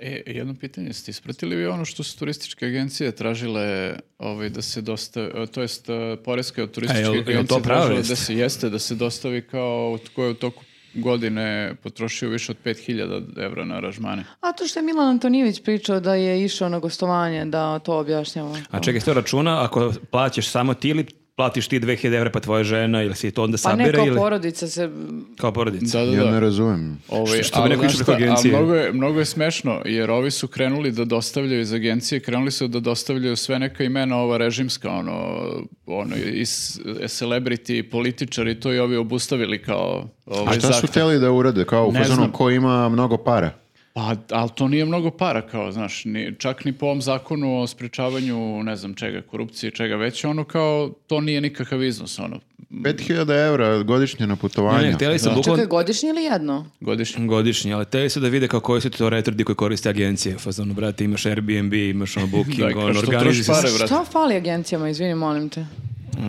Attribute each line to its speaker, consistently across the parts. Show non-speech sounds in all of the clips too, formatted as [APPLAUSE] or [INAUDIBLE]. Speaker 1: E, pitanje, ste ispratili vi ono što su turističke agencije tražile ovaj, da se dostavi, to jest e, poreske od turističke
Speaker 2: jel- jel
Speaker 1: agencije
Speaker 2: to prava
Speaker 1: tražile
Speaker 2: vest?
Speaker 1: da se jeste, da se dostavi kao tko je u toku godine potrošio više od 5000 evra na aranžmane.
Speaker 3: A to što je Milan Antonijević pričao da je išao na gostovanje, da to objašnjamo.
Speaker 2: A čekaj, to računa, ako plaćaš samo ti ili platiš ti 2000 evra pa tvoja žena ili si to onda
Speaker 3: Pa ne
Speaker 2: sabere
Speaker 3: kao
Speaker 2: ili
Speaker 3: porodica se...
Speaker 2: kao porodica?
Speaker 1: Da, da,
Speaker 4: Ja ne
Speaker 1: da.
Speaker 4: razumem.
Speaker 1: Ovaj,
Speaker 2: Što- što bi
Speaker 1: ali
Speaker 2: neko
Speaker 1: znaš
Speaker 2: išao
Speaker 1: šta,
Speaker 2: preko agencije.
Speaker 1: A mnogo je, mnogo je smešno, jer ovi su krenuli da dostavljaju iz agencije, krenuli su da dostavljaju sve neka imena ova režimska, ono, ono is, celebrity, političari, to i ovi obustavili kao
Speaker 4: A
Speaker 1: ovaj,
Speaker 4: šta su
Speaker 1: zahtev.
Speaker 4: htjeli da urade? Kao u
Speaker 1: Ne
Speaker 4: fazonu
Speaker 1: znam.
Speaker 4: ko ima mnogo para?
Speaker 1: Pa, ali to nije mnogo para, kao, znaš, ni, čak ni po ovom zakonu o sprečavanju, ne znam čega, korupcije, čega već, ono kao, to nije nikakav iznos, ono,
Speaker 4: 5000 evra godišnje na
Speaker 2: Ne,
Speaker 4: putovanje.
Speaker 2: ne, htjeli su bukvalno
Speaker 3: Čekaj, godišnji ili jedno?
Speaker 1: godišnje.
Speaker 2: godišnje, ali htjeli su da vide kao koji su to retardi koji koriste agencije. Fazonu, brate, imaš Airbnb,
Speaker 1: [LAUGHS]
Speaker 2: imaš ono
Speaker 1: Da,
Speaker 2: booking,
Speaker 1: kao
Speaker 2: ono,
Speaker 1: što
Speaker 2: organizi
Speaker 1: troši pare,
Speaker 2: se.
Speaker 1: brate.
Speaker 3: Šta fali agencijama, izvini, molim te?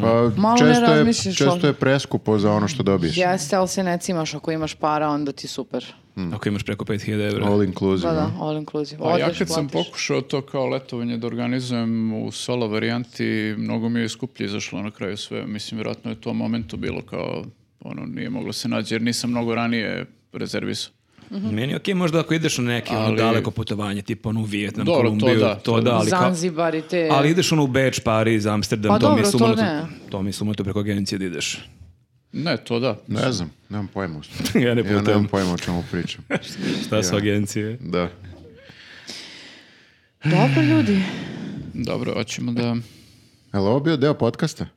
Speaker 4: Pa,
Speaker 3: Malo ne
Speaker 4: često, je,
Speaker 3: razmišljaš,
Speaker 4: često
Speaker 3: ali-
Speaker 4: je preskupo za ono što dobiješ.
Speaker 3: Jeste, ali se ne cimaš, ako imaš para, onda ti super.
Speaker 2: Ako imaš preko 5000 evra.
Speaker 4: All inclusive.
Speaker 3: Da, da,
Speaker 4: no.
Speaker 3: all inclusive.
Speaker 1: Pa ja
Speaker 3: Odeš,
Speaker 1: kad sam
Speaker 3: platiš.
Speaker 1: pokušao to kao letovanje da organizujem u solo varijanti, mnogo mi je skuplje izašlo na kraju sve. Mislim, vjerojatno je to u momentu bilo kao, ono, nije moglo se naći jer nisam mnogo ranije rezervisao.
Speaker 3: Mhm.
Speaker 2: Meni je okej možda ako ideš na neke ono,
Speaker 1: Ali-
Speaker 2: daleko putovanje, tipa ono u Vijetnam,
Speaker 1: Dobro, to
Speaker 2: Kolumbiju, to da,
Speaker 1: da, to da.
Speaker 2: ali, kao-
Speaker 3: Zanzibar i te...
Speaker 2: ali ideš ono u Beč, Pariz, Amsterdam,
Speaker 3: Pa
Speaker 2: to mi je
Speaker 3: dobro, to
Speaker 2: sumano,
Speaker 3: ne.
Speaker 2: to, to mi je sumano preko agencije da ideš.
Speaker 1: Ne, to da.
Speaker 4: Ne znam, nemam pojma. u
Speaker 2: [LAUGHS]
Speaker 4: stvari.
Speaker 2: ja ne
Speaker 4: Ja nemam
Speaker 2: putujem,
Speaker 4: pojma o čemu pričam.
Speaker 2: šta su agencije.
Speaker 4: Da.
Speaker 3: Dobro, ljudi.
Speaker 1: Dobro, hoćemo
Speaker 4: [LAUGHS]
Speaker 1: da...
Speaker 4: Jel ovo bio deo podcasta? [LAUGHS]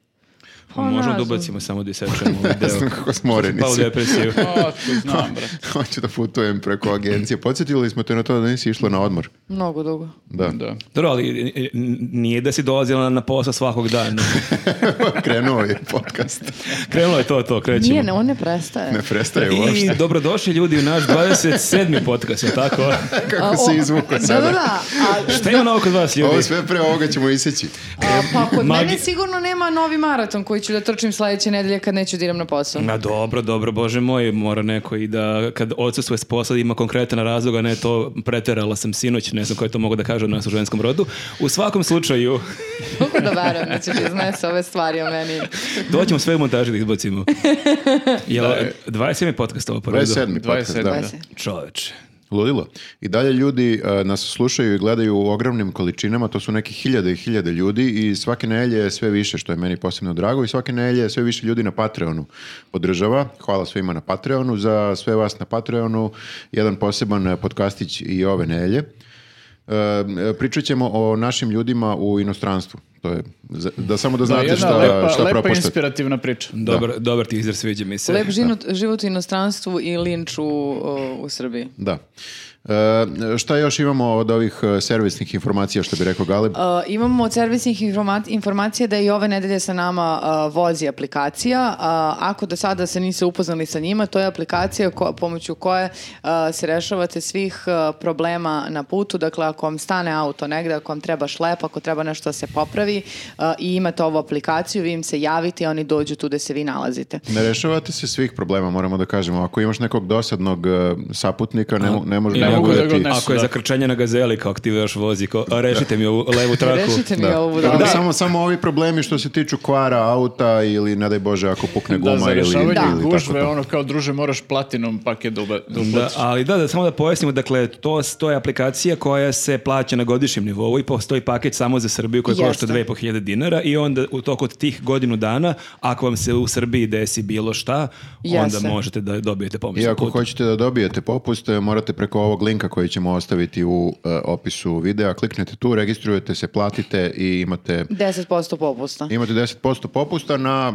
Speaker 2: Pa,
Speaker 3: Pa
Speaker 2: možemo da
Speaker 3: ne znam.
Speaker 2: ubacimo samo da isečemo ovaj
Speaker 4: Ne
Speaker 2: deo.
Speaker 4: znam kako smo oreni.
Speaker 2: Pa u depresiju.
Speaker 1: A, to znam, brate.
Speaker 4: Hoću da putujem preko agencije. Podsjetili smo te na to da nisi išla na odmor. [LAUGHS]
Speaker 3: Mnogo dugo.
Speaker 4: Da.
Speaker 1: Da.
Speaker 2: Dobro, ali e, e, nije da si dolazila na- na posao svakog
Speaker 4: [LAUGHS]
Speaker 2: dana.
Speaker 4: Krenuo je podcast.
Speaker 2: Krenulo je to, to, krećemo.
Speaker 3: Nije, ne, on ne prestaje.
Speaker 4: Ne prestaje uopšte.
Speaker 2: I dobrodošli ljudi u naš 27. podcast, je li tako?
Speaker 4: [LAUGHS] Kako
Speaker 3: A,
Speaker 4: se
Speaker 3: o-
Speaker 4: izvukao
Speaker 3: Da,
Speaker 4: sada.
Speaker 3: da, da. A,
Speaker 2: Šta ima novo kod vas ljudi?
Speaker 4: Ovo sve pre ovoga ćemo iseći.
Speaker 3: a, pa kod
Speaker 2: Magi-
Speaker 3: mene sigurno nema novi maraton koji ću da trčim sledeće nedelje kad neću da idem na posao.
Speaker 2: Na dobro, dobro, bože moj, mora neko i da kad odsustuje s posla ima konkretan razlog, a ne to preterala sam sinoć, ne znam koje to mogu da kažu od nas u ženskom rodu. U svakom
Speaker 4: [LAUGHS]
Speaker 2: slučaju,
Speaker 3: Kako da verujem da će ti iznese ove stvari o meni.
Speaker 2: to ćemo sve u montaži da izbacimo. Jel,
Speaker 4: e.
Speaker 2: 27. podcast ovo po redu?
Speaker 4: 27. podcast, da.
Speaker 1: 27.
Speaker 2: Čoveče.
Speaker 4: Ludilo. I dalje ljudi e, nas slušaju i gledaju u ogromnim količinama, to su neki hiljade i hiljade ljudi i svake nelje je sve više, što je meni posebno drago i svake nelje je sve više ljudi na Patreonu podržava. Hvala svima na Patreonu, za sve vas na Patreonu, jedan poseban e, podcastić i ove nelje. E, e, pričat ćemo o našim ljudima u inostranstvu. To je, za- da samo da
Speaker 1: Da,
Speaker 4: znate
Speaker 1: jedna
Speaker 4: šta,
Speaker 1: lepa,
Speaker 4: šta
Speaker 1: lepa
Speaker 4: propuštate.
Speaker 1: inspirativna priča.
Speaker 2: Dobar, dobar ti izraz, sviđa mi se.
Speaker 3: Lep život, život u inostranstvu i linč u, o, u Srbiji.
Speaker 4: Da. E, šta još imamo od ovih e, servisnih informacija, što bi rekao Galeb?
Speaker 3: Uh, imamo od servisnih informa- informacija da je i ove nedelje sa nama uh, vozi aplikacija. Uh, ako do sada se niste upoznali sa njima, to je aplikacija ko- pomoću koje uh, se rešavate svih uh, problema na putu. Dakle, ako vam stane auto negde, ako vam treba šlep, ako treba nešto da se popravi uh, i imate ovu aplikaciju, vi im se javite i oni dođu tu gde se vi nalazite.
Speaker 4: Ne rešavate se svih problema, moramo da kažemo. Ako imaš nekog dosadnog e, saputnika, ne, mo- ne, može,
Speaker 2: I
Speaker 4: ne,
Speaker 1: Ne
Speaker 4: mogu
Speaker 1: mogu
Speaker 4: da
Speaker 1: da
Speaker 4: ti...
Speaker 1: ga odnesem.
Speaker 2: Ako je
Speaker 1: Da.
Speaker 2: zakrčenje na gazeli, kao ti još vozi, kao, a, rešite mi ovu levu traku.
Speaker 3: Rešite mi
Speaker 4: Da.
Speaker 3: ovu
Speaker 4: Tako da
Speaker 3: da.
Speaker 4: Samo, samo ovi problemi što se tiču kvara auta ili, ne daj Bože, ako pukne guma
Speaker 1: Da, za
Speaker 4: ili, ili
Speaker 1: rešavanje
Speaker 4: tako
Speaker 1: gužve,
Speaker 4: to.
Speaker 1: ono kao druže moraš platinom paket da, uba- da
Speaker 2: Da,
Speaker 1: uplatiš.
Speaker 2: ali da, da, samo da pojasnimo, dakle, to, to je aplikacija koja se plaća na godišnjem nivou i postoji paket samo za Srbiju koji
Speaker 3: Jeste.
Speaker 2: košta 2500 dinara i onda u toku od tih godinu dana, ako vam se u Srbiji desi bilo šta,
Speaker 3: Jeste.
Speaker 2: onda možete da dobijete pomoć.
Speaker 4: I
Speaker 2: na
Speaker 4: ako
Speaker 2: putu.
Speaker 4: hoćete da dobijete popust, e, morate preko ovog linka koji ćemo ostaviti u e, opisu videa, kliknete tu, registrujete se, platite i imate
Speaker 3: 10% popusta.
Speaker 4: Imate 10% popusta na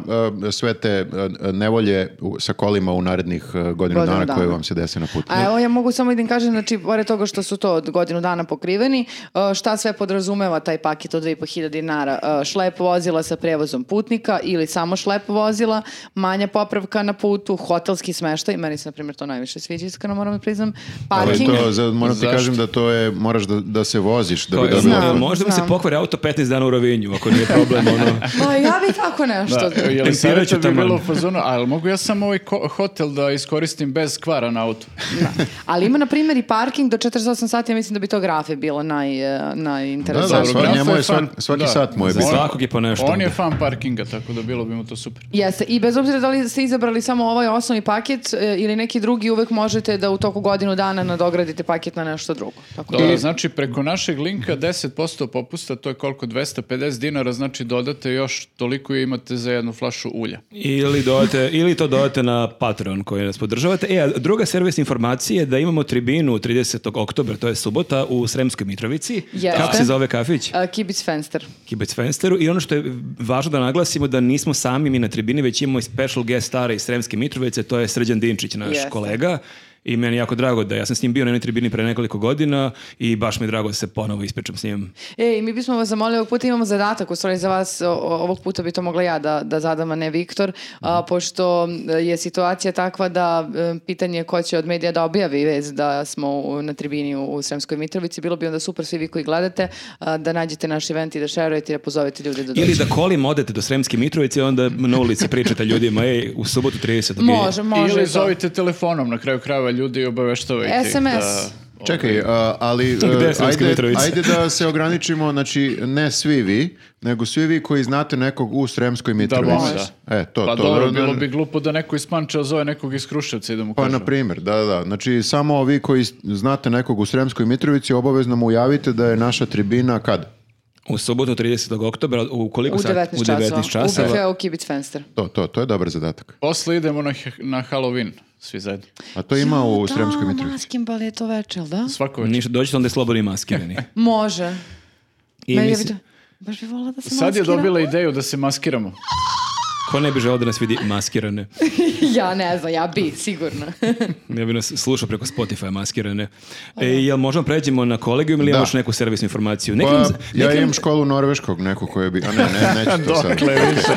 Speaker 4: e, sve te e, nevolje u- sa kolima u narednih e, godinu, dana,
Speaker 3: dana.
Speaker 4: koje vam se dese na putu.
Speaker 3: A evo ja mogu samo i da im kažem, znači, pored toga što su to od godinu dana pokriveni, uh, šta sve podrazumeva taj paket od 2500 dinara? Uh, Šlep vozila sa prevozom putnika ili samo šlep vozila, manja popravka na putu, hotelski smeštaj, meni se na primjer to najviše sviđa, iskreno moram da priznam,
Speaker 4: Ali
Speaker 3: parking,
Speaker 4: to, za, moram ti
Speaker 1: Zašto?
Speaker 4: kažem da to je, moraš da, da se voziš da
Speaker 2: Kao,
Speaker 4: bi
Speaker 2: jel-
Speaker 4: dobila.
Speaker 3: Znam.
Speaker 2: jel
Speaker 4: to.
Speaker 2: možda mu se
Speaker 3: znam.
Speaker 2: pokvari auto 15 dana u rovinju, ako nije
Speaker 3: [LAUGHS]
Speaker 2: problem, ono...
Speaker 3: Pa ja bi tako
Speaker 4: [LAUGHS]
Speaker 3: nešto.
Speaker 1: Da, je li
Speaker 2: Tempirat ću
Speaker 1: savjeta bi
Speaker 2: taman.
Speaker 1: bilo u fazonu, ali mogu ja samo ovaj ko- hotel da iskoristim bez kvara na autu?
Speaker 3: Ali ima, na primjer, i parking do 48 sati, ja mislim da bi to grafe bilo naj, e,
Speaker 4: Da,
Speaker 3: najinteresantnije.
Speaker 4: da,
Speaker 1: Dobro,
Speaker 4: sva,
Speaker 1: grafo
Speaker 4: njemu
Speaker 1: je
Speaker 4: je svak-
Speaker 1: fan-
Speaker 4: svaki
Speaker 1: da.
Speaker 4: sat mu je
Speaker 2: Za
Speaker 4: bitno.
Speaker 2: svakog je po nešto.
Speaker 1: On je fan parkinga, tako da bilo bi mu to super.
Speaker 3: Jeste, i bez obzira da li ste izabrali samo ovaj osnovni paket e, ili neki drugi, uvek možete da u toku godinu dana nadogradite paket na nešto drugo. Tako da,
Speaker 1: Dobro, znači preko našeg linka 10% popusta, to je koliko, 250 dinara, znači dodate još toliko i imate za jednu flašu ulja.
Speaker 2: Ili, dodate, ili to dodate na Patreon koji nas podržavate. E, a druga servis informacije je da imamo tribinu 30. oktobra, to je subota, u Sremskoj Mitrovici.
Speaker 3: Jeste.
Speaker 2: Kako se zove kafić?
Speaker 3: e, Kibic Fenster.
Speaker 2: Kibec Fensteru. I ono što je važno da naglasimo da nismo sami mi na tribini, već imamo i special guest stare iz Sremske Mitrovice, to je Srđan Dinčić, naš
Speaker 3: Jeste.
Speaker 2: kolega. I meni je jako drago da ja sam s njim bio na jednoj tribini pre nekoliko godina i baš mi je drago da se ponovo ispričam s njim.
Speaker 3: E, i mi bismo vas zamolili, ovog puta imamo zadatak, u stvari za vas, o- o- ovog puta bi to mogla ja da, da zadam, a ne Viktor,
Speaker 1: Mhm.
Speaker 3: a, pošto e, je situacija takva da e, pitanje je ko će od medija da objavi vez da smo u- na tribini u, u Sremskoj Mitrovici, bilo bi onda super svi vi koji gledate, a, da nađete naš event i da šerujete i da pozovete ljude da dođu.
Speaker 2: Ili da kolim odete do Sremske Mitrovice i onda na ulici pričate ljudima, ej, u subotu 30. je."
Speaker 3: Može, može.
Speaker 1: Ili
Speaker 3: i to.
Speaker 1: zovite telefonom na kraju krajeva ljudi i obaveštavajte ih
Speaker 3: SMS.
Speaker 1: da-
Speaker 4: Čekaj, a,
Speaker 2: [LAUGHS]
Speaker 4: ali e,
Speaker 2: Gde je Sremska
Speaker 4: ajde,
Speaker 2: Mitrovica?
Speaker 4: ajde da se ograničimo, znači ne svi vi, nego svi vi koji znate nekog u Sremskoj Mitrovici.
Speaker 1: može.
Speaker 4: E, to,
Speaker 1: pa
Speaker 4: to.
Speaker 1: dobro,
Speaker 4: da-
Speaker 1: bilo bi glupo da neko iz Pančeva zove nekog iz Kruševca i da mu
Speaker 4: Pa,
Speaker 1: kaže.
Speaker 4: na primjer, da, da, da. Znači, samo vi koji znate nekog u Sremskoj Mitrovici, obavezno mu javite da je naša tribina kad?
Speaker 2: U subotu 30. oktobra, u koliko
Speaker 3: U
Speaker 2: sat?
Speaker 3: 19
Speaker 2: U 19
Speaker 3: časova. U
Speaker 2: časova.
Speaker 3: kafeu Kibic Fenster.
Speaker 4: To, to, to je dobar zadatak.
Speaker 1: Posle idemo na, he- na Halloween, svi zajedno.
Speaker 4: A to ima u Sremskoj
Speaker 3: Da,
Speaker 4: Mitrovici.
Speaker 3: Maskinbal je to večer, jel da?
Speaker 1: Svako večer.
Speaker 2: Ništa, dođete onda je slobodni
Speaker 3: [LAUGHS]
Speaker 2: maskirani.
Speaker 3: Može.
Speaker 2: I
Speaker 3: Meni je
Speaker 2: mislim,
Speaker 3: bi to- Baš bi volila da se
Speaker 1: Sad je
Speaker 3: maskiram.
Speaker 1: dobila ideju da se maskiramo.
Speaker 2: ko ne bi želeo da nas vidi maskirane?
Speaker 3: [LAUGHS] ja ne znam, ja bi,
Speaker 4: [LAUGHS]
Speaker 3: sigurno.
Speaker 2: Ja bi nas slušao preko Spotify maskirane. E, jel možemo pređemo na kolegijum ili
Speaker 4: Da.
Speaker 2: imaš neku servisnu informaciju? Nek
Speaker 4: Pa,
Speaker 2: nam-
Speaker 4: ja
Speaker 2: nek nam-
Speaker 4: imam školu norveškog, neko koje bi... A ne, ne, neću
Speaker 2: [LAUGHS]
Speaker 4: to sad.
Speaker 1: Dakle, više.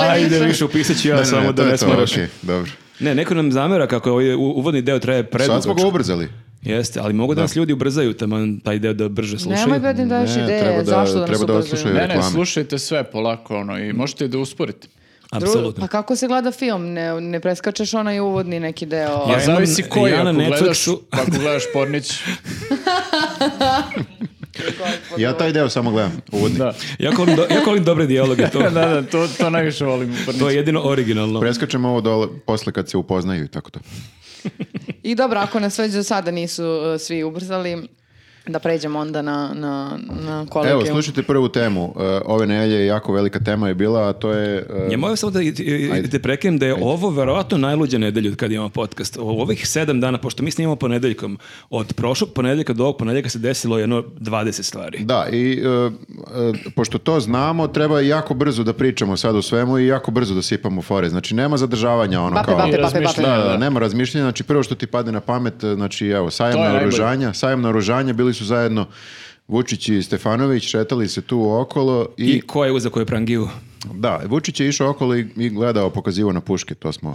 Speaker 2: Ajde, više upisat ću ja
Speaker 4: Ne, ne,
Speaker 2: samo
Speaker 4: ne, to
Speaker 2: da
Speaker 4: je
Speaker 2: ne
Speaker 4: to,
Speaker 2: smaraš.
Speaker 4: okej, dobro.
Speaker 2: Ne, neko nam zamera kako ovaj u- uvodni deo traje predugo.
Speaker 4: Sad smo ga ubrzali.
Speaker 2: Jeste, ali mogu da nas ljudi ubrzaju taman taj deo da brže slušaju.
Speaker 3: Nemoj da im daješ
Speaker 4: Ne,
Speaker 3: ideje,
Speaker 4: treba da-
Speaker 3: zašto da nas
Speaker 4: treba da
Speaker 3: ubrzuju?
Speaker 4: odslušaju.
Speaker 1: Ne, ne,
Speaker 4: Reklame.
Speaker 1: slušajte sve polako ono, i možete i da usporite.
Speaker 2: Apsolutno.
Speaker 3: Pa kako se gleda film? Ne, ne preskačeš onaj uvodni neki deo.
Speaker 1: Pa
Speaker 2: Ja imam-
Speaker 1: zavisi ko je,
Speaker 2: ja na
Speaker 1: ako gledaš,
Speaker 2: Netflixu-
Speaker 1: pa ako gledaš Pornić,
Speaker 4: Ja taj deo samo gledam, uvodni.
Speaker 1: da.
Speaker 2: Ja kolim, do- ja kolim dobre dijaloge, to,
Speaker 1: [LAUGHS]
Speaker 3: [LAUGHS]
Speaker 1: da, da, to, to najviše volim u Porniću.
Speaker 2: to je jedino originalno.
Speaker 4: Preskačem ovo dole, posle kad se upoznaju i tako to.
Speaker 3: I dobro, ako nas već do sada nisu uh, svi ubrzali, da pređemo onda na, na, na
Speaker 4: Evo,
Speaker 3: kolegijum.
Speaker 4: slušajte prvu temu. E, Ove nelje jako velika tema je bila, a to je... e,
Speaker 2: Ja moram samo da i- i- i te prekinem da je ovo verovatno najluđa nedelja od kada imamo podcast. U ovih sedam dana, pošto mi snimamo ponedeljkom, od prošlog ponedeljka do ovog ponedeljka se desilo jedno 20 stvari.
Speaker 4: Da, i e, e, pošto to znamo, treba jako brzo da pričamo sad o svemu i jako brzo da sipamo fore. Znači, nema zadržavanja ono
Speaker 3: Bape,
Speaker 4: kao...
Speaker 3: bape,
Speaker 1: I
Speaker 3: bape, bape.
Speaker 1: razmišljanja,
Speaker 4: Da, da, nema razmišljanja, znači prvo što ti pade na pamet, e, znači evo, sajam
Speaker 1: To je
Speaker 4: na
Speaker 1: najbolje.
Speaker 4: oružanja, sajam na oružanja, bili su zajedno Vučić i Stefanović, šetali se tu okolo i,
Speaker 2: I ko je uzeo koju prangiju?
Speaker 4: da, Vučić je išao okolo i, i gledao, pokazivao na puške, to smo,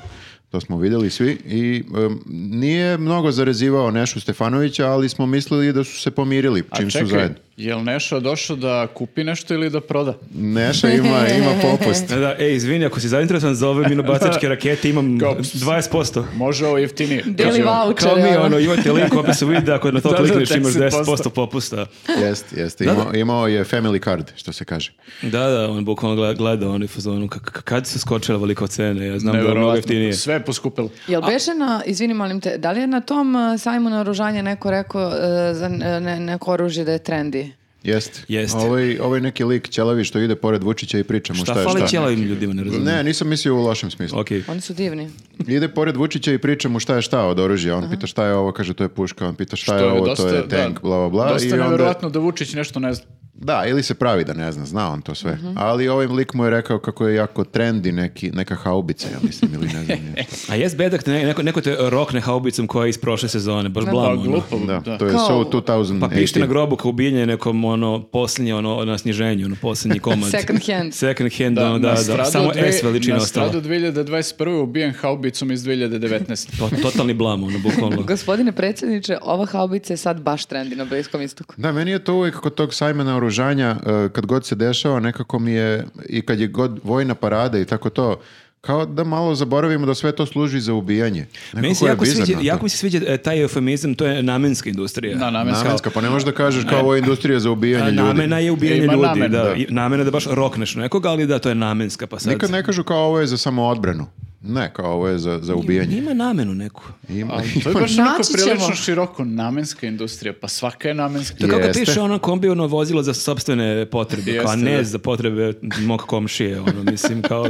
Speaker 4: to smo vidjeli svi i em, nije mnogo zarezivao Nešu Stefanovića, ali smo mislili da su se pomirili
Speaker 1: A
Speaker 4: čim su zajedno.
Speaker 1: jel Neša došao da kupi nešto ili da proda?
Speaker 4: Neša ima, ima
Speaker 2: [LAUGHS]
Speaker 4: popust.
Speaker 2: Da, da, e, izvini, ako si zainteresovan za ove
Speaker 4: [LAUGHS]
Speaker 2: minobacačke rakete, imam
Speaker 1: Kao-
Speaker 2: 20%.
Speaker 1: Može ovo jeftinije.
Speaker 3: Deli vaučer.
Speaker 2: Kao mi,
Speaker 3: ono.
Speaker 2: ono, imate link u opisu videa, ako na to
Speaker 4: [LAUGHS]
Speaker 1: Da, da,
Speaker 2: klikneš imaš 10%
Speaker 1: 10%
Speaker 2: popusta.
Speaker 4: Jest, jest. Imao, imao je family card, što se kaže.
Speaker 2: Da, da, on bukvalno gleda, gleda on je u fazonu, "Ka- ka- kad su skočile veliko cene, ja znam da je mnogo
Speaker 1: Neverovatno.
Speaker 2: jeftinije.
Speaker 1: Sve je poskupilo.
Speaker 3: Jel beše na, izvini molim te, da li je na tom uh, sajmu naoružanja neko rekao uh, za ne- ne- neko oružje da je trendy?
Speaker 4: Jest.
Speaker 2: Jest.
Speaker 4: Ovaj, ovaj neki lik ćelavi što ide pored Vučića i priča mu šta,
Speaker 2: Šta
Speaker 4: je
Speaker 2: fali
Speaker 4: šta.
Speaker 2: ćelavim ljudima, ne razumijem.
Speaker 4: Ne, nisam mislio u lošem smislu.
Speaker 2: Okej.
Speaker 3: Oni su divni.
Speaker 4: Ide pored Vučića i priča mu šta je šta od oružja. On pita šta je ovo, kaže Pa to je puška. On pita šta
Speaker 1: To
Speaker 4: je ovo,
Speaker 1: dosta-
Speaker 4: to je
Speaker 1: da,
Speaker 4: tank, bla, bla, bla.
Speaker 1: Dosta
Speaker 4: I onda,
Speaker 1: nevjerovatno da Vučić nešto ne zna.
Speaker 4: Da, ili se pravi da ne zna, zna on to sve. Ali ovaj lik mu je rekao kako je jako trendi neki, neka haubica, ja mislim, ili ne znam. nije.
Speaker 2: A jes bedak, ne- neko, neko te rokne haubicom koja je iz prošle sezone, baš
Speaker 1: Pa
Speaker 2: blamo. ono.
Speaker 1: glupo, da.
Speaker 4: Da, to je
Speaker 3: Kao-
Speaker 4: so
Speaker 2: Pa
Speaker 4: 2018.
Speaker 2: pišite na grobu kao ubiljenje nekom ono posljednje ono na sniženju, ono
Speaker 1: [LAUGHS]
Speaker 2: posljednji komad.
Speaker 3: Second hand.
Speaker 2: Second hand, ono, da, da,
Speaker 1: Nastradao
Speaker 2: samo
Speaker 1: dve-
Speaker 2: S veličina ostala.
Speaker 1: Nastradao 2021. ubijen haubicom iz 2019.
Speaker 2: To, totalni blam, ono,
Speaker 4: [LAUGHS]
Speaker 2: bukvalno.
Speaker 3: Gospodine predsjedniče, ova haubica je sad baš trendi na Bliskom istoku.
Speaker 4: Da, meni je to uvijek kod tog sajma naoružanja, e, kad god se dešava, nekako mi je, i kad je god vojna parada i tako to, kao da malo zaboravimo da sve to služi za ubijanje.
Speaker 2: Meni se
Speaker 4: je
Speaker 2: jako
Speaker 4: bizarno
Speaker 2: sviđa,
Speaker 4: to.
Speaker 2: jako mi se sviđa e, taj eufemizam, to je namenska industrija.
Speaker 1: Da, namenska.
Speaker 4: Namenska, pa ne možeš da kažeš kao ovo je industrija za ubijanje
Speaker 2: A,
Speaker 4: ljudi.
Speaker 2: namena je ubijanje
Speaker 1: Ima
Speaker 2: ljudi,
Speaker 1: namen,
Speaker 2: da.
Speaker 1: da.
Speaker 2: I Namena da baš rokneš nekoga, ali da, to je namenska, pa sad...
Speaker 4: Nikad ne kažu kao ovo je za samoodbranu. Ne, kao ovo je za, za ubijanje.
Speaker 2: Ima Pa namenu neku.
Speaker 4: Ima,
Speaker 1: Ali to je baš
Speaker 3: Naći
Speaker 1: onako
Speaker 3: ćemo.
Speaker 1: prilično široko namenska industrija, pa svaka je namenska.
Speaker 2: To je kako
Speaker 4: Jeste.
Speaker 2: piše ono kombijeno vozilo za sobstvene potrebe, kao, a
Speaker 1: Jeste,
Speaker 2: ne
Speaker 1: da.
Speaker 2: za potrebe mog komšije, ono, mislim, kao,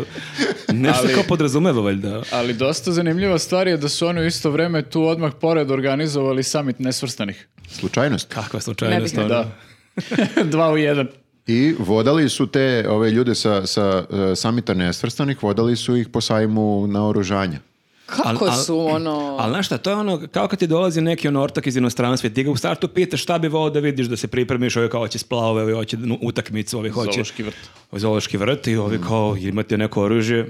Speaker 2: nešto
Speaker 1: Ali-
Speaker 2: kao podrazumeva, valjda.
Speaker 1: Ali dosta zanimljiva stvar je da su oni u isto vreme tu odmah pored organizovali samit nesvrstanih.
Speaker 4: Slučajnost.
Speaker 2: Kakva slučajnost,
Speaker 3: Ne
Speaker 4: Pa
Speaker 3: bih-
Speaker 2: ono.
Speaker 1: Da. [LAUGHS] Dva u jedan.
Speaker 4: I vodali su te ove ljude sa, sa e, samita nesvrstanih, vodali su ih po sajmu na oružanje.
Speaker 3: Kako
Speaker 2: Al- al-
Speaker 3: su ono...
Speaker 2: Ali znaš šta, to je ono, kao kad ti dolazi neki ono ortak iz inostranstva, i ti ga u startu pitaš šta bi volao da vidiš, da se pripremiš, ovi kao hoće splavove, ovi hoće nu- utakmicu, ovi hoće...
Speaker 1: Zoološki vrt. Mm.
Speaker 2: Zoološki vrt i ovi kao imate neko oružje,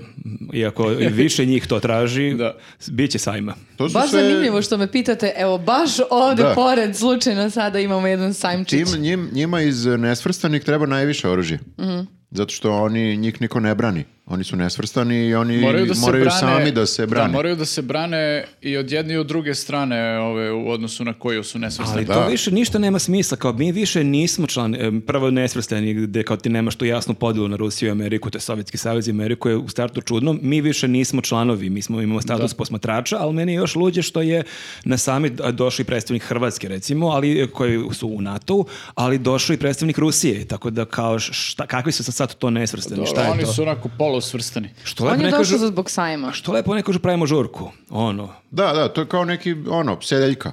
Speaker 2: iako više njih to traži,
Speaker 1: Da.
Speaker 2: bit će sajma.
Speaker 4: To su
Speaker 3: Baš
Speaker 4: sve-
Speaker 3: zanimljivo što me pitate, evo baš ovde
Speaker 4: Da.
Speaker 3: pored slučajno sada imamo jedan sajmčić.
Speaker 4: Tim, njim- njima iz nesvrstanih treba najviše oružje.
Speaker 3: Mhm.
Speaker 4: Zato što oni, njih niko ne brani. Oni su nesvrstani i oni
Speaker 1: Moraju
Speaker 4: moraju,
Speaker 1: da se brane,
Speaker 4: sami da se brane.
Speaker 1: Da, moraju da se brane i od jedne i od druge strane ove, u odnosu na koju su nesvrstani.
Speaker 2: Ali
Speaker 4: Da.
Speaker 2: to više ništa nema smisla, kao mi više nismo član, em, prvo nesvrstani gde kao ti nemaš tu jasnu podelu na Rusiju i Ameriku, to je Sovjetski savez i Ameriku je u startu čudno, mi više nismo članovi, mi smo imamo status posmatrača, ali meni je još luđe što je na sami došao i predstavnik Hrvatske recimo, ali e, koji su u NATO-u, ali došao i predstavnik Rusije, tako da kao šta, kakvi su sad to nesvrstani,
Speaker 1: Dobro,
Speaker 2: šta je
Speaker 1: oni
Speaker 2: to?
Speaker 1: su onako polusvrstani.
Speaker 2: Što
Speaker 3: On
Speaker 2: lepo
Speaker 3: je
Speaker 2: ne
Speaker 3: došao
Speaker 2: kažu,
Speaker 3: za zbog sajma.
Speaker 2: što lepo ne kažu pravimo žurku, ono.
Speaker 4: Da, da, to je kao neki, ono, sedeljka.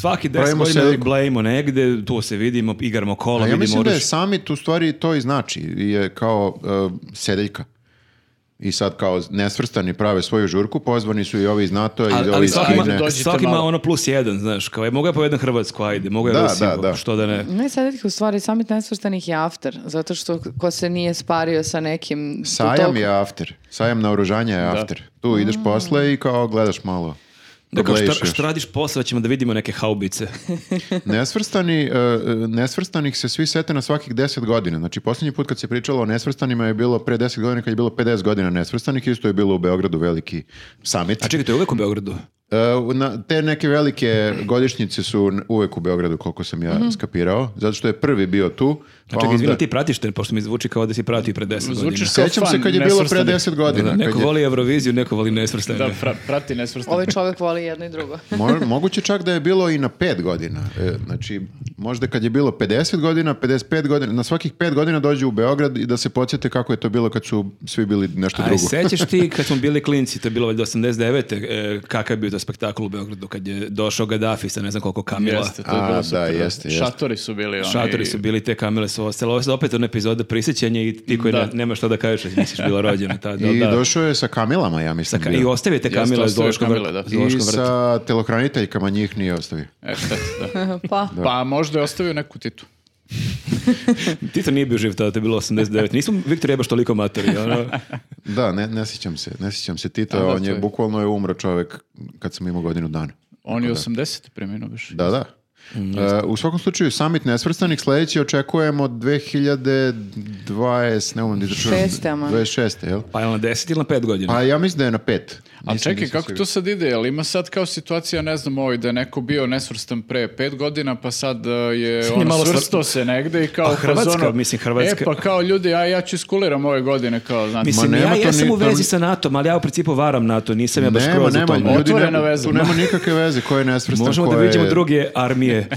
Speaker 2: Svaki deset
Speaker 4: Pravimo
Speaker 2: godina
Speaker 4: seliku.
Speaker 2: blejimo negde, tu se vidimo, igramo kola,
Speaker 4: A ja
Speaker 2: vidimo
Speaker 4: mislim da je
Speaker 2: oružje.
Speaker 4: summit u stvari to i znači, je kao e, sedeljka. I sad kao nesvrstani prave svoju žurku, pozvani su i ovi iz NATO-a i
Speaker 2: Ali,
Speaker 4: ovi
Speaker 2: ali
Speaker 4: iz
Speaker 2: svaki,
Speaker 1: ajde,
Speaker 2: ima,
Speaker 4: Kine.
Speaker 1: dođite
Speaker 2: svaki ima
Speaker 1: malo.
Speaker 2: ono plus jedan, znaš, kao je, mogu ja povedan Hrvatsku, ajde, mogu ja
Speaker 4: Da,
Speaker 2: Rusiju,
Speaker 4: da, da.
Speaker 2: što da ne.
Speaker 3: Ne, sad ih u stvari samit nesvrstanih je after, zato što ko se nije spario sa nekim... tu
Speaker 4: Sajam
Speaker 3: toliko-
Speaker 4: je after. Sajam na oružanje je after. Tu ideš
Speaker 2: Mm.
Speaker 4: posle i kao
Speaker 2: [LAUGHS]
Speaker 4: gledaš malo.
Speaker 2: Da kao,
Speaker 4: Pogledaš
Speaker 2: šta,
Speaker 4: još.
Speaker 2: šta radiš posle, ćemo da vidimo neke haubice.
Speaker 4: Nesvrstani, e, e, nesvrstanih se svi sete na svakih 10 godina. Znači, posljednji put kad se pričalo o nesvrstanima je bilo pre 10 godina kad je bilo 50 godina nesvrstanih. Isto je bilo u Beogradu veliki summit.
Speaker 2: A čekaj, to je uvek u Beogradu.
Speaker 4: E, u- na, te neke velike godišnjice su n- uvek u Beogradu, koliko sam
Speaker 2: Mhm.
Speaker 4: ja skapirao, zato što je prvi bio tu. Pa
Speaker 2: Čekaj,
Speaker 4: onda-
Speaker 2: izvini, ti pratiš te, pošto mi zvuči kao da si pratio i pre deset
Speaker 1: Zvučiš
Speaker 2: godina.
Speaker 1: kao
Speaker 4: Sećam se
Speaker 1: fan
Speaker 4: kad je bilo pre
Speaker 1: nesvrstanih.
Speaker 4: 10 godina.
Speaker 2: Da,
Speaker 4: kad
Speaker 2: neko
Speaker 4: je-
Speaker 2: voli Euroviziju, neko voli nesvrstane.
Speaker 1: Da, pra- prati nesvrstani.
Speaker 3: Ovaj čovjek voli jedno i drugo. [LAUGHS]
Speaker 4: Mo- moguće čak da je bilo i na 5 godina. E, znači, možda kad je bilo 50 godina, 55 godina, na svakih 5 godina dođu u Beograd i da se podsjete kako je to bilo kad su svi bili nešto
Speaker 2: Aj,
Speaker 4: drugo.
Speaker 2: sećaš
Speaker 4: [LAUGHS]
Speaker 2: ti kad smo bili klinci, to je bilo valjda 89. E, kakav je bio to spektakl u Beogradu kad je došao Gaddafi sa ne znam koliko kamila.
Speaker 1: Jeste, to je
Speaker 4: A,
Speaker 1: bilo
Speaker 4: da,
Speaker 1: super.
Speaker 4: jeste, jeste.
Speaker 1: Šatori su bili oni.
Speaker 2: Šatori su bili, te kamile su ostale. Ovo je opet ona epizoda prisjećanja i ti koji
Speaker 1: Da.
Speaker 2: ne, nema šta da kažeš, misliš bila rođena tada.
Speaker 4: I
Speaker 2: da.
Speaker 4: došao je sa kamilama, ja mislim.
Speaker 2: Ka-
Speaker 4: bio.
Speaker 2: I ostavite
Speaker 1: Jeste,
Speaker 2: Kamila iz
Speaker 1: ostavio
Speaker 2: Zološkog
Speaker 1: Kamila,
Speaker 2: vrta.
Speaker 1: da.
Speaker 2: Zoološkog
Speaker 4: I
Speaker 2: vrta.
Speaker 4: sa telohraniteljkama njih nije ostavio.
Speaker 1: E, šteta, da.
Speaker 3: Pa,
Speaker 1: Pa možda je ostavio neku titu.
Speaker 2: Tito nije bio živ tada, to je bilo 89. Nismo Viktor Jebaš toliko matori.
Speaker 4: [LAUGHS]
Speaker 2: Ono.
Speaker 4: Da, ne, ne sjećam se. Ne sjećam se Tito,
Speaker 1: da,
Speaker 4: on
Speaker 1: to
Speaker 4: je
Speaker 1: je.
Speaker 4: bukvalno je umro čovek kad sam imao godinu dana.
Speaker 1: On je 80. preminuo biš.
Speaker 4: Da, da. E, Znači, u svakom slučaju, summit nesvrstanih sledeći očekujemo 2020, ne umam da izračunam.
Speaker 3: Šeste, aman.
Speaker 4: 26. jel?
Speaker 2: Pa je li na 10 ili na 5 godina?
Speaker 4: Pa ja mislim da je na pet.
Speaker 1: A
Speaker 4: Nisam-
Speaker 1: čekaj,
Speaker 4: nisam
Speaker 1: kako to
Speaker 4: siguran.
Speaker 1: sad ide? Jel ima sad kao situacija, ne znam, ovaj, da je neko bio nesvrstan pre pet godina, pa sad uh, je
Speaker 2: Sad je
Speaker 1: ono,
Speaker 2: malo svr-
Speaker 1: svrstao se negde i kao...
Speaker 2: Pa
Speaker 1: u fazonu,
Speaker 2: Hrvatska, mislim, Hrvatska.
Speaker 1: E, pa kao ljudi, a ja ću iskuliram ove godine, kao, znate.
Speaker 2: Mislim,
Speaker 4: Ma
Speaker 2: ja
Speaker 4: nema to
Speaker 2: jesam
Speaker 4: ni-
Speaker 2: u
Speaker 4: to
Speaker 2: vezi
Speaker 4: ni-
Speaker 2: sa NATO-om, ali ja u principu varam NATO, nisam ja baš
Speaker 4: Nema,
Speaker 2: skroz u
Speaker 4: nema,
Speaker 2: tom.
Speaker 4: ljudi,
Speaker 1: Otvorena
Speaker 4: nema,
Speaker 1: veza.
Speaker 4: tu nema nikakve veze ko je
Speaker 2: [LAUGHS]
Speaker 4: nesvrstan.
Speaker 2: Možemo
Speaker 4: ko
Speaker 2: da
Speaker 4: je-
Speaker 2: vidimo druge
Speaker 4: [LAUGHS]
Speaker 2: armije.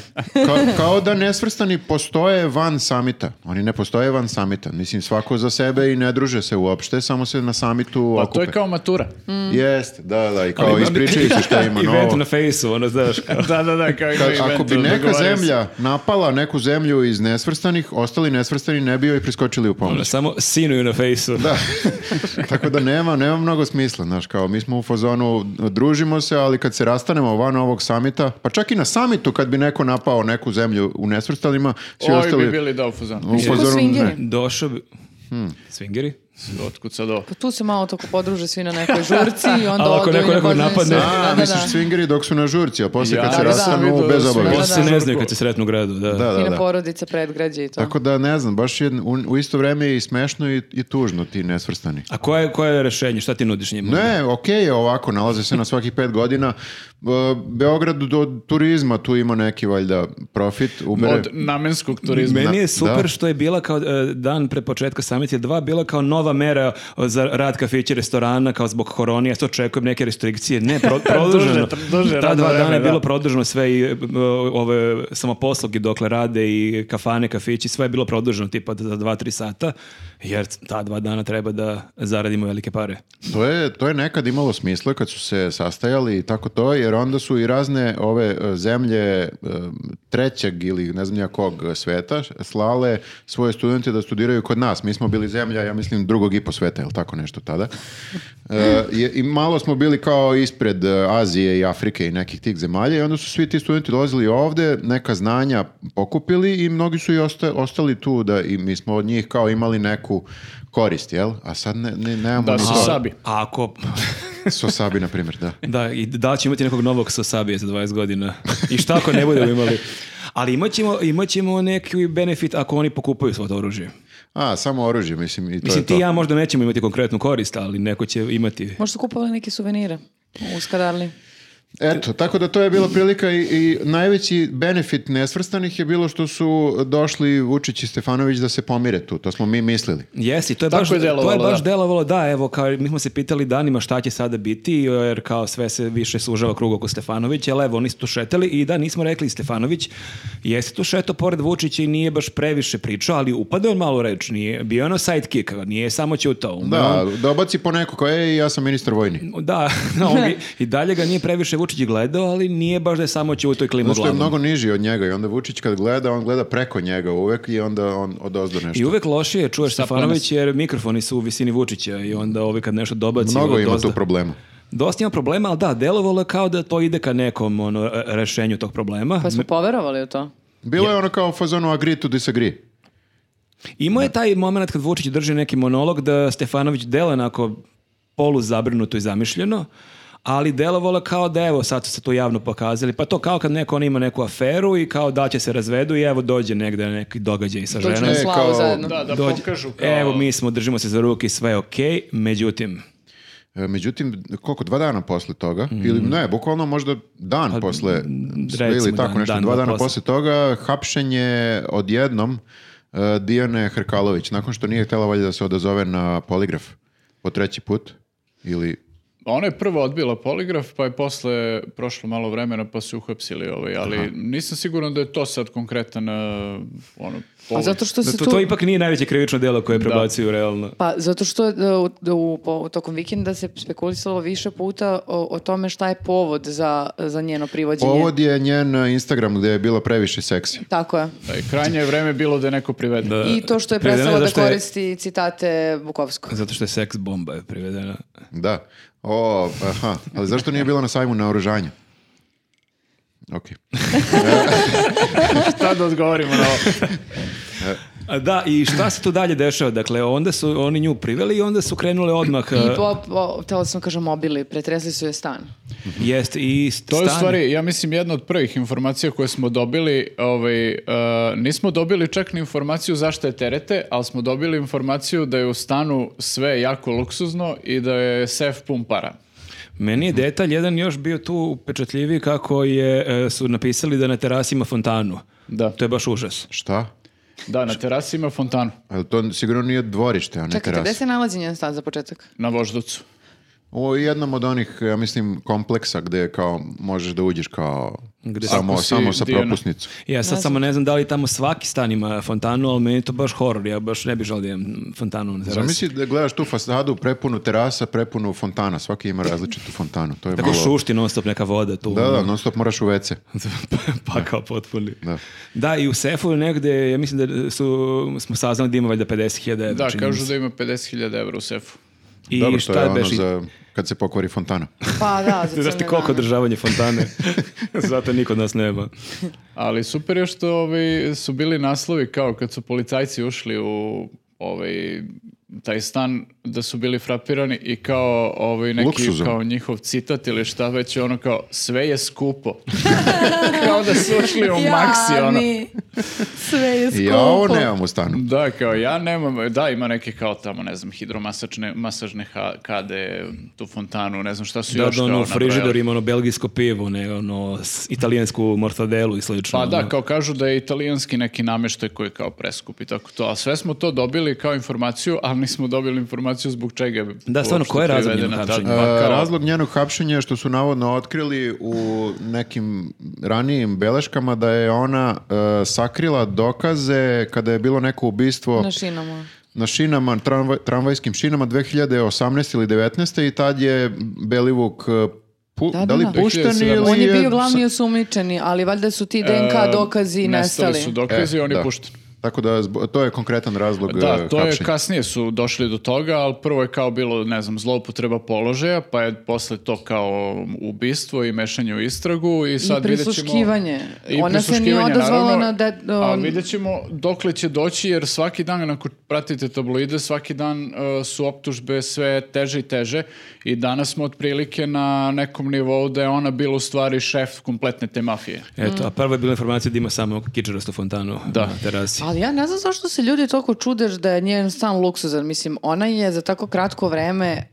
Speaker 4: Kao, kao da nesvrstani postoje van samita. Oni ne postoje van samita. Mislim, svako za sebe i ne druže se uopšte, samo se na samitu
Speaker 1: Pa to
Speaker 4: okupe.
Speaker 1: je kao matura.
Speaker 4: Je, Jeste, da, da, i kao ispričaju se
Speaker 2: [LAUGHS]
Speaker 4: šta ima
Speaker 2: Event
Speaker 4: novo.
Speaker 2: na fejsu, ono, znaš,
Speaker 4: [LAUGHS]
Speaker 2: kao.
Speaker 1: da, da, da, kao ima
Speaker 4: Ka-
Speaker 1: event,
Speaker 4: ako bi neka
Speaker 1: dogovaraju se.
Speaker 4: zemlja napala neku zemlju iz nesvrstanih, ostali nesvrstani ne bi joj priskočili u
Speaker 2: Ono,
Speaker 4: pomoć.
Speaker 2: samo sinuju na fejsu. Da.
Speaker 4: [LAUGHS] Tako da nema, nema mnogo smisla, znaš, kao mi smo u fazonu, družimo se, ali kad se rastanemo van ovog samita, pa čak i na samitu kad bi neko napao neku zemlju u nesvrstanima, svi
Speaker 1: Ovi
Speaker 4: ostali
Speaker 1: bi bili da u fazonu.
Speaker 4: u
Speaker 3: Kako
Speaker 4: fazonu
Speaker 3: swingeri?
Speaker 4: ne.
Speaker 2: [LAUGHS] Došao bi...
Speaker 4: Hmm.
Speaker 2: Svingeri?
Speaker 1: Otkud sad ovo?
Speaker 3: Pa tu se malo tako podruže svi na nekoj žurci i onda
Speaker 2: [LAUGHS] Ali ako
Speaker 3: odu i
Speaker 2: neko
Speaker 3: na
Speaker 2: nekog
Speaker 3: Božane
Speaker 2: napadne-
Speaker 3: srce.
Speaker 4: A,
Speaker 3: da,
Speaker 4: misliš
Speaker 3: da.
Speaker 4: swingeri dok su na žurci, a poslije
Speaker 1: Ja
Speaker 4: kad se
Speaker 1: sam
Speaker 4: rastanu,
Speaker 1: vidio da
Speaker 4: bez
Speaker 1: su-
Speaker 4: obaveza.
Speaker 3: Da,
Speaker 2: Posle
Speaker 3: da.
Speaker 2: ne znaju kad se sretnu u gradu, da.
Speaker 4: Pa Da, da,
Speaker 3: I
Speaker 4: da.
Speaker 3: na porodice predgrađe i to.
Speaker 4: Tako da ne znam, baš je u, u isto vreme je i smešno i, i tužno ti nesvrstani.
Speaker 2: A koje je, koje je rešenje? Šta ti nudiš njima?
Speaker 4: Ne, okej je ovako, nalaze se na svakih pet godina. E, Beograd do turizma tu ima neki valjda profit. Ubere.
Speaker 1: Od namenskog turizma.
Speaker 2: Meni je super
Speaker 4: da.
Speaker 2: što je bila kao e, dan pre početka Summit je dva bila kao nova mera e, za rad kafića i restorana kao zbog korone, ja sad očekujem neke restrikcije.
Speaker 1: [LAUGHS]
Speaker 2: Ne, pro, produženo.
Speaker 1: Duže- duže
Speaker 2: Ta
Speaker 1: radno
Speaker 2: dva dana je
Speaker 1: vreme, da.
Speaker 2: bilo produženo sve i e, e, ove samoposluge dokle rade i kafane, kafići, sve je bilo produženo tipa za dva, tri sata, jer ta dva dana treba da zaradimo velike pare.
Speaker 4: To je, to je nekad imalo smisla kad su se sastajali i tako to, jer onda su i razne ove e, zemlje e, trećeg ili ne znam ja kog sveta slale svoje studente da studiraju kod nas. Mi smo bili zemlja, ja mislim, drugog i po sveta, ili tako nešto tada. E, je- I malo smo bili kao ispred e, Azije i Afrike i nekih tih zemalja i onda su svi ti studenti dolazili ovde, neka znanja pokupili i mnogi su i osta- ostali tu da i mi smo od njih kao imali neku korist, jel? A sad ne, ne, nemamo
Speaker 1: Da
Speaker 4: ni
Speaker 1: su
Speaker 4: to.
Speaker 1: sabi.
Speaker 2: A ako...
Speaker 4: Sosabi, na primjer, da.
Speaker 2: Da, i da ćemo imati nekog novog Sosabije za 20 godina. I šta ako ne budemo imali? Ali imat ćemo, imat ćemo neki benefit ako oni pokupaju svo to oružje.
Speaker 4: A, samo oružje, mislim, i to
Speaker 2: Mislim,
Speaker 4: je to.
Speaker 2: ti i ja možda nećemo imati konkretnu korist, ali neko će imati.
Speaker 3: Možda su kupovali neke suvenire u Skadarli.
Speaker 4: Eto, tako da to je bila prilika i, i najveći benefit nesvrstanih je bilo što su došli Vučić i Stefanović da se pomire tu. To smo mi mislili.
Speaker 2: Jesi, to je
Speaker 1: Tako
Speaker 2: baš,
Speaker 1: je delovalo,
Speaker 2: to je baš
Speaker 1: da.
Speaker 2: delovalo, da, evo, kao, mi smo se pitali danima šta će sada biti, jer kao sve se više sužava krug oko Stefanovića, ali evo, oni su tu šetali i da, nismo rekli Stefanović, jeste tu šeto pored Vučića i nije baš previše pričao, ali upada on malo reč, nije, bio je ono sidekick, nije samo ćutao. ono, umeo on.
Speaker 4: Da, da obaci po neko kao, ej, ja sam ministar vojni.
Speaker 2: Da, [LAUGHS] no, on bi- i dalje ga nije previše Vučić gledao, ali nije baš da je samo će u toj klimu
Speaker 4: Zato Ono što je
Speaker 2: glavom.
Speaker 4: mnogo niži od njega i onda Vučić kad gleda, on gleda preko njega uvek i onda on odozdo nešto.
Speaker 2: I uvek lošije čuješ Stefanović jer mikrofoni su u visini Vučića i onda ovi kad nešto dobaci...
Speaker 4: Mnogo
Speaker 2: ovo
Speaker 4: ima
Speaker 2: dosta-
Speaker 4: tu problema.
Speaker 2: Dosta ima problema, ali da, delovalo je kao da to ide ka nekom ono, re- rešenju tog problema.
Speaker 3: Pa smo poverovali u to.
Speaker 4: Bilo je ono kao u fazonu agree to disagree.
Speaker 2: Imao je taj moment kad Vučić drži neki monolog da Stefanović dela onako polu zabrinuto i zamišljeno, ali delovalo kao da evo sad su se to javno pokazali, pa to kao kad neko on ima neku aferu i kao da će se razvedu i evo dođe negde neki događaj sa
Speaker 3: Dođu
Speaker 2: ženom.
Speaker 3: na
Speaker 4: E,
Speaker 3: slavu
Speaker 4: kao-
Speaker 3: zajedno.
Speaker 1: Da, da
Speaker 2: Dođe-
Speaker 1: pokažu kao...
Speaker 2: Evo mi smo, držimo se za ruke i sve je okej, međutim,
Speaker 4: E, Međutim, koliko, dva dana posle toga, ili ne, bukvalno možda dan posle, ili
Speaker 2: Mhm. Pa, recimo
Speaker 4: tako
Speaker 2: dan,
Speaker 4: nešto,
Speaker 2: dan,
Speaker 4: dva
Speaker 2: dva
Speaker 4: dana
Speaker 2: posle.
Speaker 4: posle toga, hapšenje odjednom e, Dijane Hrkalović, nakon što nije htjela valjda da se odazove na poligraf po treći put, ili...
Speaker 1: Ona Pa ono je prvo odbila poligraf, pa je posle prošlo malo vremena pa su uhapsili ovaj, ali nisam siguran da je to sad konkretan uh, ono,
Speaker 3: A
Speaker 1: povod.
Speaker 3: Pa zato što se
Speaker 2: to,
Speaker 3: tu...
Speaker 2: to ipak nije najveće krivično delo koje prebacuju realno.
Speaker 3: Pa zato što e, u, u, po- tokom vikenda se spekulisalo više puta o, o tome šta je povod za, za njeno privođenje.
Speaker 4: Povod je njen e, Instagram gdje je bila previše seksi.
Speaker 3: Tako je.
Speaker 1: Da, i krajnje je vreme bilo da je neko privede.
Speaker 2: Da.
Speaker 3: I to što je
Speaker 2: Privedena je
Speaker 3: prestala da
Speaker 2: zašto je-
Speaker 3: koristi citate Bukovskog.
Speaker 2: Zato što je seks bomba je privedena.
Speaker 4: Da. O, aha, ali zašto nije bila na sajmu na oružanju? Ok.
Speaker 1: Šta da odgovorimo na ovo?
Speaker 2: A Da, i šta se tu dalje dešava? Dakle, onda su oni nju priveli i onda su krenule odmah. e,
Speaker 3: I po, po, htjela sam kažem mobili, pretresli su je stan.
Speaker 2: Jest, i
Speaker 1: To je u
Speaker 2: stan-
Speaker 1: stvari, ja mislim, jedna od prvih informacija koje smo dobili, ovaj, e, nismo dobili čak ni informaciju zašto je terete, ali smo dobili informaciju da je u stanu sve jako luksuzno i da je sef pun para.
Speaker 2: Meni je detalj jedan još bio tu upečatljiviji kako je, e, su napisali da na terasi ima fontanu.
Speaker 1: Da,
Speaker 2: To je baš užas.
Speaker 4: Šta?
Speaker 1: da na terasi ima fontanu,
Speaker 4: Ali to sigurno nije dvorište, a ne
Speaker 3: Čekajte,
Speaker 4: terasa.
Speaker 3: gde se nalazi njen stan za početak?
Speaker 1: na vožducu.
Speaker 4: Ovo je jednom od onih, ja mislim, kompleksa gde kao možeš da uđeš kao
Speaker 2: Gde
Speaker 4: samo,
Speaker 1: ako si
Speaker 4: samo sa
Speaker 2: ono-
Speaker 1: Dijana.
Speaker 4: propusnicom.
Speaker 2: Ja sad samo ne znam da li tamo svaki stan ima fontanu, ali meni je to baš horor, ja baš ne bih želio da imam fontanu na terasi.
Speaker 4: Zamisli da gledaš tu fasadu prepunu terasa, prepunu fontana, svaki ima različitu fontanu. To je
Speaker 2: Tako
Speaker 4: malo...
Speaker 2: šušti non stop neka voda tu. [LAUGHS]
Speaker 4: Da, da, non stop moraš u WC.
Speaker 2: pakao potpuni.
Speaker 4: Da.
Speaker 2: Da, i u sefu negde, ja mislim da su, smo saznali da ima valjda 50.000 evra.
Speaker 1: Da,
Speaker 2: čini mi
Speaker 1: kažu
Speaker 2: se.
Speaker 1: da ima 50.000 evra u sefu.
Speaker 2: I
Speaker 4: Dobro,
Speaker 2: šta
Speaker 4: to je ono
Speaker 2: beše-
Speaker 4: za kad se pokvari
Speaker 2: [LAUGHS]
Speaker 4: fontana.
Speaker 3: Pa da, za
Speaker 2: Znaš ti
Speaker 3: crne
Speaker 2: koliko
Speaker 3: dane.
Speaker 2: održavanje
Speaker 4: [LAUGHS]
Speaker 2: fontane? Zato niko od nas nema.
Speaker 1: Ali super je što ovaj, su bili naslovi kao kad su policajci ušli u ovaj, taj stan da su bili frapirani i kao ovaj, neki
Speaker 4: Luksuzom.
Speaker 1: kao njihov citat ili šta već je ono kao sve je skupo. [LAUGHS] kao da su ušli u maksi ono.
Speaker 5: Jadni. Sve je skupo.
Speaker 4: I ja ovo nemam u stanu.
Speaker 1: Da, kao ja nemam, da ima neke kao tamo, ne znam, hidromasačne masažne ha- kade, tu fontanu, ne znam šta su
Speaker 2: Da,
Speaker 1: još
Speaker 2: da
Speaker 1: kao
Speaker 2: ono, u
Speaker 1: nabrajali.
Speaker 2: frižider ima ono belgijsko pivo, ne, ono, s- italijansku mortadelu i slično.
Speaker 1: Pa da,
Speaker 2: ono.
Speaker 1: kao kažu da je italijanski neki nameštaj koji je kao preskup i tako to. A sve smo to dobili kao informaciju, ali nismo dobili informaciju zbog čega je
Speaker 2: Da, stvarno,
Speaker 1: uopšte
Speaker 2: koji je razlog
Speaker 1: privedena
Speaker 2: njenog
Speaker 1: ta-
Speaker 2: hapšenja?
Speaker 1: Pa
Speaker 4: E,
Speaker 1: kao-
Speaker 4: razlog njenog hapšenja je što su navodno otkrili u nekim ranijim beleškama da je ona e, sakrila dokaze kada je bilo neko ubistvo
Speaker 3: Na šinama.
Speaker 4: na šinama, tramvaj- tramvajskim šinama 2018 ili 19. i tad je Belivuk e, pu-
Speaker 3: Da, da,
Speaker 4: da li
Speaker 3: da.
Speaker 4: pušten
Speaker 1: 2017.
Speaker 4: ili
Speaker 1: Pa
Speaker 3: On je bio
Speaker 4: sa-
Speaker 3: glavni osumničeni, ali valjda su ti DNK
Speaker 1: E,
Speaker 3: dokazi nestali.
Speaker 1: su dokazi,
Speaker 4: E,
Speaker 1: oni
Speaker 4: da.
Speaker 1: pušten.
Speaker 4: Tako da zbo- to je konkretan razlog
Speaker 1: Da,
Speaker 2: eh,
Speaker 4: e,
Speaker 1: to je
Speaker 4: hapšenja.
Speaker 1: kasnije su došli do toga, ali prvo je kao bilo, ne znam, zloupotreba položaja, pa je posle to kao ubistvo i mešanje u istragu i
Speaker 3: I
Speaker 1: sad vidjet ćemo...
Speaker 3: prisluškivanje.
Speaker 1: I
Speaker 3: Ona se nije
Speaker 1: prisluškivanje,
Speaker 3: odazvala
Speaker 1: naravno,
Speaker 3: na... De,
Speaker 1: A
Speaker 3: um,
Speaker 1: vidjet ćemo dokle će doći, jer svaki dan, ako pratite tabloide, svaki dan e, su optužbe sve teže i teže i danas smo otprilike na nekom nivou da je ona bila u stvari šef kompletne te mafije.
Speaker 2: Eto,
Speaker 3: Mm.
Speaker 2: a prva je bila informacija da ima samo kičerastu fontanu na terasi.
Speaker 3: Ali ja ne znam zašto se ljudi toliko čude da je njen stan luksuzan. Mislim, ona je za tako kratko vreme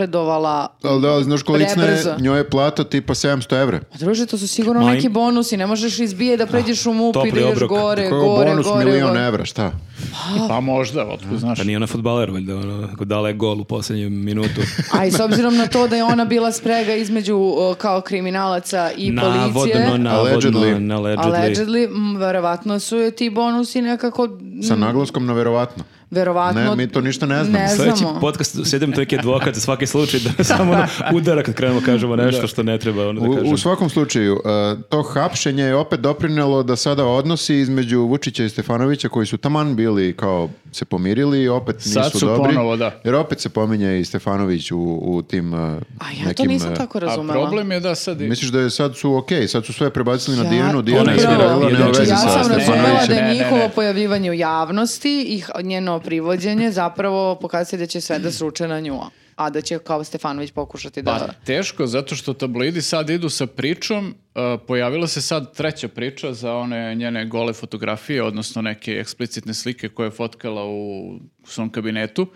Speaker 3: napredovala
Speaker 4: Ali da, ali znaš kolicna je,
Speaker 3: Prebrzo.
Speaker 4: njoj je plata tipa 700 evra.
Speaker 3: Pa druže, to su sigurno
Speaker 2: Ma,
Speaker 3: neki bonusi, ne možeš izbije da pređeš u MUP i da
Speaker 2: topli
Speaker 3: ideš
Speaker 2: obrok.
Speaker 3: gore,
Speaker 4: Koji je ovo
Speaker 3: gore,
Speaker 4: bonus
Speaker 3: gore.
Speaker 4: milion
Speaker 3: gore.
Speaker 4: evra, šta?
Speaker 3: Ah.
Speaker 1: Pa možda, otko znaš.
Speaker 2: Pa nije ona futbaler, valjda, ono, ako dala je gol u posljednjem minutu.
Speaker 3: A i s obzirom na to da je ona bila sprega između o, kao kriminalaca [LAUGHS] i policije,
Speaker 2: Navodno, navodno,
Speaker 4: Allegedly.
Speaker 2: na allegedly.
Speaker 3: allegedly, m, verovatno su je ti bonusi nekako, m,
Speaker 4: Sa naglaskom na verovatno.
Speaker 3: verovatno...
Speaker 4: Ne, mi to ništa ne znamo.
Speaker 3: Ne
Speaker 2: Sljedeći
Speaker 3: znamo.
Speaker 2: podcast u sedam trojke advokat za svaki slučaj
Speaker 3: [LAUGHS]
Speaker 2: da samo ono, udara kad krenemo kažemo nešto što ne treba ono da
Speaker 4: U,
Speaker 2: kažemo.
Speaker 4: u svakom slučaju, e, to hapšenje je opet doprinelo da sada odnosi između Vučića i Stefanovića koji su taman bili kao se pomirili i opet nisu
Speaker 1: Sad su
Speaker 4: dobri.
Speaker 1: ponovo, da.
Speaker 4: Jer opet se pominje i Stefanović u, u tim e,
Speaker 3: A ja to
Speaker 4: nekim...
Speaker 3: nisam
Speaker 4: e,
Speaker 3: tako
Speaker 1: A
Speaker 3: razumela.
Speaker 1: problem je da sad... i-
Speaker 4: Misliš da je sad su okej, sad su sve prebacili na
Speaker 3: Ja-
Speaker 4: Dijanu, Dijana je
Speaker 2: Ona je
Speaker 4: svirala
Speaker 2: svirala.
Speaker 4: nema
Speaker 2: Ja
Speaker 4: veze
Speaker 3: Znači, Ja
Speaker 4: sa
Speaker 3: sam
Speaker 1: Stefanovićem.
Speaker 3: razumela da
Speaker 1: Ne,
Speaker 3: je
Speaker 1: ne, ne.
Speaker 3: njihovo pojavljivanje u javnosti i h- njeno privođenje zapravo pokazuje da će sve da sruče na nju, a da će kao Stefanović pokušati da...
Speaker 1: Pa teško, zato što tabloidi sad idu sa pričom, uh, pojavila se sad treća priča za one njene gole fotografije, odnosno neke eksplicitne slike koje je fotkala u svom kabinetu.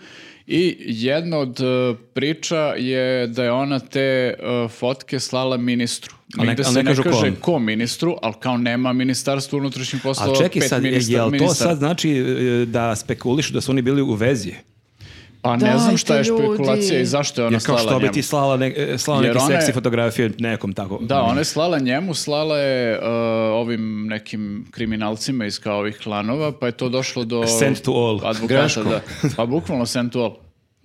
Speaker 1: I jedna od uh, priča je da je ona te uh, fotke slala ministru.
Speaker 2: Ali ne-
Speaker 1: Nigde
Speaker 2: ali
Speaker 1: se
Speaker 2: ne
Speaker 1: ne
Speaker 2: kažu
Speaker 1: kaže
Speaker 2: kom.
Speaker 1: ko ministru, ali kao nema ministarstvo unutrašnjih
Speaker 2: A
Speaker 1: poslova,
Speaker 2: čekaj
Speaker 1: pet
Speaker 2: sad, je-
Speaker 1: ministar-
Speaker 2: jel to
Speaker 1: ministara.
Speaker 2: sad znači e, da spekulišu da su oni bili u vezi?
Speaker 1: Pa ne
Speaker 3: Dajte,
Speaker 1: znam šta je špekulacija
Speaker 3: ljudi.
Speaker 1: i zašto je ona
Speaker 2: Jer kao
Speaker 1: slala
Speaker 2: što bi
Speaker 1: njemu.
Speaker 2: ti slala, ne, e, slala neke
Speaker 1: Jer ona je-
Speaker 2: seksi fotografije nekom tako.
Speaker 1: Da, ona je slala njemu, slala je uh, ovim nekim kriminalcima iz kao ovih klanova, pa je to došlo do...
Speaker 2: Send to all.
Speaker 1: Advokata, da. Pa bukvalno send to all.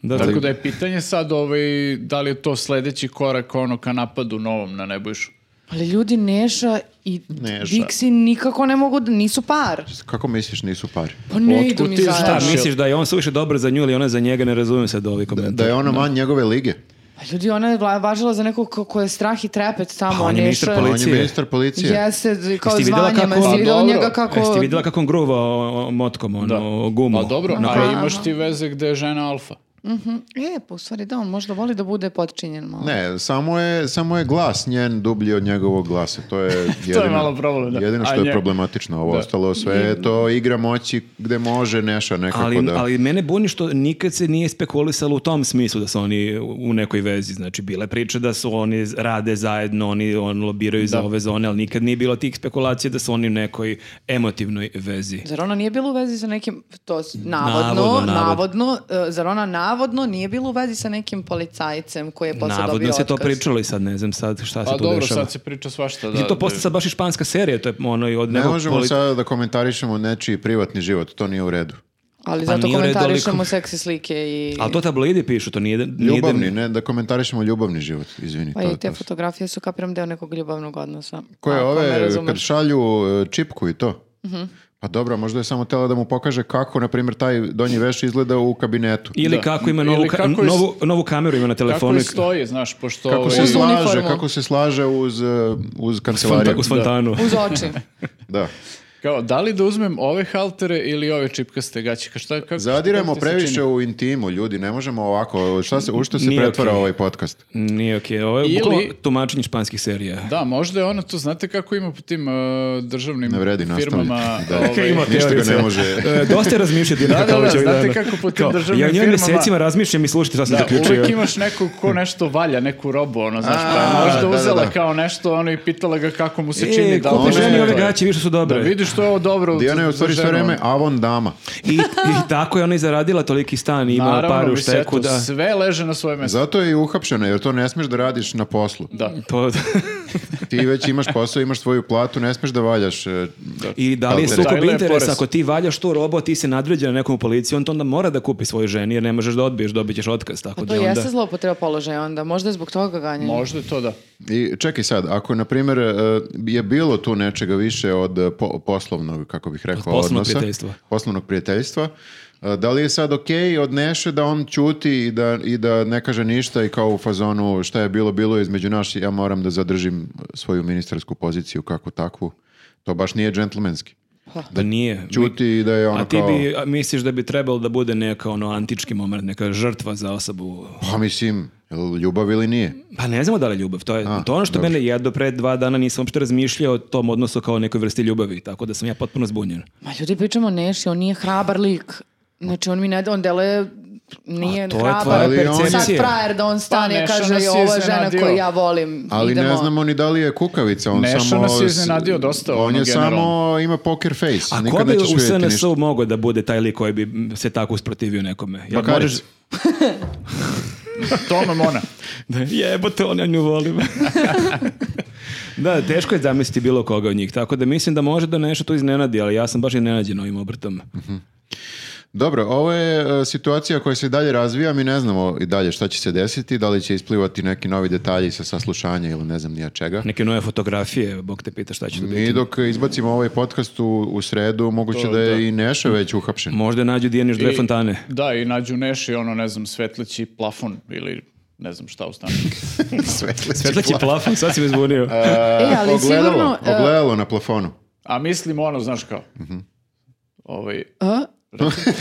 Speaker 2: Da, da.
Speaker 1: Tako da je pitanje sad ovaj, da li je to sledeći korak ono ka napadu novom na Nebojšu.
Speaker 3: Ali ljudi Neša i
Speaker 4: Neša.
Speaker 3: Dixi nikako ne mogu da nisu par.
Speaker 4: Kako misliš nisu pari?
Speaker 3: Pa ne
Speaker 1: Otkud
Speaker 3: idu mi
Speaker 1: ti znaš?
Speaker 3: zajedno.
Speaker 2: Šta, misliš da je on suviše dobar za nju ili ona za njega, ne razumijem sad ovi komentar.
Speaker 4: Da je ona man njegove lige.
Speaker 3: Pa ljudi, ona je vla- važila za nekog ko, ko je strah i trepet tamo.
Speaker 2: Pa on je
Speaker 3: Neša-
Speaker 2: ministar
Speaker 4: On je
Speaker 2: Policije.
Speaker 4: ministar policije.
Speaker 3: Jeste, d- kao
Speaker 2: Jesi ti videla
Speaker 3: zvanjima.
Speaker 2: kako-
Speaker 3: Jesi
Speaker 1: Pa
Speaker 3: videla
Speaker 1: dobro.
Speaker 3: njega kako...
Speaker 2: Jeste vidjela kako on gruva o- o- motkom, ono, o gumu?
Speaker 1: Pa dobro,
Speaker 3: Na
Speaker 1: a
Speaker 3: klanama.
Speaker 1: imaš ti veze gde je žena alfa.
Speaker 3: Mhm. E, pa u stvari da, on možda voli da bude potčinjen malo.
Speaker 4: Ne, samo je, samo je glas njen dublji od njegovog glasa. To je jedino,
Speaker 1: malo problem, da.
Speaker 4: jedino
Speaker 1: A
Speaker 4: što je
Speaker 1: nje-
Speaker 4: problematično. Ovo
Speaker 1: Da.
Speaker 4: ostalo sve je to igra moći gde može Neša nekako
Speaker 2: Ali,
Speaker 4: da...
Speaker 2: ali mene buni što nikad se nije spekulisalo u tom smislu da su oni u- u nekoj vezi. Znači, bile priče da su oni z- rade zajedno, oni on lobiraju za ove zone, ali nikad nije bilo tih spekulacija da su oni u nekoj emotivnoj vezi.
Speaker 3: Zar ona nije bila u vezi sa nekim, to s- navodno,
Speaker 2: Navodno,
Speaker 3: navodno,
Speaker 2: navodno.
Speaker 3: e, zar ona navodno nije bilo u vezi sa nekim policajcem koji
Speaker 1: Pa
Speaker 3: je posle dobio
Speaker 2: Navodno se to
Speaker 3: otkaz.
Speaker 2: pričalo i sad ne znam sad šta se
Speaker 1: A
Speaker 2: tu
Speaker 1: Pa dobro,
Speaker 2: dešava.
Speaker 1: sad se priča svašta. Da,
Speaker 2: Mislim, to postaje sad baš i španska serija, to je ono i od
Speaker 4: Ne
Speaker 2: nekog
Speaker 4: možemo
Speaker 2: poli-
Speaker 4: sada da komentarišemo nečiji privatni život, to nije u redu.
Speaker 2: Pa
Speaker 3: Ali zato
Speaker 2: nije u redu, ali
Speaker 3: komentarišemo
Speaker 2: kom-
Speaker 3: seksi slike i...
Speaker 2: Ali to tabloidi pišu, to nije... nije
Speaker 4: Ljubavni, ne, da komentarišemo ljubavni život, izvini.
Speaker 3: Pa
Speaker 4: to-
Speaker 3: i te
Speaker 4: to-
Speaker 3: fotografije su kapiram deo nekog ljubavnog odnosa.
Speaker 4: Koje
Speaker 3: Ako me
Speaker 4: ove, kad
Speaker 3: razumeš. Mhm.
Speaker 4: šalju e, čipku i to? Pa dobro, možda je samo tela da mu pokaže kako, na primjer, taj donji veš izgleda u kabinetu.
Speaker 2: Ili
Speaker 1: Da.
Speaker 2: kako ima
Speaker 1: Ili
Speaker 2: novu, ka-
Speaker 1: kako je s-
Speaker 2: novu, novu kameru ima na
Speaker 1: Kako
Speaker 2: telefonu.
Speaker 1: i stoji, znaš, pošto...
Speaker 4: Kako
Speaker 1: ovaj,
Speaker 4: se
Speaker 3: Uz
Speaker 4: slaže,
Speaker 3: uniformu.
Speaker 4: kako se slaže uz, e, uz
Speaker 2: Fanta-
Speaker 4: kancelariju.
Speaker 2: u fontanu.
Speaker 3: Uz
Speaker 2: [LAUGHS]
Speaker 3: oči.
Speaker 4: Da.
Speaker 1: Kao, da li da uzmem ove haltere ili ove čipkaste gaće? Ka- Šta, kako,
Speaker 4: Zadiremo
Speaker 1: kako ti se čini?
Speaker 4: previše u intimu, ljudi, ne možemo ovako. Šta se, u što se
Speaker 2: Nije
Speaker 4: pretvara
Speaker 2: okej.
Speaker 4: ovaj podcast?
Speaker 2: Nije okej, ovo je
Speaker 1: Ili-
Speaker 2: bukvalno tumačenje španskih serija.
Speaker 1: Da, možda je ono to, znate kako ima po tim uh, državnim
Speaker 4: Ne vredi,
Speaker 1: firmama...
Speaker 4: nastavljaj. [LAUGHS] Da.
Speaker 1: ovaj,
Speaker 4: Ima Ništa ga
Speaker 2: teorice.
Speaker 4: ne može.
Speaker 1: [LAUGHS]
Speaker 2: E, Dosta je
Speaker 1: Da,
Speaker 2: razmišljati. Irena
Speaker 1: da, da,
Speaker 2: Karlović ovih
Speaker 1: znate
Speaker 2: dana.
Speaker 1: kako po tim
Speaker 2: Kao,
Speaker 1: državnim
Speaker 2: Ja o njoj
Speaker 1: firmama-
Speaker 2: mesecima razmišljam i slušajte šta sam
Speaker 1: Da,
Speaker 2: zaključio.
Speaker 1: uvijek imaš neku ko nešto valja, neku robu, ono, znaš,
Speaker 4: Hm. A,
Speaker 1: pa je možda
Speaker 4: da, da,
Speaker 1: uzela
Speaker 4: da.
Speaker 1: kao nešto, ono, i pitala ga kako mu se čini.
Speaker 2: E,
Speaker 1: da li
Speaker 2: kupiš
Speaker 4: ona
Speaker 1: može
Speaker 2: meni
Speaker 4: je-
Speaker 2: ove
Speaker 1: to je.
Speaker 2: gaće, više su
Speaker 1: Da
Speaker 2: dobre.
Speaker 1: vidiš što je ovo dobro.
Speaker 4: Diana je u stvari
Speaker 1: za
Speaker 4: sve
Speaker 1: ženu,
Speaker 4: vreme avon dama.
Speaker 2: I, I tako je ona i zaradila toliki stan i
Speaker 1: ono.
Speaker 2: imala
Speaker 1: Naravno,
Speaker 2: pare u
Speaker 1: mislim,
Speaker 2: šteku.
Speaker 1: eto,
Speaker 2: Da,
Speaker 1: Sve leže na svoje mjesto.
Speaker 4: Zato je i uhapšena, jer to ne smiješ da radiš na poslu.
Speaker 1: Da.
Speaker 2: to,
Speaker 4: Ti već imaš posao, imaš svoju platu, ne smiješ da valjaš. e,
Speaker 2: I da li je
Speaker 4: Alter.
Speaker 2: sukob
Speaker 1: Tajla je porez.
Speaker 2: interesa, ako ti valjaš tu robo, ti se nadređa na nekom u policiji, on to onda mora da kupi svojoj ženi, jer ne možeš da odbiješ, dobit ćeš otkaz. Tako
Speaker 3: Pa To
Speaker 2: da onda...
Speaker 3: jeste zloupotreba položaja onda. Možda je zbog toga ganjanje.
Speaker 1: Možda je to da.
Speaker 4: I čekaj sad, ako na primjer e, je bilo tu nečega više od e, po- poslovnog, kako bih rekao,
Speaker 2: Od poslovnog
Speaker 4: odnosa,
Speaker 2: prijateljstva.
Speaker 4: poslovnog prijateljstva, e, da li je sad ok od Neše da on ćuti i da, i da ne kaže ništa i kao u fazonu šta je bilo, bilo je između naš, ja moram da zadržim svoju ministarsku poziciju kako takvu. To baš nije džentlmenski.
Speaker 2: Da nije.
Speaker 4: Ćuti i da je ono
Speaker 2: A ti
Speaker 4: kao...
Speaker 2: bi, a misliš da bi trebalo da bude neka ono antički moment, neka žrtva za osobu?
Speaker 4: Pa mislim, jel ljubav ili nije?
Speaker 2: Pa ne znamo da li je ljubav. To je
Speaker 4: A,
Speaker 2: to je ono što
Speaker 4: dobro.
Speaker 2: mene jedo pre dva dana nisam uopšte razmišljao o tom odnosu kao o nekoj vrsti ljubavi, tako da sam ja potpuno zbunjen.
Speaker 3: Ma ljudi pričamo o Neši, on nije hrabar lik. Znači on mi ne, on deluje nije
Speaker 2: A to je
Speaker 3: hrabar.
Speaker 2: tvoja
Speaker 4: Ali on-
Speaker 3: Sad
Speaker 2: percepcija.
Speaker 3: frajer da on stane i
Speaker 1: Pa Neša
Speaker 3: kaže
Speaker 1: nas je
Speaker 3: ovo je žena
Speaker 1: iznenadio."
Speaker 3: koju ja volim.
Speaker 4: Ali
Speaker 3: Idemo.
Speaker 4: ne znamo ni da li je kukavica, on
Speaker 1: Neša
Speaker 4: samo...
Speaker 1: nas je
Speaker 4: s-
Speaker 1: iznenadio dosta,
Speaker 4: On
Speaker 1: ono,
Speaker 4: je
Speaker 1: generalno.
Speaker 4: samo, ima poker face.
Speaker 2: A ko
Speaker 4: Nikad
Speaker 2: bi
Speaker 4: nećeš
Speaker 2: u
Speaker 4: vidjeti ništa. Pa
Speaker 2: SNS-u mogao da bude taj lik koji bi mm, se tako usprotivio nekome? Jel
Speaker 4: Bakarica.
Speaker 2: možeš-
Speaker 1: Toma Mona.
Speaker 2: Da, jebote, on ja nju volim. [LAUGHS] da, teško je zamisliti bilo koga od njih, tako da mislim da može da nešto tu iznenadi, ali ja sam baš iznenađen ovim obrtom.
Speaker 4: Mhm. Dobro, ovo je e, situacija koja se i dalje razvija, mi ne znamo i dalje šta će se desiti, da li će isplivati neki novi detalji sa saslušanja ili ne znam nija čega.
Speaker 2: Neke nove fotografije, bog te pita šta će to
Speaker 4: Mi
Speaker 2: biti.
Speaker 4: dok izbacimo ovaj podcast u, u sredu, moguće
Speaker 1: To,
Speaker 4: da je
Speaker 1: da.
Speaker 4: i Neša već uhapšen.
Speaker 2: Možda nađu Dijaniš [LAUGHS] dve
Speaker 1: I-
Speaker 4: [LAUGHS]
Speaker 2: fontane.
Speaker 1: Da, i nađu Neši, ono, ne znam, svetleći plafon ili ne znam šta u stanu.
Speaker 4: [LAUGHS]
Speaker 2: Svetleći plafon, sad si me zbunio.
Speaker 3: E, ali
Speaker 4: ogledalo,
Speaker 3: sigurno... e,
Speaker 4: ogledalo na plafonu.
Speaker 1: A mislim ono, znaš kao,
Speaker 4: Mhm.
Speaker 1: ovaj,
Speaker 3: a?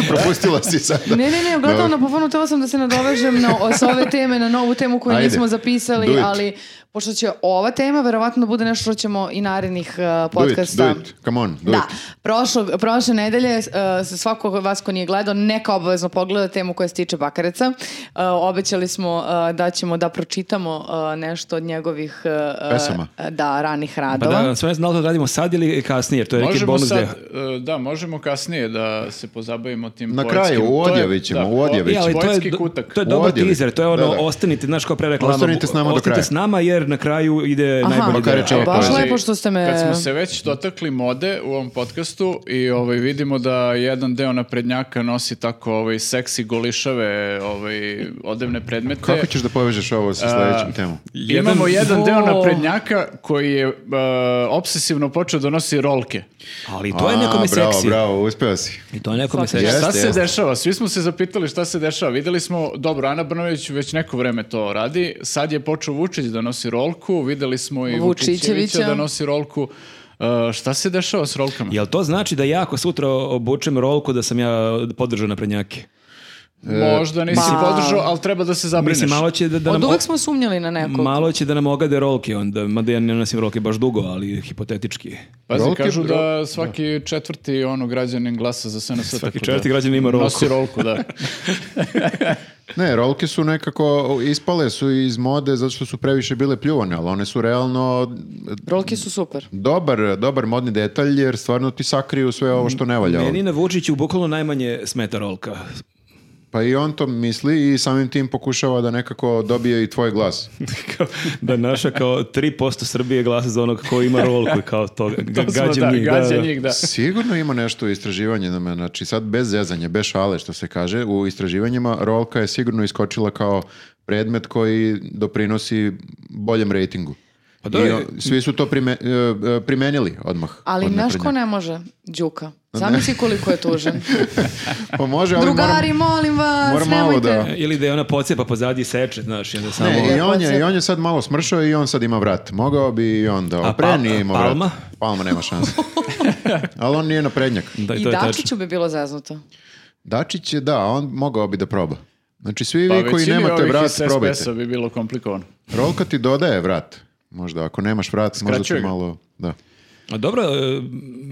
Speaker 4: Propustila [LAUGHS] si sada.
Speaker 3: Ne, ne, ne, ogledalo na plafonu, htela sam da se nadovežem na, o- s ove teme, na novu temu koju
Speaker 4: Ajde,
Speaker 3: nismo
Speaker 4: do
Speaker 3: zapisali,
Speaker 4: it.
Speaker 3: ali pošto će ova tema verovatno bude nešto što ćemo i narednih uh,
Speaker 4: Do it,
Speaker 3: podcasta.
Speaker 4: do it, come on, do
Speaker 3: Da,
Speaker 4: it.
Speaker 3: prošlog, prošle nedelje uh, svako od vas ko nije gledao neka obavezno pogleda temu koja se tiče Bakareca. Uh, obećali smo uh, da ćemo da pročitamo uh, nešto od njegovih uh,
Speaker 4: Pesama.
Speaker 3: uh, da, ranih
Speaker 2: Pa
Speaker 3: radova.
Speaker 2: da, sve ne znam da li to radimo sad ili kasnije, jer to je neki
Speaker 1: možemo
Speaker 2: bonus
Speaker 1: sad,
Speaker 2: deo.
Speaker 1: e, da, možemo kasnije da se pozabavimo tim
Speaker 4: Na
Speaker 1: poetskim-
Speaker 4: kraju, u
Speaker 1: To je-
Speaker 4: odjavi ćemo, u odjavi
Speaker 1: o-
Speaker 2: E, ali to je,
Speaker 1: poetski kutak.
Speaker 2: to je dobar
Speaker 4: Odjeli.
Speaker 2: teaser, to je ono,
Speaker 4: Da, da.
Speaker 2: ostanite, znaš kao pre reklama,
Speaker 4: Ostanite s nama do
Speaker 2: ostanite
Speaker 4: kraja. Pa
Speaker 2: s nama jer na kraju ide
Speaker 3: Aha,
Speaker 2: najbolji
Speaker 4: Makar je
Speaker 2: deo.
Speaker 4: čao.
Speaker 3: e, baš
Speaker 4: Pazi,
Speaker 3: lepo što ste me...
Speaker 1: Kad smo se već dotakli mode u ovom podcastu i ovaj, vidimo da jedan deo naprednjaka nosi tako ovaj, seksi golišave ovaj, odevne predmete.
Speaker 4: Kako ćeš da povežeš ovo
Speaker 1: e,
Speaker 4: sa sljedećom temom?
Speaker 1: Imamo jedan deo
Speaker 3: O.
Speaker 1: naprednjaka koji je e, obsesivno počeo da nosi rolke.
Speaker 2: Ali to je
Speaker 4: A,
Speaker 2: nekome
Speaker 4: bravo,
Speaker 2: seksi.
Speaker 4: Bravo, uspeo si.
Speaker 2: I to je nekome
Speaker 3: Svaka
Speaker 2: seksi.
Speaker 4: čast.
Speaker 1: šta se
Speaker 4: jeste.
Speaker 1: dešava? Svi smo se zapitali šta se dešava. Videli smo, dobro, Ana Brnović već neko vreme to radi. Sad je počeo Vučić da nosi rolku, videli smo i
Speaker 3: Vučićevića.
Speaker 1: Vučićevića da nosi rolku. E, šta se dešava s rolkama?
Speaker 2: Jel to znači da ja ako sutra obučem rolku da sam ja podržao naprednjake?
Speaker 1: E, Možda nisi
Speaker 3: Pa-
Speaker 1: podržao, ali treba da se zabrineš.
Speaker 2: Mislim, malo će da, da
Speaker 3: Od
Speaker 2: nam...
Speaker 3: uvek smo sumnjali na nekog.
Speaker 2: Malo će da nam ogade rolke onda, mada ja ne nosim rolke baš dugo, ali hipotetički.
Speaker 1: Pazi,
Speaker 4: Rolke,
Speaker 1: kažu
Speaker 4: ro-
Speaker 1: da svaki četvrti ono građanin glasa za SNS.
Speaker 2: Svaki
Speaker 1: tako
Speaker 2: četvrti građanin ima rolku.
Speaker 1: Nosi rolku, da.
Speaker 4: Ne, rolke su nekako, ispale su iz mode zato što su previše bile pljuvane, ali one su realno
Speaker 3: Rolke su super.
Speaker 4: dobar, dobar modni detalj jer stvarno ti sakriju sve ovo što ne valja.
Speaker 2: Meni na Vučiću bukvalno najmanje smeta rolka. [LAUGHS]
Speaker 4: Pa i on to misli i samim tim pokušava da nekako dobije i tvoj glas.
Speaker 2: Kao da naša kao 3% Srbije glasa za onog ko ima rolku i kao to,
Speaker 1: [LAUGHS]
Speaker 2: ga-
Speaker 1: To smo,
Speaker 2: [LAUGHS] gađa
Speaker 1: da,
Speaker 2: njih, da,
Speaker 1: gađa
Speaker 2: [LAUGHS] da.
Speaker 1: njih, da.
Speaker 4: Sigurno ima nešto istraživanje na mene, znači sad bez zezanja, bez šale što se kaže, u istraživanjima rolka je sigurno iskočila kao predmet koji doprinosi boljem rejtingu.
Speaker 2: Pa da je-
Speaker 4: I o- svi su to prime, e, e, primenili odmah.
Speaker 3: Ali
Speaker 4: od
Speaker 3: znaš
Speaker 4: naprednja.
Speaker 3: ko ne može? Đuka. Zamisli koliko je
Speaker 4: [LAUGHS]
Speaker 3: tužan.
Speaker 4: Pa može, ali
Speaker 3: Drugari,
Speaker 4: moram-
Speaker 3: molim vas,
Speaker 4: moram malo
Speaker 3: nemojte.
Speaker 4: da-
Speaker 2: E, Ili da je ona pocepa pozadi i seče, znaš, i onda samo...
Speaker 4: Ne, i
Speaker 3: Samo-
Speaker 4: on, je, i on je sad malo smršao i on sad ima vrat. Mogao bi i on da
Speaker 2: A
Speaker 4: opre,
Speaker 2: pa-
Speaker 4: nije imao
Speaker 2: Palma?
Speaker 4: vrat. Palma nema
Speaker 2: [LAUGHS]
Speaker 4: šanse. Ali on nije naprednjak.
Speaker 2: Da,
Speaker 3: I
Speaker 2: to je tačno.
Speaker 3: Dačiću bi bilo zeznuto.
Speaker 4: Dačić je, da, on mogao bi da proba. Znači, svi
Speaker 1: Pa
Speaker 4: vi koji
Speaker 1: većini
Speaker 4: nemate
Speaker 1: ovih
Speaker 4: vrat,
Speaker 1: iz
Speaker 2: P-a
Speaker 4: probajte.
Speaker 1: SPS-a bi bilo komplikovano.
Speaker 4: Rolka ti dodaje vrat. Možda, ako nemaš vrat, možda
Speaker 1: Skraćuje
Speaker 4: ti
Speaker 1: ga.
Speaker 4: malo... Da.
Speaker 2: A dobro, e,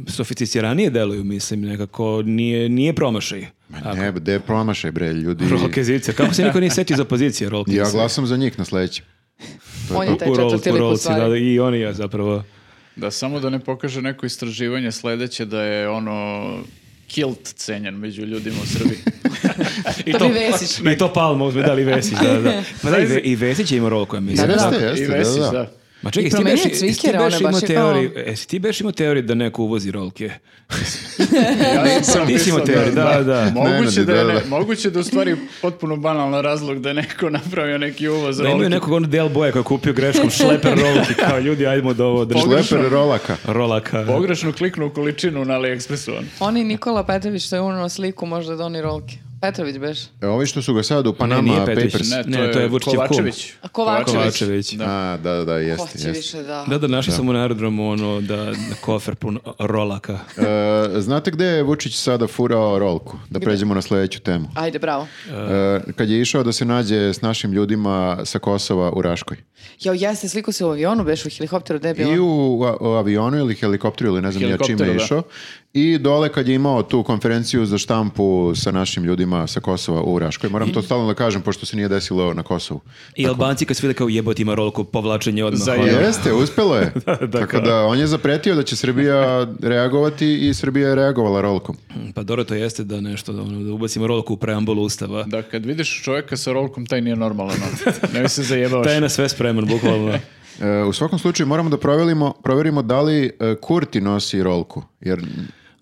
Speaker 2: sofisticiranije deluju, mislim, nekako nije, nije promašaj.
Speaker 4: Ne, gde je promašaj, bre, ljudi.
Speaker 2: Rolke zice. Kako se niko nije setio iz opozicije rolke
Speaker 4: Ja
Speaker 2: zice?
Speaker 4: glasam za njih na sledećem.
Speaker 3: On je taj
Speaker 2: U rol-
Speaker 3: četvrti
Speaker 2: u
Speaker 3: lik u
Speaker 2: rolci, da, da,
Speaker 3: stvari.
Speaker 2: i oni ja zapravo.
Speaker 1: Da, samo da ne pokaže neko istraživanje sledeće da je ono kilt cenjen među ljudima u Srbiji.
Speaker 2: I
Speaker 3: To bi Pa Vesić.
Speaker 2: I to Palma uzme, da li Vesić, da,
Speaker 3: [LAUGHS]
Speaker 2: da. Pa da, i, Ve- i Vesić je imao rolku, ja mislim.
Speaker 4: Da, da.
Speaker 2: Tako.
Speaker 4: Jeste,
Speaker 1: I Vesić,
Speaker 4: da, da.
Speaker 1: da.
Speaker 2: Ma čekaj,
Speaker 3: I
Speaker 2: jesi ti
Speaker 3: promenio
Speaker 2: beš, jesi ti
Speaker 3: cvikere,
Speaker 2: beš
Speaker 3: ono
Speaker 2: imao
Speaker 3: baš je kao-
Speaker 2: teoriju, jesi ti beš imao teoriju da neko uvozi rolke?
Speaker 1: Ja sam
Speaker 2: Ti si imao
Speaker 1: pisao
Speaker 2: teoriju, da, da.
Speaker 1: Moguće
Speaker 4: Nenade,
Speaker 1: da, je
Speaker 4: da,
Speaker 1: ne-
Speaker 4: da.
Speaker 1: moguće da u stvari potpuno banalan razlog da je neko napravio neki uvoz
Speaker 2: Da imaju
Speaker 1: rolki.
Speaker 2: nekog ono del boja koji je kupio
Speaker 3: [LAUGHS]
Speaker 2: greškom šleper rolki, kao ljudi, ajdemo do ovo drži-
Speaker 4: Šleper rolaka.
Speaker 2: rolaka.
Speaker 1: Pogrešno kliknu u količinu na AliExpressu. on.
Speaker 3: On i Nikola Petrović što je unao sliku možda doni rolke. Petrović beš.
Speaker 4: E, ovi što su ga sad u
Speaker 2: Ne,
Speaker 4: Panama
Speaker 2: nije Petrić.
Speaker 4: Papers.
Speaker 1: Ne, to,
Speaker 2: Ne, to je
Speaker 1: je
Speaker 2: Vučićev kum.
Speaker 1: Kovačević.
Speaker 3: A Kovačević.
Speaker 2: Kovačević.
Speaker 1: Da.
Speaker 4: A, da, da, da, jeste,
Speaker 3: Hoće
Speaker 4: jeste.
Speaker 3: više da...
Speaker 2: Da, da, našli sam u aerodromu ono da na kofer pun rolaka.
Speaker 4: E, znate gde je Vučić sada furao rolku? Da pređemo na sledeću temu.
Speaker 3: Ajde, bravo.
Speaker 4: E, kad je išao da se nađe s našim ljudima sa Kosova u Raškoj.
Speaker 3: Jo, jeste, sliku se u avionu beš, u helikopteru, gde je bilo?
Speaker 4: I u, a- u avionu ili helikopteru ili ne znam ni ja čime
Speaker 1: Helikopteru,
Speaker 4: je
Speaker 1: da.
Speaker 4: išao. I dole kad je imao tu konferenciju za štampu sa našim ljudima sa Kosova u Raškoj. Moram to stalno da kažem pošto se nije desilo na Kosovu.
Speaker 2: I Albanci kad su vidjeli kao jebot ima rolku, povlačenje odmah.
Speaker 1: Za
Speaker 2: ono.
Speaker 1: je-
Speaker 4: Jeste, uspelo je. Tako da on je zapretio da će Srbija reagovati i Srbija je reagovala rolkom.
Speaker 2: Pa dobro, to jeste da nešto, da, ono, da ubacimo rolku u preambulu ustava.
Speaker 1: Da, kad vidiš čovjeka sa rolkom, taj nije normalan. ono. Ne bi se zajebavaš.
Speaker 2: [LAUGHS] Taj je na sve spreman,
Speaker 4: [LAUGHS]
Speaker 2: bukvalno.
Speaker 4: E, u svakom slučaju moramo da proverimo, proverimo da li e, Kurti nosi rolku. Jer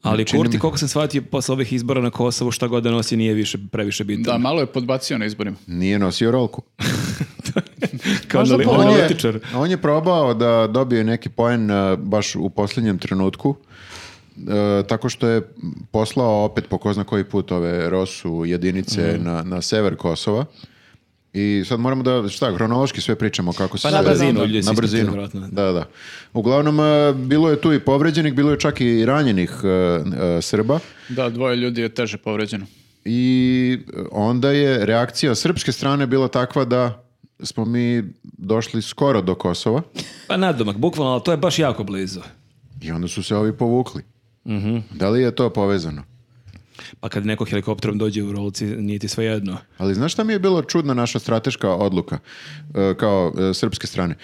Speaker 2: Ali
Speaker 4: čini
Speaker 2: Kurti,
Speaker 4: mi-
Speaker 2: koliko sam shvatio, posle ovih izbora na Kosovu, šta god da nosi, nije više previše bitno.
Speaker 1: Da, malo je podbacio na izborima.
Speaker 4: nije nosio rolku.
Speaker 2: [LAUGHS] Kao
Speaker 3: Možda
Speaker 2: anali-
Speaker 3: po-
Speaker 4: On je,
Speaker 2: analitičar.
Speaker 4: on je probao da dobije neki poen e, baš u posljednjem trenutku, e, tako što je poslao opet po ko zna koji put ove Rosu jedinice
Speaker 2: Mhm.
Speaker 4: na, na sever Kosova. I sad moramo da, šta, hronološki sve pričamo kako se...
Speaker 2: Pa na
Speaker 4: sve-
Speaker 2: brzinu, ljudi se
Speaker 4: Na
Speaker 2: ispitaju,
Speaker 4: brzinu,
Speaker 2: vjerojatno.
Speaker 4: da, da. Uglavnom, e, bilo je tu i povređenih, bilo je čak i ranjenih e, e, Srba.
Speaker 1: Da, dvoje ljudi je teže povređeno.
Speaker 4: I onda je reakcija srpske strane bila takva da smo mi došli skoro do Kosova
Speaker 2: Pa nadomak, bukvalno, ali to je baš jako blizu.
Speaker 4: i onda su se ovi povukli.
Speaker 2: Mhm.
Speaker 4: Da li je to povezano?
Speaker 2: Pa kad neko helikopterom dođe u rolci, nije ti svejedno.
Speaker 4: Ali znaš šta mi je bilo čudna naša strateška odluka e, kao e, srpske strane?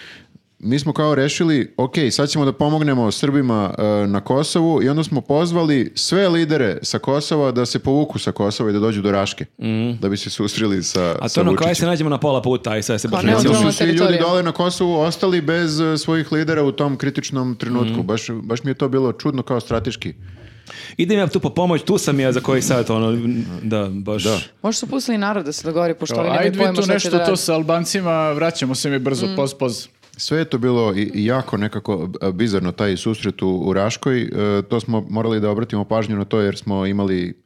Speaker 4: Mi smo kao rešili, ok, sad ćemo da pomognemo Srbima e, na Kosovu i onda smo pozvali sve lidere sa Kosova da se povuku sa Kosova i da dođu do Raške, da bi se susreli sa,
Speaker 2: Mhm. A
Speaker 4: sa
Speaker 2: to na kraju
Speaker 4: Vučićem.
Speaker 2: se nađemo na pola puta i sad se baš
Speaker 3: ne,
Speaker 4: Znači,
Speaker 2: nećemo-
Speaker 4: onda su
Speaker 3: Neutralna
Speaker 4: svi ljudi
Speaker 3: teritorija.
Speaker 4: dole na Kosovu ostali bez e, svojih lidera u tom kritičnom
Speaker 2: Mm.
Speaker 4: trenutku. Baš, baš mi je to bilo čudno kao strateški.
Speaker 2: Idem ja tu po pomoć, tu sam ja za koji sat, ono, da, baš.
Speaker 3: Možda su pustili narod da se dogovori, pošto ovi nemaju
Speaker 1: Ajde vi
Speaker 3: pojma
Speaker 1: tu
Speaker 3: šta će da Mm.
Speaker 1: nešto
Speaker 3: rade.
Speaker 1: to sa Albancima, vraćamo se mi brzo, poz, poz.
Speaker 4: Sve je to bilo i, i jako nekako e, bizarno taj susret u, u Raškoj. E, to smo morali da obratimo pažnju na to jer smo imali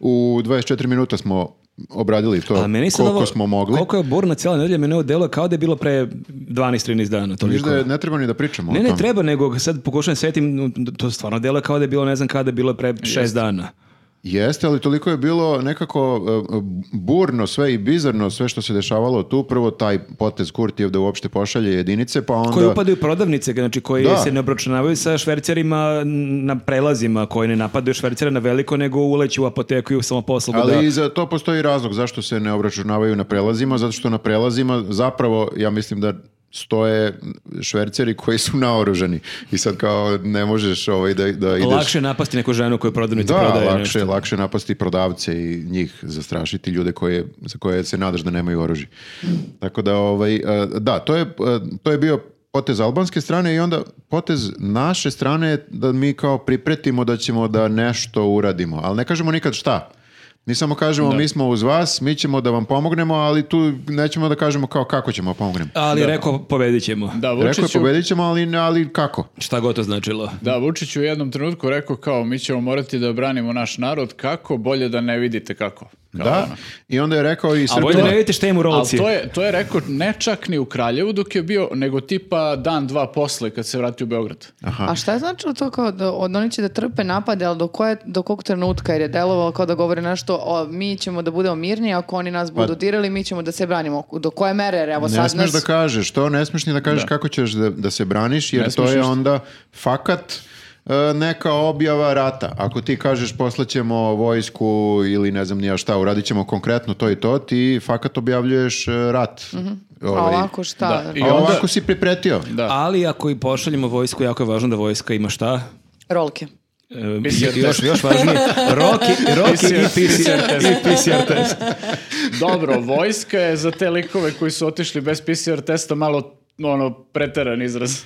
Speaker 4: u 24 minuta smo obradili to
Speaker 2: A meni sad
Speaker 4: pa koliko
Speaker 2: ovo-
Speaker 4: smo mogli.
Speaker 2: Koliko je burna cijela nedelja, meni ovo delo kao da je bilo pre 12-13 dana.
Speaker 4: Viš
Speaker 2: Toliko.
Speaker 4: da je- ne treba ni da pričamo
Speaker 2: Ne,
Speaker 4: o
Speaker 2: ne,
Speaker 4: tome.
Speaker 2: treba, nego sad pokušavam setim, no, to stvarno delo kao da je bilo, ne znam kada, bilo je pre šest dana.
Speaker 4: Jeste, ali toliko je bilo nekako e, burno sve i bizarno sve što se dešavalo tu. Prvo taj potez Kurtijev da uopšte pošalje jedinice, pa onda...
Speaker 2: Koji upadaju u prodavnice, znači koji
Speaker 4: Da.
Speaker 2: se ne obračunavaju sa švercerima na prelazima, koji ne napadaju švercera na veliko, nego uleću u apoteku i u samoposlugu.
Speaker 4: Ali
Speaker 2: da.
Speaker 4: i za to postoji razlog zašto se ne obračunavaju na prelazima, zato što na prelazima zapravo, ja mislim da stoje šverceri koji su naoružani. I sad kao ne možeš ovaj, da, da ideš...
Speaker 2: Lakše je napasti neku ženu koju prodavnica
Speaker 4: da,
Speaker 2: prodaje.
Speaker 4: lakše,
Speaker 2: nešto.
Speaker 4: lakše je napasti prodavce i njih zastrašiti ljude koje, za koje se nadaš da nemaju oružje. Tako da, ovaj, e, da, to je, e, to je bio potez albanske strane i onda potez naše strane je da mi kao pripretimo da ćemo da nešto uradimo. Ali ne kažemo nikad šta. Mi samo kažemo mi smo uz vas, mi ćemo da vam pomognemo, ali tu nećemo da kažemo kao kako ćemo da pomognemo.
Speaker 2: Ali je rekao, pobedit ćemo.
Speaker 1: Da,
Speaker 4: Rekao je
Speaker 1: Vučiću,
Speaker 4: pobedit ćemo, ali, ali kako?
Speaker 2: Šta god to značilo.
Speaker 1: da, Vučić u jednom trenutku rekao kao mi ćemo morati da branimo naš narod, kako? Bolje da ne vidite kako. Kao
Speaker 4: Da,
Speaker 1: ono.
Speaker 4: i onda je rekao i
Speaker 2: A
Speaker 4: Srbima...
Speaker 2: bolje da ne vidite šta im u
Speaker 1: Ali
Speaker 2: rolci.
Speaker 1: to je, to je rekao ne čak ni u Kraljevu dok je bio, nego tipa dan, dva posle kad se vrati u Beograd.
Speaker 4: Aha.
Speaker 3: A šta je značilo to kao da od oni će da trpe napade, ali do, koje, do kog trenutka jer je delovalo kao da govore nešto o, mi ćemo da budemo mirni, ako oni nas
Speaker 1: Pa-
Speaker 3: budu dirali, mi ćemo da se branimo. Do koje mere, jer evo
Speaker 4: Ne
Speaker 3: sad nas...
Speaker 4: smeš da kažeš, to ne smeš ni da kažeš kako ćeš da, da se braniš, jer
Speaker 1: Ne
Speaker 4: to
Speaker 1: smeš
Speaker 4: je
Speaker 1: ništa.
Speaker 4: onda fakat e, neka objava rata. Ako ti kažeš poslaćemo vojsku ili ne znam nija šta, uradit ćemo konkretno to i to, ti fakat objavljuješ e, rat.
Speaker 3: Mhm. A
Speaker 4: Ovaj,
Speaker 3: ovako šta?
Speaker 1: Da, i
Speaker 4: a
Speaker 1: onda-
Speaker 4: ovako si pripretio.
Speaker 1: Da.
Speaker 2: Ali ako i pošaljemo vojsku, jako je važno da vojska ima šta?
Speaker 3: Rolke.
Speaker 2: E,
Speaker 1: PCR
Speaker 2: i- još,
Speaker 1: test.
Speaker 2: još važnije, roki,
Speaker 4: [LAUGHS]
Speaker 2: roki i
Speaker 1: PCR
Speaker 2: PCR,
Speaker 1: test.
Speaker 2: i PCR test.
Speaker 4: [LAUGHS]
Speaker 1: Dobro, vojska je za te likove koji su otišli bez PCR testa malo ono preteran izraz.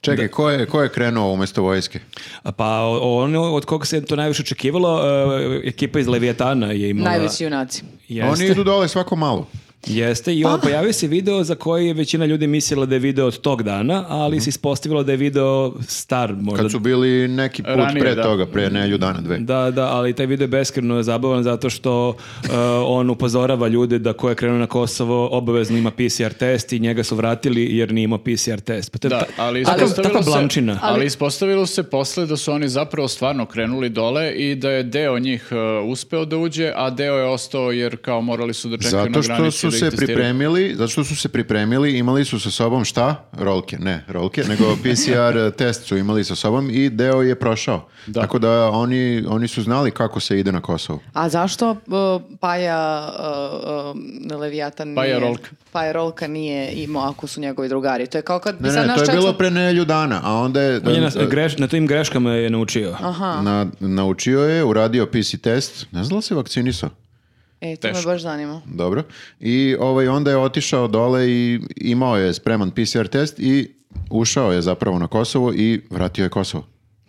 Speaker 4: Čekaj, ko je, ko je krenuo umesto vojske?
Speaker 2: A Pa o- ono od koga se to najviše očekivalo, e, ekipa iz Leviatana je imala...
Speaker 3: Najveći junaci.
Speaker 2: Jeste,
Speaker 4: Oni idu dole svako malo.
Speaker 2: jeste. I on pojavio se video za koji je većina ljudi mislila da je video od tog dana, ali se ispostavilo da je video star možda.
Speaker 4: Kad su bili neki put
Speaker 1: Ranije,
Speaker 4: pre
Speaker 1: da.
Speaker 4: toga, pre nelju dana, dve.
Speaker 2: Da, da, ali taj video je beskreno zabavan zato što e, on upozorava ljude da ko je krenuo na Kosovo obavezno ima PCR test i njega su vratili jer nije imao PCR test. Pa to je
Speaker 1: Da,
Speaker 2: ta-
Speaker 1: ali
Speaker 2: takav-
Speaker 1: ispostavilo,
Speaker 2: takva
Speaker 1: se,
Speaker 2: blamčina.
Speaker 1: ali ispostavilo se posle da su oni zapravo stvarno krenuli dole i da je deo njih e, uspeo da uđe, a deo je ostao jer kao morali su da čekaju na
Speaker 4: Zato što
Speaker 1: granici
Speaker 4: su
Speaker 1: da ih
Speaker 4: se
Speaker 1: testiraju.
Speaker 4: pripremili, zato što su se pripremili, imali su sa sobom šta? Rolke, ne, rolke, nego PCR test su imali sa sobom i deo je prošao. Tako da oni, oni su znali kako se ide na Kosovo.
Speaker 3: A zašto uh, Paja uh, uh, Leviatan
Speaker 1: Paja
Speaker 3: nije...
Speaker 1: Rolka.
Speaker 3: Paja Rolka nije imao ako su njegovi drugari. To je kao kad bi
Speaker 4: Ne,
Speaker 3: sad
Speaker 4: ne,
Speaker 3: naš
Speaker 4: to je
Speaker 3: čak-
Speaker 4: bilo pre nelju dana, a onda je
Speaker 2: On je na, greš, na tim greškama je naučio.
Speaker 4: na, naučio je, uradio PC test, ne znam da li se vakcinisao.
Speaker 3: E, to
Speaker 1: Teško.
Speaker 3: me baš zanima.
Speaker 4: Dobro. I ovaj, onda je otišao dole i imao je spreman PCR test i ušao je zapravo na Kosovo i vratio je Kosovo.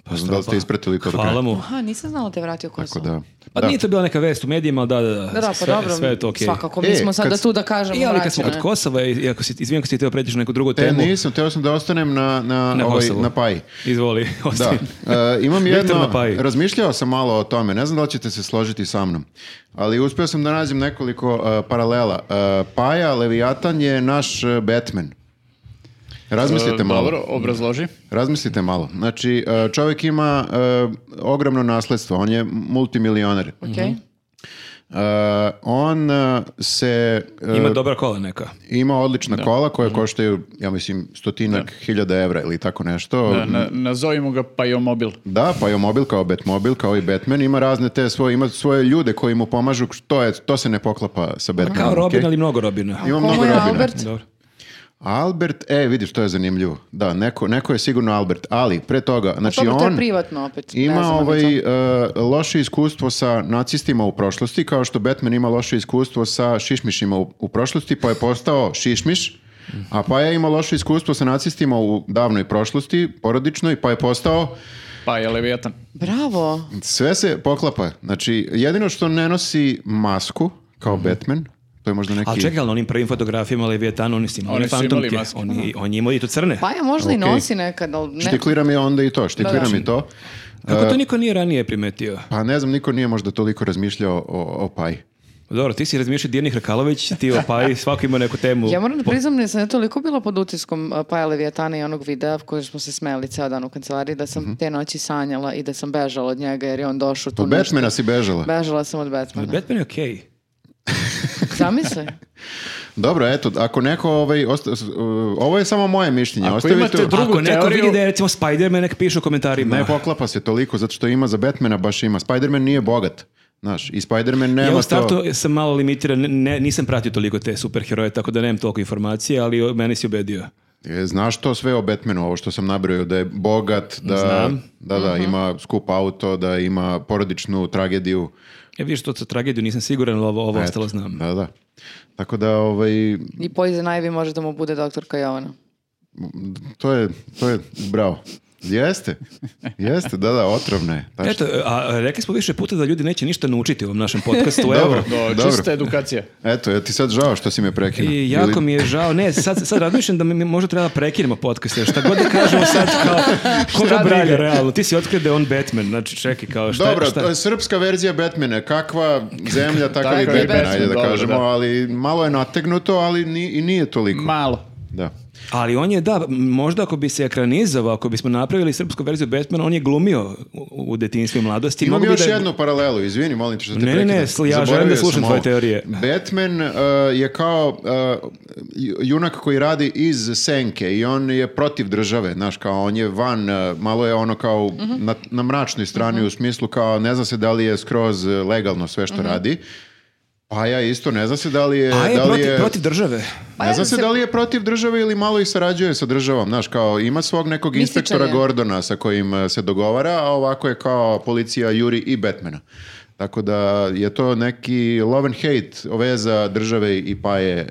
Speaker 4: Pa da li ste ispratili to do kraja?
Speaker 2: Hvala mu.
Speaker 3: Aha, nisam znala da je vratio Kosovo.
Speaker 4: Tako da,
Speaker 2: Pa
Speaker 4: da.
Speaker 2: nije to bila neka vest u medijima, ali da, da, da.
Speaker 3: Da, da, pa
Speaker 2: sve,
Speaker 3: dobro,
Speaker 2: sve je to okej.
Speaker 3: svakako,
Speaker 4: E,
Speaker 3: mi smo sada
Speaker 4: kad-
Speaker 3: tu da kažemo
Speaker 2: I ali kad smo
Speaker 3: vraćeno
Speaker 2: kod
Speaker 3: je.
Speaker 2: Kosova, i ako si, izvijem ako si teo pređeš na neku drugu
Speaker 4: Te
Speaker 2: temu,
Speaker 4: E, nisam, teo sam da ostanem na, na,
Speaker 2: na
Speaker 4: ovaj,
Speaker 2: Kosovu.
Speaker 4: na paji.
Speaker 2: Izvoli, [LAUGHS]
Speaker 4: Da,
Speaker 2: ostavi.
Speaker 4: E, imam
Speaker 2: Viktor
Speaker 4: jedno,
Speaker 2: na paji.
Speaker 4: razmišljao sam malo o tome, ne znam da li ćete se složiti sa mnom, ali uspio sam da nađem nekoliko e, paralela. E, paja, Leviatan je naš e, Batman. Razmislite
Speaker 1: E,
Speaker 4: malo.
Speaker 1: Dobro, obrazloži.
Speaker 4: Razmislite malo. Znači, e, čovjek ima e, ogromno nasledstvo, on je multimilioner.
Speaker 3: Okej.
Speaker 4: E, on e, se... e,
Speaker 2: Ima dobra kola neka.
Speaker 4: ima odlična kola koja koštaju, ja mislim, stotinak hiljada evra ili tako nešto.
Speaker 1: Da, na, nazovimo ga Pajomobil.
Speaker 4: Da, pa je mobil kao Batmobil, kao i Batman, ima razne te svoje, ima svoje ljude koji mu pomažu, to, je, to se ne poklapa sa Batmanom.
Speaker 2: Kao Robin,
Speaker 4: okej?
Speaker 2: ali mnogo Robina.
Speaker 4: Ima
Speaker 3: Komu
Speaker 4: mnogo
Speaker 3: je
Speaker 4: Robina.
Speaker 3: Albert?
Speaker 2: Dobro.
Speaker 4: Albert, e, vidiš, to je zanimljivo. Da, neko, neko je sigurno Albert, ali pre toga, znači
Speaker 3: Pa Dobro, to je
Speaker 4: on
Speaker 3: privatno opet. ne
Speaker 4: ima
Speaker 3: znam, ali to-
Speaker 4: ovaj, e, loše iskustvo sa nacistima u prošlosti, kao što Batman ima loše iskustvo sa šišmišima u, u prošlosti, pa je postao šišmiš, a pa je imao loše iskustvo sa nacistima u davnoj prošlosti, porodičnoj, pa je postao
Speaker 1: Pa je Leviatan.
Speaker 3: Bravo.
Speaker 4: Sve se poklapa. Znači, jedino što ne nosi masku, kao
Speaker 3: Mhm.
Speaker 4: Batman, to je možda neki...
Speaker 2: Ali čekaj, ali na onim prvim fotografijama Leviatana oni su imali
Speaker 1: Oni su imali
Speaker 2: fantomke.
Speaker 1: maske.
Speaker 2: Oni, on je imao i to crne.
Speaker 3: Pa ja možda i
Speaker 4: Okej.
Speaker 3: nosi nekad, ali ne.
Speaker 4: Štiklira mi onda i to, štiklira
Speaker 3: Da, da.
Speaker 4: mi to. E.
Speaker 2: Kako to niko nije ranije primetio?
Speaker 4: Pa ne znam, niko nije možda toliko razmišljao o, o Paji.
Speaker 2: Dobro, ti si razmišljao Dirnih Hrkalović, ti o
Speaker 3: [LAUGHS]
Speaker 2: Paji, svako ima neku temu.
Speaker 3: Ja moram da priznam da sam ja toliko bila pod utiskom uh, Paja Leviatana i onog videa koji smo se smeli ceo dan u kancelariji da sam te noći sanjala i da sam bežala od njega jer je on došao tu
Speaker 4: Mhm. Od
Speaker 3: nešto.
Speaker 4: Batmana si bežala.
Speaker 3: Bežala sam od
Speaker 2: Ali
Speaker 3: Batmana.
Speaker 2: Batman je okej.
Speaker 4: [LAUGHS]
Speaker 3: Zamisli.
Speaker 4: Dobro, eto, ako neko... Ovaj, osta- s- uh, ovo je samo moje mišljenje.
Speaker 1: Ako
Speaker 4: Ostavi
Speaker 1: imate
Speaker 4: to-
Speaker 1: dru- Drugu
Speaker 2: Ako neko
Speaker 1: teoriju-
Speaker 2: vidi da je recimo Spider-Man, nek piše u komentarima.
Speaker 4: Ne poklapa se toliko, zato što ima za Batmana baš ima. Spider-Man nije bogat. Znaš, i Spider-Man nema
Speaker 2: ja u
Speaker 4: to...
Speaker 2: startu sam malo limitiran, ne, nisam pratio toliko te superheroje, tako da nemam toliko informacije, ali o- meni si ubedio.
Speaker 4: E, Znaš to sve o Batmanu, ovo što sam nabrojao, da je bogat, da,
Speaker 2: Znam. Mhm.
Speaker 4: da, da ima skup auto, da ima porodičnu tragediju.
Speaker 2: Ja E, vidiš, to sa tragediju nisam siguran, ali ovo, ovo
Speaker 4: Eto,
Speaker 2: ostalo znam.
Speaker 4: Da, da. Tako da, ovaj,
Speaker 3: I Poison Ivy može da mu bude doktorka Jovana.
Speaker 4: to je, to je, bravo. Jeste, jeste, da, da, otrovno je. tačno.
Speaker 2: Eto, a, a rekli smo više puta da ljudi neće ništa naučiti u ovom našem
Speaker 4: [LAUGHS]
Speaker 2: podcastu, evo.
Speaker 4: Dobro.
Speaker 1: Do,
Speaker 4: Dobro.
Speaker 1: čista edukacija.
Speaker 4: Eto, ja ti sad žao što si me prekinuo.
Speaker 2: I jako
Speaker 4: Ili-
Speaker 2: mi je žao, ne, sad, sad razmišljam da mi mi možda treba prekinemo podcast, jer šta god da kažemo sad
Speaker 4: [LAUGHS]
Speaker 2: kao, koga briga, realno, ti si otkrio da je on Batman, znači čekaj, kao šta,
Speaker 4: Dobro,
Speaker 2: šta?
Speaker 4: to je srpska verzija Batmana. Kakva
Speaker 1: [LAUGHS]
Speaker 4: zemlja, takav i
Speaker 1: Takav i
Speaker 4: Batman,
Speaker 1: Batman,
Speaker 4: ajde da
Speaker 1: dobro,
Speaker 4: kažemo,
Speaker 1: da.
Speaker 4: ali malo je nategnuto, ali ni, i nije toliko.
Speaker 1: Malo.
Speaker 4: Da.
Speaker 2: ali on je, da, možda ako bi se ekranizovao, ako bismo napravili srpsku verziju Batmana, on je glumio u, u detinjstvu i mladosti.
Speaker 4: Imam
Speaker 2: Mogu bi
Speaker 4: još
Speaker 2: da je-
Speaker 4: jednu paralelu, izvini, molim te što te
Speaker 2: Ne, ne,
Speaker 4: prekidam.
Speaker 2: ne, sl- ja želim da
Speaker 4: Zaboravio
Speaker 2: slušam
Speaker 4: sam
Speaker 2: tvoje
Speaker 4: ovo.
Speaker 2: teorije.
Speaker 4: Batman uh, je kao uh, ju- junak koji radi iz senke i on je protiv države, znaš, kao on je van, uh, malo je ono kao
Speaker 1: Mhm.
Speaker 4: na, na mračnoj strani u smislu kao ne zna se da li je skroz uh, legalno sve
Speaker 1: Mhm.
Speaker 4: što radi. Pa ja isto ne zna se da li je...
Speaker 2: A Pa je,
Speaker 4: da li
Speaker 2: protiv,
Speaker 4: je-
Speaker 2: protiv države.
Speaker 3: Pa
Speaker 4: ne
Speaker 3: ja
Speaker 4: znam se
Speaker 3: se-
Speaker 4: da li je protiv države ili malo i sarađuje sa državom, znaš, kao ima svog nekog
Speaker 3: Mističan
Speaker 4: inspektora
Speaker 3: je.
Speaker 4: Gordona sa kojim e, se dogovara, a ovako je kao policija Juri i Batmana. Tako da je to neki love and hate veza države i paje.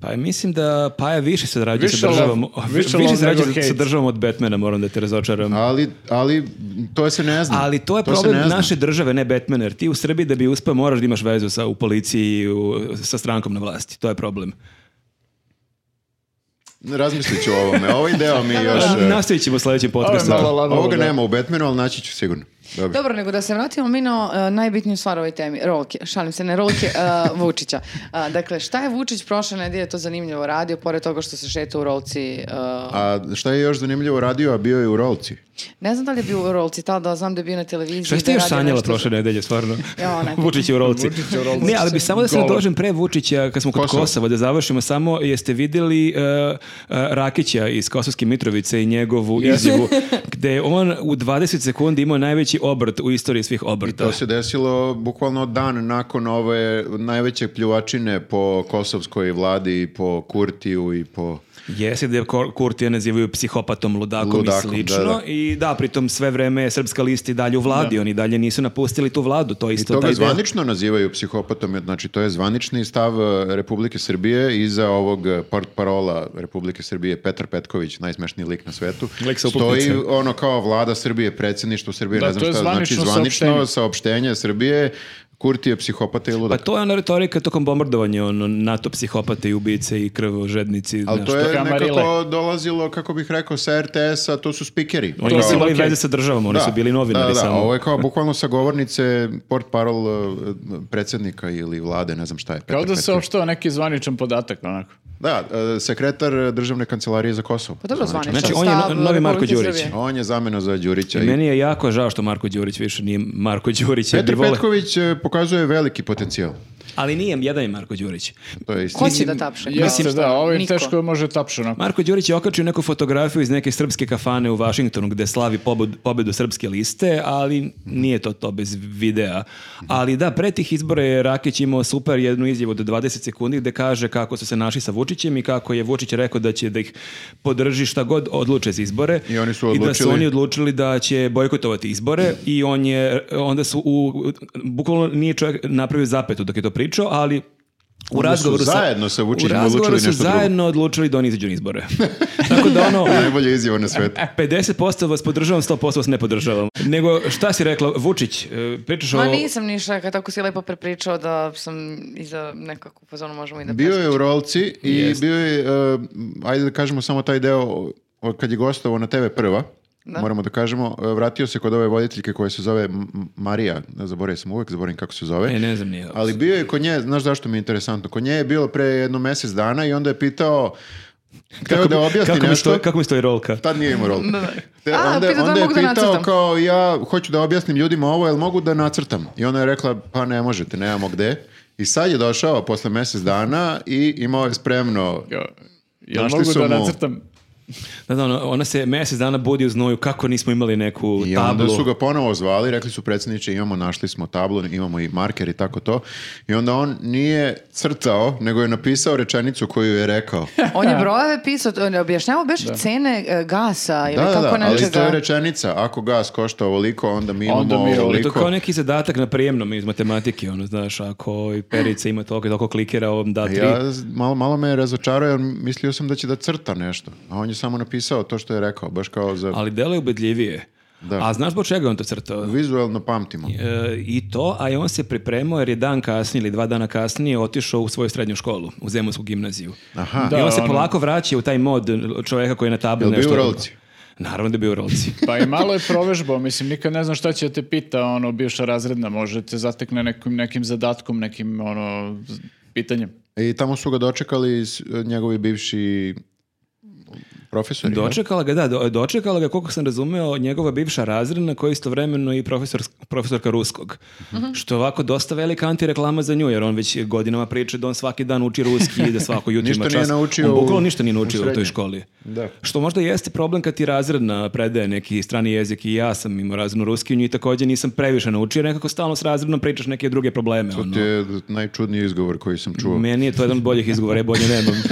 Speaker 2: Pa mislim da Paja više se rađuje
Speaker 1: Više
Speaker 2: sa državom.
Speaker 1: love- više
Speaker 2: Više
Speaker 1: love
Speaker 2: se rađuje
Speaker 1: nego hate.
Speaker 2: sa državom od Batmana, moram da te razočaram.
Speaker 4: Ali, ali to se ne zna.
Speaker 2: Ali to je
Speaker 4: se
Speaker 2: problem
Speaker 4: ne zna.
Speaker 2: naše države, ne Batmana, jer ti u Srbiji da bi uspeo moraš da imaš vezu sa, u policiji, u, sa strankom na vlasti. To je problem.
Speaker 4: Razmislit ću o ovome. Ovaj deo
Speaker 3: [LAUGHS]
Speaker 4: mi još...
Speaker 2: A,
Speaker 4: e,
Speaker 2: nastavit ćemo u sledećem podcastu.
Speaker 1: malo la-
Speaker 4: Ovoga
Speaker 1: da.
Speaker 4: nema u Batmanu, ali naći ću sigurno. Dobro.
Speaker 3: Dobro, nego da se vratimo mi na e, najbitniju stvar u ovoj temi, rolke. Šalim se, ne rolke, e, Vučića. E, dakle, šta je Vučić prošle nedelje to zanimljivo radio, pored toga što se šeta u rolci? e,
Speaker 4: A šta je još zanimljivo radio, a bio je u rolci?
Speaker 3: ne znam da li je bio u rolci tada, znam da je bio na televiziji.
Speaker 2: Šta
Speaker 3: da
Speaker 2: ste
Speaker 3: je
Speaker 2: još
Speaker 3: radio
Speaker 2: sanjala
Speaker 3: nešto za-
Speaker 2: prošle nedelje, stvarno?
Speaker 3: Ja, onaj.
Speaker 2: [LAUGHS] Vučić je u rolci.
Speaker 1: Vučić je u rolci.
Speaker 2: Ne, ali bi samo da se
Speaker 1: Govor.
Speaker 2: dođem pre Vučića, kad smo kod
Speaker 4: Kosovo.
Speaker 2: Kosova, da završimo samo, jeste vidjeli uh, uh, Rakića iz Kosovske Mitrovice i njegovu
Speaker 4: [LAUGHS]
Speaker 2: izjavu, gde je on u 20 sekundi imao najveći obrt u istoriji svih obrta.
Speaker 4: To se desilo bukvalno dan nakon ove najveće pljuvačine po kosovskoj vladi, i po Kurtiju i po...
Speaker 2: Jesi da je Kor- Kurtija nazivaju psihopatom, ludakom,
Speaker 4: Ludakom,
Speaker 2: i slično.
Speaker 4: da, da.
Speaker 2: I da, pritom sve vreme je srpska lista i dalje u vladi. Oni dalje nisu napustili tu vladu. To je
Speaker 4: I
Speaker 2: isto
Speaker 4: to ga
Speaker 2: taj deo.
Speaker 4: zvanično nazivaju psihopatom, jer, znači to je zvanični stav eh, Republike Srbije iza ovog eh, port parola Republike Srbije Petar Petković, najsmešniji lik na svetu.
Speaker 2: Lik sa
Speaker 4: Stoji
Speaker 2: uputnice.
Speaker 4: ono kao vlada Srbije, predsjedništvo Srbije,
Speaker 1: Da,
Speaker 4: ne
Speaker 1: to
Speaker 4: znam
Speaker 1: je
Speaker 4: šta, znači
Speaker 1: zvanično
Speaker 4: zvanično
Speaker 1: saopštenje.
Speaker 4: saopštenje Srbije, Kurti je psihopata i
Speaker 2: Pa
Speaker 4: ludak.
Speaker 2: to je ona retorika tokom bombardovanja, ono, NATO psihopate i ubice i krvožednici.
Speaker 4: Ali
Speaker 2: znaš,
Speaker 4: to je
Speaker 1: Kamarile.
Speaker 4: nekako dolazilo, kako bih rekao, sa RTS-a, to su spikeri.
Speaker 2: Oni
Speaker 1: To
Speaker 2: nisu
Speaker 1: je
Speaker 2: imali
Speaker 1: okej.
Speaker 2: veze sa državom, oni su bili novinari
Speaker 4: da, da,
Speaker 2: samo.
Speaker 4: ovo je kao bukvalno sa govornice port parol eh, predsjednika ili vlade, ne znam šta je.
Speaker 1: Kao
Speaker 4: Petar
Speaker 1: da se
Speaker 4: Petrović.
Speaker 1: opštava neki zvaničan podatak, onako.
Speaker 4: Da, eh, sekretar državne kancelarije za Kosovo.
Speaker 3: Pa dobro,
Speaker 4: Zvanično.
Speaker 3: zvanično.
Speaker 2: Znači, on je
Speaker 3: stav
Speaker 2: no- novi Marko
Speaker 3: Republike
Speaker 2: Đurić.
Speaker 3: Srbije.
Speaker 4: On je zamena za Đurića.
Speaker 2: I
Speaker 4: I
Speaker 2: Meni je jako žao što Marko Đurić više nije Marko Đurić. jer
Speaker 4: Petar
Speaker 2: bi vole-
Speaker 4: Petković eh, pokazuje veliki potencijal.
Speaker 2: Ali nije, jedan je Marko Đurić.
Speaker 4: To je istina.
Speaker 3: Ko će da tapše?
Speaker 1: Jeste,
Speaker 3: Kao
Speaker 1: da,
Speaker 3: šta?
Speaker 1: ovaj
Speaker 3: Niko.
Speaker 1: teško može tapše, onako.
Speaker 2: Marko Đurić je okačio neku fotografiju iz neke srpske kafane u Vašingtonu gde slavi pobod- pobedu srpske liste, ali nije to to bez videa. Ali da, pre tih izbora je Rakić imao super jednu izjavu od 20 sekundi gde kaže kako su se našli sa Vučićem i kako je Vučić rekao da će da ih podrži šta god odluče za izbore.
Speaker 4: I oni su
Speaker 2: da su
Speaker 4: odlučili.
Speaker 2: oni odlučili da će bojkotovati izbore i on je, onda su u, bukvalno nije čovjek napravio zapetu dok je to pričao, ali u
Speaker 4: Onda su
Speaker 2: razgovoru
Speaker 4: zajedno sa Vučićem
Speaker 2: u razgovoru
Speaker 4: odlučili
Speaker 2: su
Speaker 4: nešto drugo.
Speaker 2: zajedno odlučili da oni izađu na izbore. [LAUGHS] Tako da ono,
Speaker 4: Najbolje izjava na svetu.
Speaker 2: 50% vas podržavam, 100% vas ne podržavam. Nego, šta si rekla, Vučić, e, pričaš o...
Speaker 3: Ma nisam ništa, kad tako si lepo prepričao da sam iza nekako pozorno možemo i da
Speaker 4: Bio je u rolci i
Speaker 2: Jest.
Speaker 4: bio je, eh, ajde da kažemo samo taj deo o- kad je gostovao na TV prva,
Speaker 3: Da.
Speaker 4: moramo da kažemo, eh, vratio se kod ove voditeljke koja se zove M- M- Marija, ne zaboravio sam uvek, zaboravim kako se zove.
Speaker 2: E, ne znam, nije.
Speaker 4: Ali bio je kod nje, znaš zašto mi je interesantno, kod nje je bilo pre jedno mjesec dana i onda je pitao, hteo da objasni
Speaker 2: kako mi
Speaker 4: nešto,
Speaker 2: stoji- kako mi stoji rolka?
Speaker 4: tad nije imao rolu. Te-
Speaker 3: A,
Speaker 4: onda,
Speaker 3: pitao da
Speaker 4: onda je
Speaker 3: mogu da
Speaker 4: pitao
Speaker 3: nacrtam.
Speaker 4: kao ja hoću da objasnim ljudima ovo, jel mogu da nacrtam? I ona je rekla pa ne možete, nemamo gde. I sad je došao posle mjesec dana i imao je spremno
Speaker 1: Ja, ja
Speaker 4: Našli
Speaker 1: mogu
Speaker 4: su
Speaker 1: da
Speaker 4: mu-
Speaker 1: nacrtam
Speaker 2: Da, da, ona, ona se mjesec dana budi u znoju kako nismo imali neku
Speaker 4: I
Speaker 2: tablu.
Speaker 4: onda su ga ponovo zvali, rekli su predsjedniče imamo, našli smo tablu, imamo i marker i tako to. I onda on nije crtao, nego je napisao rečenicu koju je rekao.
Speaker 3: On je brojeve pisao, on je objašnjavao beš cene e, gasa ili
Speaker 4: Da, da,
Speaker 3: tako
Speaker 4: da, ali to je
Speaker 3: nečega.
Speaker 4: rečenica. Ako gas košta ovoliko, onda mi imamo
Speaker 1: Onda mi je
Speaker 2: Ono, To je kao
Speaker 4: ovoliko.
Speaker 2: neki zadatak na prijemnom iz matematike, ono, znaš, ako i perica ima toliko i toliko klikera, ovom da tri.
Speaker 4: Ja, z- malo, malo me je razočarao jer mislio sam da će da crta nešto. A on je samo napisao to što je rekao, baš kao za...
Speaker 2: Ali delo je ubedljivije.
Speaker 4: Da.
Speaker 2: A znaš zbog čega je on to crtao?
Speaker 4: Vizualno pamtimo.
Speaker 2: E, I to, a i on se pripremao jer je dan kasnije ili dva dana kasnije otišao u svoju srednju školu, u Zemunsku gimnaziju.
Speaker 4: Aha.
Speaker 2: I on
Speaker 1: Da,
Speaker 2: se
Speaker 1: ono-
Speaker 2: polako vraća u taj mod čoveka koji je na tabli
Speaker 4: Jel bio
Speaker 2: nešto...
Speaker 4: u rolci?
Speaker 2: Naravno da je bio u
Speaker 4: [LAUGHS]
Speaker 2: rolci.
Speaker 1: Pa i malo je provežbao, mislim, nikad ne znam šta će da te pita, ono, bivša razredna, može te zatekne nekim, nekim zadatkom, nekim, ono, z- pitanjem.
Speaker 4: I tamo su ga dočekali s- e, njegovi bivši profesori. jel?
Speaker 2: Dočekala ga, da, do- dočekala ga, koliko sam razumeo, njegova bivša razredna koja je istovremeno i profesor, profesorka ruskog.
Speaker 1: Mhm.
Speaker 2: Što je ovako dosta velika antireklama za nju, jer on već godinama priča da on svaki dan uči ruski i da svako jutro
Speaker 4: Ništa
Speaker 2: ima čas.
Speaker 4: nije naučio
Speaker 2: On bukvalno
Speaker 4: u-
Speaker 2: ništa nije
Speaker 4: u
Speaker 2: naučio u, toj
Speaker 4: srednjoj.
Speaker 2: školi.
Speaker 4: Da.
Speaker 2: Što možda jeste problem kad ti razredna predaje neki strani jezik i ja sam imao razrednu ruski u njoj također nisam previše naučio, jer nekako stalno s razrednom pričaš neke druge probleme. ono.
Speaker 4: To je najčudniji izgovor koji sam čuo.
Speaker 2: Meni je to jedan od boljih izgovora, ja bolje
Speaker 4: [LAUGHS]
Speaker 2: nemam.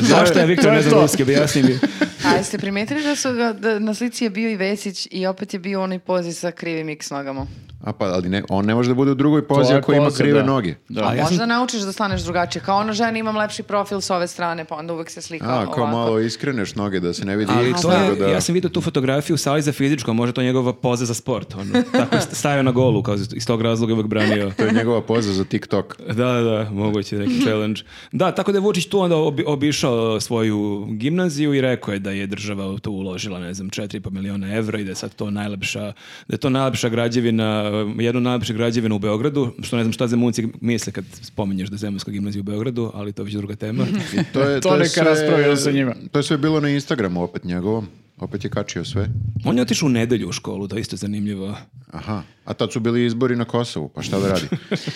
Speaker 2: Zašto je Viktor ne zna ruski, objasni mi.
Speaker 3: A jeste primetili da su ga, da na slici je bio i Vesić i opet je bio onaj pozi sa krivim x nogama.
Speaker 4: A pa, ali ne, on ne može da bude u drugoj
Speaker 1: To
Speaker 4: pozi
Speaker 1: je
Speaker 4: ako ima
Speaker 1: poza,
Speaker 4: krive
Speaker 1: da.
Speaker 4: noge.
Speaker 1: Da.
Speaker 2: Ali- Ja sam-
Speaker 3: Možda naučiš da staneš drugačije. Kao ona žena imam lepši profil s ove strane, pa onda uvek se slika
Speaker 4: A, kao
Speaker 3: ovako.
Speaker 4: malo iskreneš noge da se ne vidi
Speaker 2: Ali
Speaker 4: X,
Speaker 2: to
Speaker 4: nego
Speaker 2: je,
Speaker 4: da...
Speaker 2: ja sam vidio tu fotografiju u sali za fizičko, a možda to je njegova poza za sport. Ono. Tako je stavio na golu, kao iz tog razloga je uvek branio.
Speaker 4: To je njegova poza za TikTok.
Speaker 2: Da, da, da, moguće neki challenge. Da, tako da je Vučić tu onda obi- obišao svoju gimnaziju i rekao je da je država tu uložila, ne znam, 4,5 miliona evra i da je sad to najlepša, da je to najlepša građevina, jedna od najlepših građevina u Beogradu, što ne znam šta Zemunci misle kad spominješ da je Zemunska gimnazija u Beogradu, ali to je već druga tema.
Speaker 4: To
Speaker 1: [LAUGHS]
Speaker 4: je,
Speaker 1: To
Speaker 4: je
Speaker 1: neka
Speaker 4: sve-
Speaker 1: raspravljamo sa njima.
Speaker 4: To je sve bilo na Instagramu opet njegovom. Opet je kačio sve.
Speaker 2: On je otišao u nedelju u školu, to je isto zanimljivo.
Speaker 4: Aha. A tad su bili izbori na Kosovu, pa šta da
Speaker 1: [LAUGHS]
Speaker 4: radi?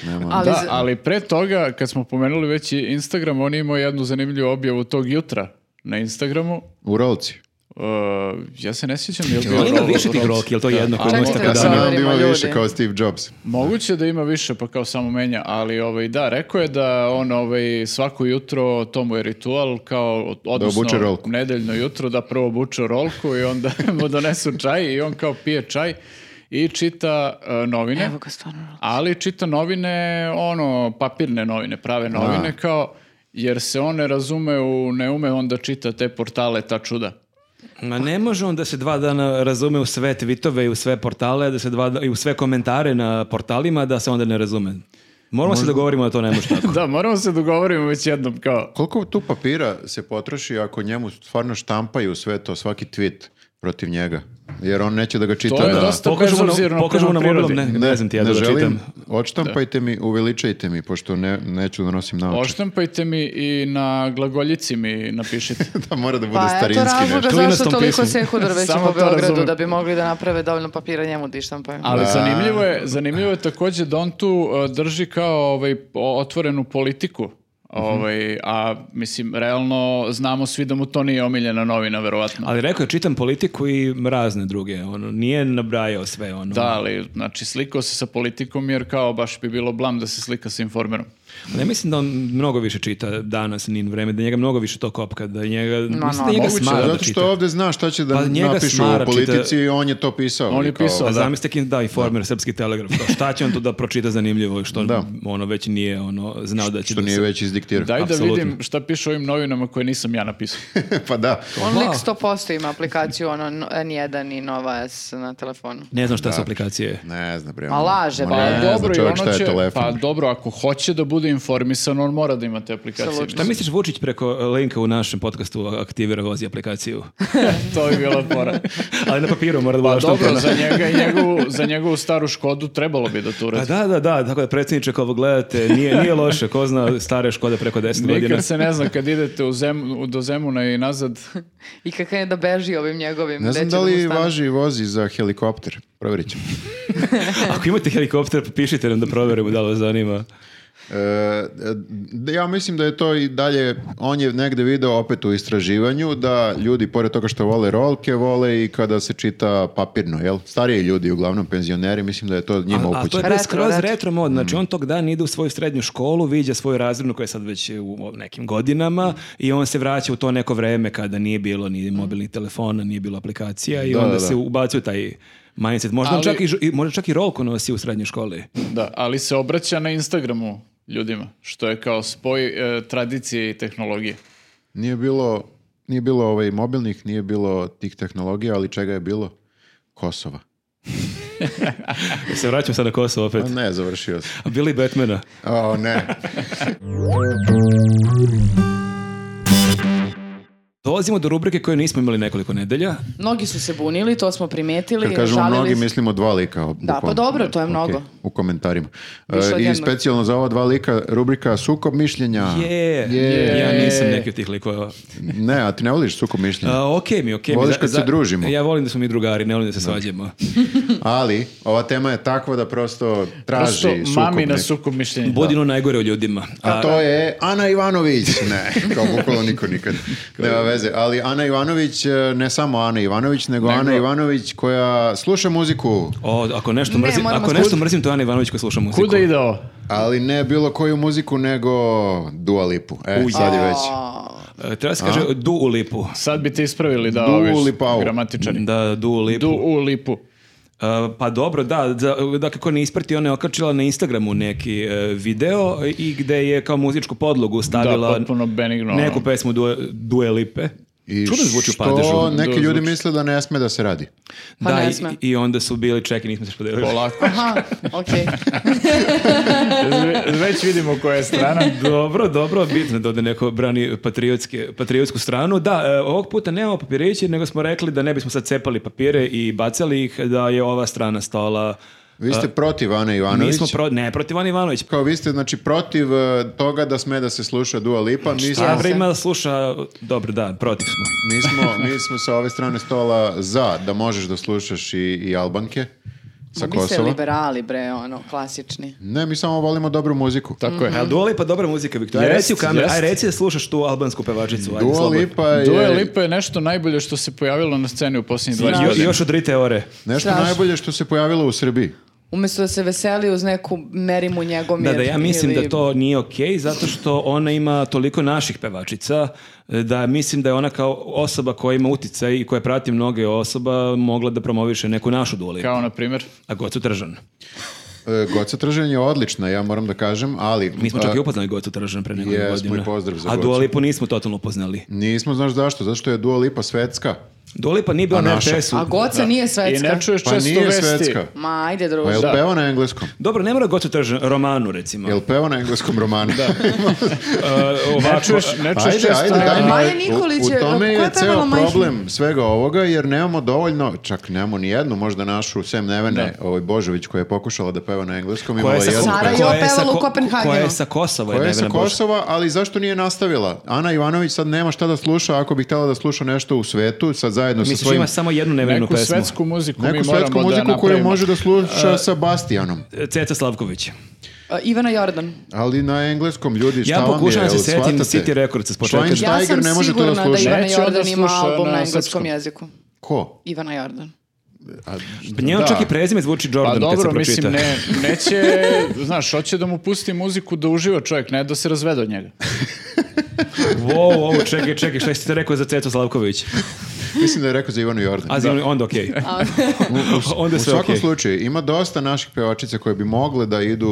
Speaker 4: Nema.
Speaker 3: Ali
Speaker 1: Da,
Speaker 3: za-
Speaker 1: ali pre toga, kad smo pomenuli već i Instagram, on je imao jednu zanimljivu objavu tog jutra na Instagramu.
Speaker 4: U rolci.
Speaker 1: Uh, ja se ne sjećam, je li bio
Speaker 2: On ima
Speaker 1: rol-
Speaker 2: više tih
Speaker 1: rol-
Speaker 2: roki, jel to jedno koje
Speaker 3: Čekajte,
Speaker 2: nosi tako
Speaker 4: Ja sam
Speaker 3: Da,
Speaker 2: dalje?
Speaker 4: nadam da ima
Speaker 3: ljudi.
Speaker 4: više kao Steve Jobs.
Speaker 1: Moguće da ima više, pa kao samo menja, ali ovaj, da, rekao je da on ovaj, svako jutro, to mu je ritual, kao, odnosno,
Speaker 4: obuče rolku.
Speaker 1: nedeljno jutro, da prvo obuče rolku i onda [LAUGHS] mu donesu čaj i on kao pije čaj i čita eh, novine.
Speaker 3: Evo ga stvarno.
Speaker 1: Ali čita novine, ono, papirne novine, prave novine, kao, jer se on ne razume u, ne ume onda čita te portale, ta čuda. [LAUGHS]
Speaker 2: Ma ne može on da se dva dana razume u sve tweetove i u sve portale, da se dva da- i u sve komentare na portalima, da se onda ne razume. Moramo se dogovorimo da to ne
Speaker 1: [LAUGHS]
Speaker 2: može tako.
Speaker 1: Da, moramo se dogovorimo već jednom, kao,
Speaker 4: Koliko tu papira se potroši ako njemu stvarno štampaju sve to, svaki tweet protiv njega? Jer on neće da ga čita.
Speaker 1: To je
Speaker 4: na-
Speaker 1: dosta
Speaker 2: Pokažemo na,
Speaker 1: bezobzirno
Speaker 2: pokažemo na
Speaker 1: prema
Speaker 2: mobilom, ne,
Speaker 1: prirodi.
Speaker 2: ne, znam ti ja da ga
Speaker 4: želim.
Speaker 2: čitam.
Speaker 4: Odštampajte mi, uveličajte mi, pošto ne, neću da nosim naoče.
Speaker 1: oštampajte mi i na glagoljici mi napišite.
Speaker 4: [LAUGHS] da mora da bude
Speaker 3: Pa eto
Speaker 4: starinski
Speaker 3: razloga
Speaker 4: nešto.
Speaker 2: Klinac
Speaker 3: zašto
Speaker 2: tom
Speaker 3: toliko
Speaker 2: pismu.
Speaker 3: seku drveća
Speaker 1: Samo
Speaker 3: po
Speaker 1: to
Speaker 3: Beogradu
Speaker 1: razumem.
Speaker 3: da bi mogli da naprave dovoljno papira njemu da ištampaju.
Speaker 1: Ali zanimljivo je, zanimljivo je takođe da on tu e, drži kao ovaj, o- otvorenu politiku.
Speaker 4: Mhm.
Speaker 1: Ovaj, a mislim, realno znamo svi da mu to nije omiljena novina, verovatno.
Speaker 2: Ali rekao je, čitam politiku i razne druge. Ono, nije nabrajao sve. Ono.
Speaker 1: Da, ali znači slikao se sa politikom jer kao baš bi bilo blam da se slika sa informerom.
Speaker 2: Ne mislim da on mnogo više čita danas, ni vreme, da njega mnogo više to kopka, da njega, mislim da
Speaker 3: no,
Speaker 2: njega
Speaker 1: moguće,
Speaker 2: smara da
Speaker 4: Zato
Speaker 2: čita.
Speaker 4: što ovdje zna šta će da
Speaker 2: Pa njega
Speaker 4: napišu
Speaker 2: smara
Speaker 4: u
Speaker 2: čita-
Speaker 4: politici i on je to pisao.
Speaker 1: On je
Speaker 4: I kao-
Speaker 1: pisao.
Speaker 2: Pa
Speaker 1: Da.
Speaker 2: zamislite kim da informer, srpski telegraf. kao Šta će on tu da pročita zanimljivo i što ono već nije ono znao da će
Speaker 4: Što
Speaker 2: da
Speaker 4: nije
Speaker 2: se-
Speaker 4: već izdiktirao.
Speaker 1: Daj
Speaker 2: Apsolutno.
Speaker 1: da vidim šta piše u ovim novinama koje nisam ja napisao.
Speaker 4: [LAUGHS] pa da.
Speaker 3: On lik
Speaker 2: Wow.
Speaker 3: 100% ima aplikaciju, ono no- N1 i Nova S na telefonu.
Speaker 2: Ne znam šta su aplikacije.
Speaker 4: Ne znam, bre. ono.
Speaker 3: Ma laže,
Speaker 4: ma
Speaker 3: pa
Speaker 4: ne zna
Speaker 1: i
Speaker 4: čovjek
Speaker 1: ono
Speaker 4: šta je
Speaker 1: će-
Speaker 4: telefon.
Speaker 1: pa dobro, ako hoće da bude informisan, on mora da ima te aplikacije.
Speaker 3: Apsolutno.
Speaker 2: Šta misliš Vučić preko eh, linka u našem podcastu aktivira vozi [LAUGHS] aplikaciju?
Speaker 1: mislim. [LAUGHS] to bi bila
Speaker 4: [LAUGHS]
Speaker 1: fora.
Speaker 2: Ali na papiru mora da bude
Speaker 1: Pa dobro,
Speaker 2: odštampana.
Speaker 1: za njega i njegovu, za njegovu staru Škodu trebalo bi da to
Speaker 2: Pa
Speaker 1: uradi.
Speaker 2: da, da, da, tako da predsjedniče, ako ovo gledate, nije, nije loše, ko zna stare Škode preko 10 godina.
Speaker 1: Nikad se ne zna kad idete u zem, do Zemuna i nazad.
Speaker 3: I kako je da beži ovim njegovim.
Speaker 4: Ne znam
Speaker 3: gde će
Speaker 4: da
Speaker 3: mu
Speaker 4: li
Speaker 3: stane.
Speaker 4: važi i vozi za helikopter. Provjerit ćemo.
Speaker 2: Ako imate helikopter, pišite nam da proverimo da li vas zanima.
Speaker 4: E, d- ja mislim da je to i dalje, on je negde video opet u istraživanju da ljudi, pored toga što vole rolke, vole i kada se čita papirno, jel? Stariji ljudi, uglavnom penzioneri, mislim da je to njima
Speaker 2: A, a to
Speaker 4: upućeno.
Speaker 2: je bio
Speaker 3: Retro,
Speaker 2: skroz
Speaker 3: retro.
Speaker 2: retro mod. Znači,
Speaker 4: Mm.
Speaker 2: on tog dana ide u svoju srednju školu, viđa svoju razrednu koja je sad već u nekim
Speaker 4: Mm.
Speaker 2: godinama i on se vraća u to neko vreme kada nije bilo ni mobilnih telefona, nije bilo aplikacija i
Speaker 4: Da,
Speaker 2: onda
Speaker 4: da, da.
Speaker 2: se ubacio taj mindset. Možda, on
Speaker 1: Ali-
Speaker 2: čak, i, ž- i- možda čak i rolku nosi u srednjoj
Speaker 4: [LAUGHS]
Speaker 2: školi.
Speaker 1: Da, ali se obraća na Instagramu ljudima, što je kao spoj e, tradicije i tehnologije.
Speaker 4: Nije bilo, nije bilo ovaj mobilnih, nije bilo tih tehnologija, ali čega je bilo? Kosova.
Speaker 2: Se vraćam sad na Kosovo opet.
Speaker 4: A ne, završio sam.
Speaker 2: A Billy Batmana.
Speaker 4: O, [LAUGHS] ne.
Speaker 2: Dolazimo do rubrike koju nismo imali nekoliko nedelja.
Speaker 3: Mnogi su se bunili, to smo primetili.
Speaker 4: Kad kažemo
Speaker 3: žalili
Speaker 4: mnogi,
Speaker 3: su-
Speaker 4: mislimo dva lika. bukvalno.
Speaker 3: pa dobro, to je
Speaker 4: Ok,
Speaker 3: mnogo.
Speaker 4: u komentarima.
Speaker 3: Više od
Speaker 4: E, I
Speaker 3: jednog.
Speaker 4: specijalno za ova dva lika rubrika sukob mišljenja.
Speaker 2: Je,
Speaker 4: Je.
Speaker 2: ja nisam neki od tih likova.
Speaker 4: Ne, a ti ne voliš sukob mišljenja.
Speaker 2: A, okej mi, okej mi.
Speaker 4: Voliš
Speaker 2: Za-
Speaker 4: kad se
Speaker 2: za-
Speaker 4: družimo.
Speaker 2: Ja volim da smo mi drugari, ne volim da se svađamo.
Speaker 4: Ali, ova tema je takva da prosto traži
Speaker 1: Prosto
Speaker 4: sukob.
Speaker 1: mami na
Speaker 4: neki.
Speaker 1: sukob mišljenja.
Speaker 2: Budino najgore o ljudima.
Speaker 4: A to je Ana Ivanović. [LAUGHS] Ne, kao bukvalo niko nikad. Nema veze. Ali Ana Ivanović, e, ne samo Ana Ivanović, nego, Ana Ivanović koja sluša muziku,
Speaker 2: O, ako nešto
Speaker 3: Ne,
Speaker 2: mrzim,
Speaker 3: moramo
Speaker 2: ako nešto mrzim, to je Ana Ivanović koja sluša muziku.
Speaker 1: Kuda ide ovo?
Speaker 4: ali ne bilo koju muziku, nego Dua Lipu. E, sad je već.
Speaker 2: E, Treba se kaže du u lipu.
Speaker 1: Sad bi te ispravili da
Speaker 4: Du
Speaker 1: ovi su
Speaker 4: lipau.
Speaker 1: gramatičari.
Speaker 2: Da, du u lipu.
Speaker 1: Du u lipu.
Speaker 2: E, pa dobro, da, da, da kako ne isprati, ona je okačila na Instagramu neki e, video i gde je kao muzičku podlogu stavila
Speaker 1: Da, potpuno benigno. ono.
Speaker 2: neku pesmu Due, Due Lipe.
Speaker 4: I
Speaker 2: Čudno zvuči u
Speaker 4: što
Speaker 2: padežu.
Speaker 4: neki
Speaker 1: Da,
Speaker 4: ljudi
Speaker 1: zvuči.
Speaker 4: misle da ne sme da se radi.
Speaker 3: Pa
Speaker 2: da,
Speaker 3: ne
Speaker 2: i-
Speaker 3: sme.
Speaker 2: i, onda su bili čeki, nismo se podelili.
Speaker 1: Polako.
Speaker 3: Aha, okej.
Speaker 1: Ve- Već vidimo koja je strana.
Speaker 2: Dobro, dobro, bitno da ovde neko brani patriotske, patriotsku stranu. Da, e, ovog puta nemamo papirići, nego smo rekli da ne bismo sad cepali papire i bacali ih, da je ova strana stala.
Speaker 4: Vi ste protiv Ana
Speaker 2: Mi
Speaker 4: Ivanović.
Speaker 2: smo pro... Ne, protiv Ana Ivanović.
Speaker 4: Kao vi ste, znači, protiv e, toga da sme da se sluša Dua Lipa. Mi smo,
Speaker 2: A bre, ima da sluša... Dobro, da, protiv smo.
Speaker 4: mi, smo, mi smo sa ove strane stola za da možeš da slušaš i, i Albanke sa
Speaker 3: Vi ste
Speaker 4: Kosova.
Speaker 3: liberali, bre, ono, klasični.
Speaker 4: Ne, mi samo volimo dobru muziku.
Speaker 1: Tako je.
Speaker 2: A Dua Lipa dobra muzika, Viktor. Aj
Speaker 1: Jest,
Speaker 2: reci u kameru,
Speaker 1: jest.
Speaker 2: aj reci da slušaš tu albansku pevačicu. Ajde,
Speaker 4: Dua
Speaker 2: slobodno.
Speaker 4: Lipa Pa je
Speaker 1: Dua Lipa je nešto najbolje što se pojavilo na sceni u posljednjih 20
Speaker 2: Jo,
Speaker 1: godina.
Speaker 2: još od Rite Ore.
Speaker 4: nešto
Speaker 3: Strašno.
Speaker 4: najbolje što se pojavilo u Srbiji.
Speaker 3: Umesto da se veseli uz neku merimu njegomir.
Speaker 2: Da, da, ja mislim
Speaker 3: ili-
Speaker 2: da to nije okej, zato što ona ima toliko naših pevačica, e, da mislim da je ona kao osoba koja ima uticaj i koja prati mnoge osoba, mogla da promoviše neku našu duoli.
Speaker 1: Kao, na primjer,
Speaker 2: A Gocu Tržan.
Speaker 4: E, Goca Tržan je odlična, ja moram da kažem, ali...
Speaker 2: Mi smo čak
Speaker 4: e,
Speaker 2: i upoznali Gocu Tržan pre nekoliko
Speaker 4: jesmo
Speaker 2: godina.
Speaker 4: i pozdrav za
Speaker 2: A
Speaker 4: Gocu.
Speaker 2: Dua Lipu nismo totalno upoznali.
Speaker 4: Nismo, znaš zašto, zato što je Dua Lipa svetska.
Speaker 2: Dua Lipa nije bila
Speaker 4: A
Speaker 2: na
Speaker 4: naša?
Speaker 2: RTS-u.
Speaker 3: A Goca nije
Speaker 1: I
Speaker 3: svetska.
Speaker 1: ne čuješ
Speaker 4: Pa
Speaker 1: često
Speaker 4: nije
Speaker 1: vesti.
Speaker 4: svetska.
Speaker 3: Ma, ajde,
Speaker 4: Pa
Speaker 3: druže.
Speaker 4: jel
Speaker 1: Da.
Speaker 4: peva na engleskom?
Speaker 2: Dobro, ne mora Gocu Tržan, romanu recimo.
Speaker 4: Jel peva na engleskom romanu? Da.
Speaker 2: E,
Speaker 1: Ne
Speaker 2: ovako,
Speaker 1: čuješ, ne čuješ
Speaker 4: Ajde,
Speaker 1: često
Speaker 4: ajde,
Speaker 1: vesti.
Speaker 4: daj mi-
Speaker 3: Maja Nikolić
Speaker 4: u, u
Speaker 3: je-
Speaker 4: tome
Speaker 3: koja
Speaker 4: je
Speaker 3: je pevala
Speaker 4: ceo
Speaker 3: Majfin?
Speaker 4: problem svega ovoga, jer nemamo dovoljno, čak nemamo ni jednu, možda našu, sem Nevene, ovaj Božović koja je pokušala da peva na engleskom,
Speaker 2: koja
Speaker 4: imala
Speaker 2: je sa,
Speaker 4: jednu
Speaker 3: Sara
Speaker 4: pesmu.
Speaker 3: je
Speaker 2: koja je sa,
Speaker 3: opevala u
Speaker 2: Ko-
Speaker 3: Kopenhagenu.
Speaker 2: koja je sa Kosova.
Speaker 4: Koja je sa
Speaker 2: Nevena Božić.
Speaker 4: Kosova, ali zašto nije nastavila? Ana Ivanović sad nema šta da sluša, ako bi htjela da sluša nešto u svetu, sad zajedno sa
Speaker 2: Misliš,
Speaker 4: svojim...
Speaker 2: ima samo jednu nevrenu
Speaker 1: Neku
Speaker 2: pesmu.
Speaker 1: svetsku muziku mi
Speaker 4: Neku
Speaker 1: moramo
Speaker 4: svetsku
Speaker 1: da
Speaker 4: muziku koju
Speaker 1: napravimo.
Speaker 4: može da sluša sa Bastijanom.
Speaker 2: Ceca Slavković.
Speaker 3: E, Ivana Jordan.
Speaker 4: Ali na engleskom, ljudi, šta
Speaker 2: Ja
Speaker 4: vam je?
Speaker 2: pokušavam da se
Speaker 4: jel
Speaker 2: setim
Speaker 4: shvatate?
Speaker 2: City Records s početka.
Speaker 4: Schweinsteiger
Speaker 3: Ja sam
Speaker 4: ne može to da
Speaker 3: sigurna da,
Speaker 4: sluša.
Speaker 3: Ivana
Speaker 1: Neće onda
Speaker 3: Jordan ima
Speaker 1: sluša
Speaker 3: album
Speaker 1: na
Speaker 3: na engleskom
Speaker 1: srpskom.
Speaker 3: jeziku.
Speaker 4: Ko?
Speaker 3: Ivana Jordan.
Speaker 4: A,
Speaker 2: Njeno
Speaker 4: da.
Speaker 2: čak i prezime zvuči Jordan
Speaker 1: Pa
Speaker 2: kad se
Speaker 1: dobro,
Speaker 2: pročita.
Speaker 1: mislim, ne, neće, znaš, hoće da mu pusti muziku da uživa čovjek, ne da se razvede od njega.
Speaker 2: [LAUGHS] Wow, wow, čekaj, čekaj, šta ste rekao za Cecu Slavković?
Speaker 4: Mislim da je rekao za Ivanu Jordan.
Speaker 2: A zimno, onda okej.
Speaker 3: [LAUGHS]
Speaker 2: onda
Speaker 4: [LAUGHS] U
Speaker 2: sve
Speaker 4: svakom
Speaker 2: okej.
Speaker 4: slučaju, ima dosta naših pevačica koje bi mogle da idu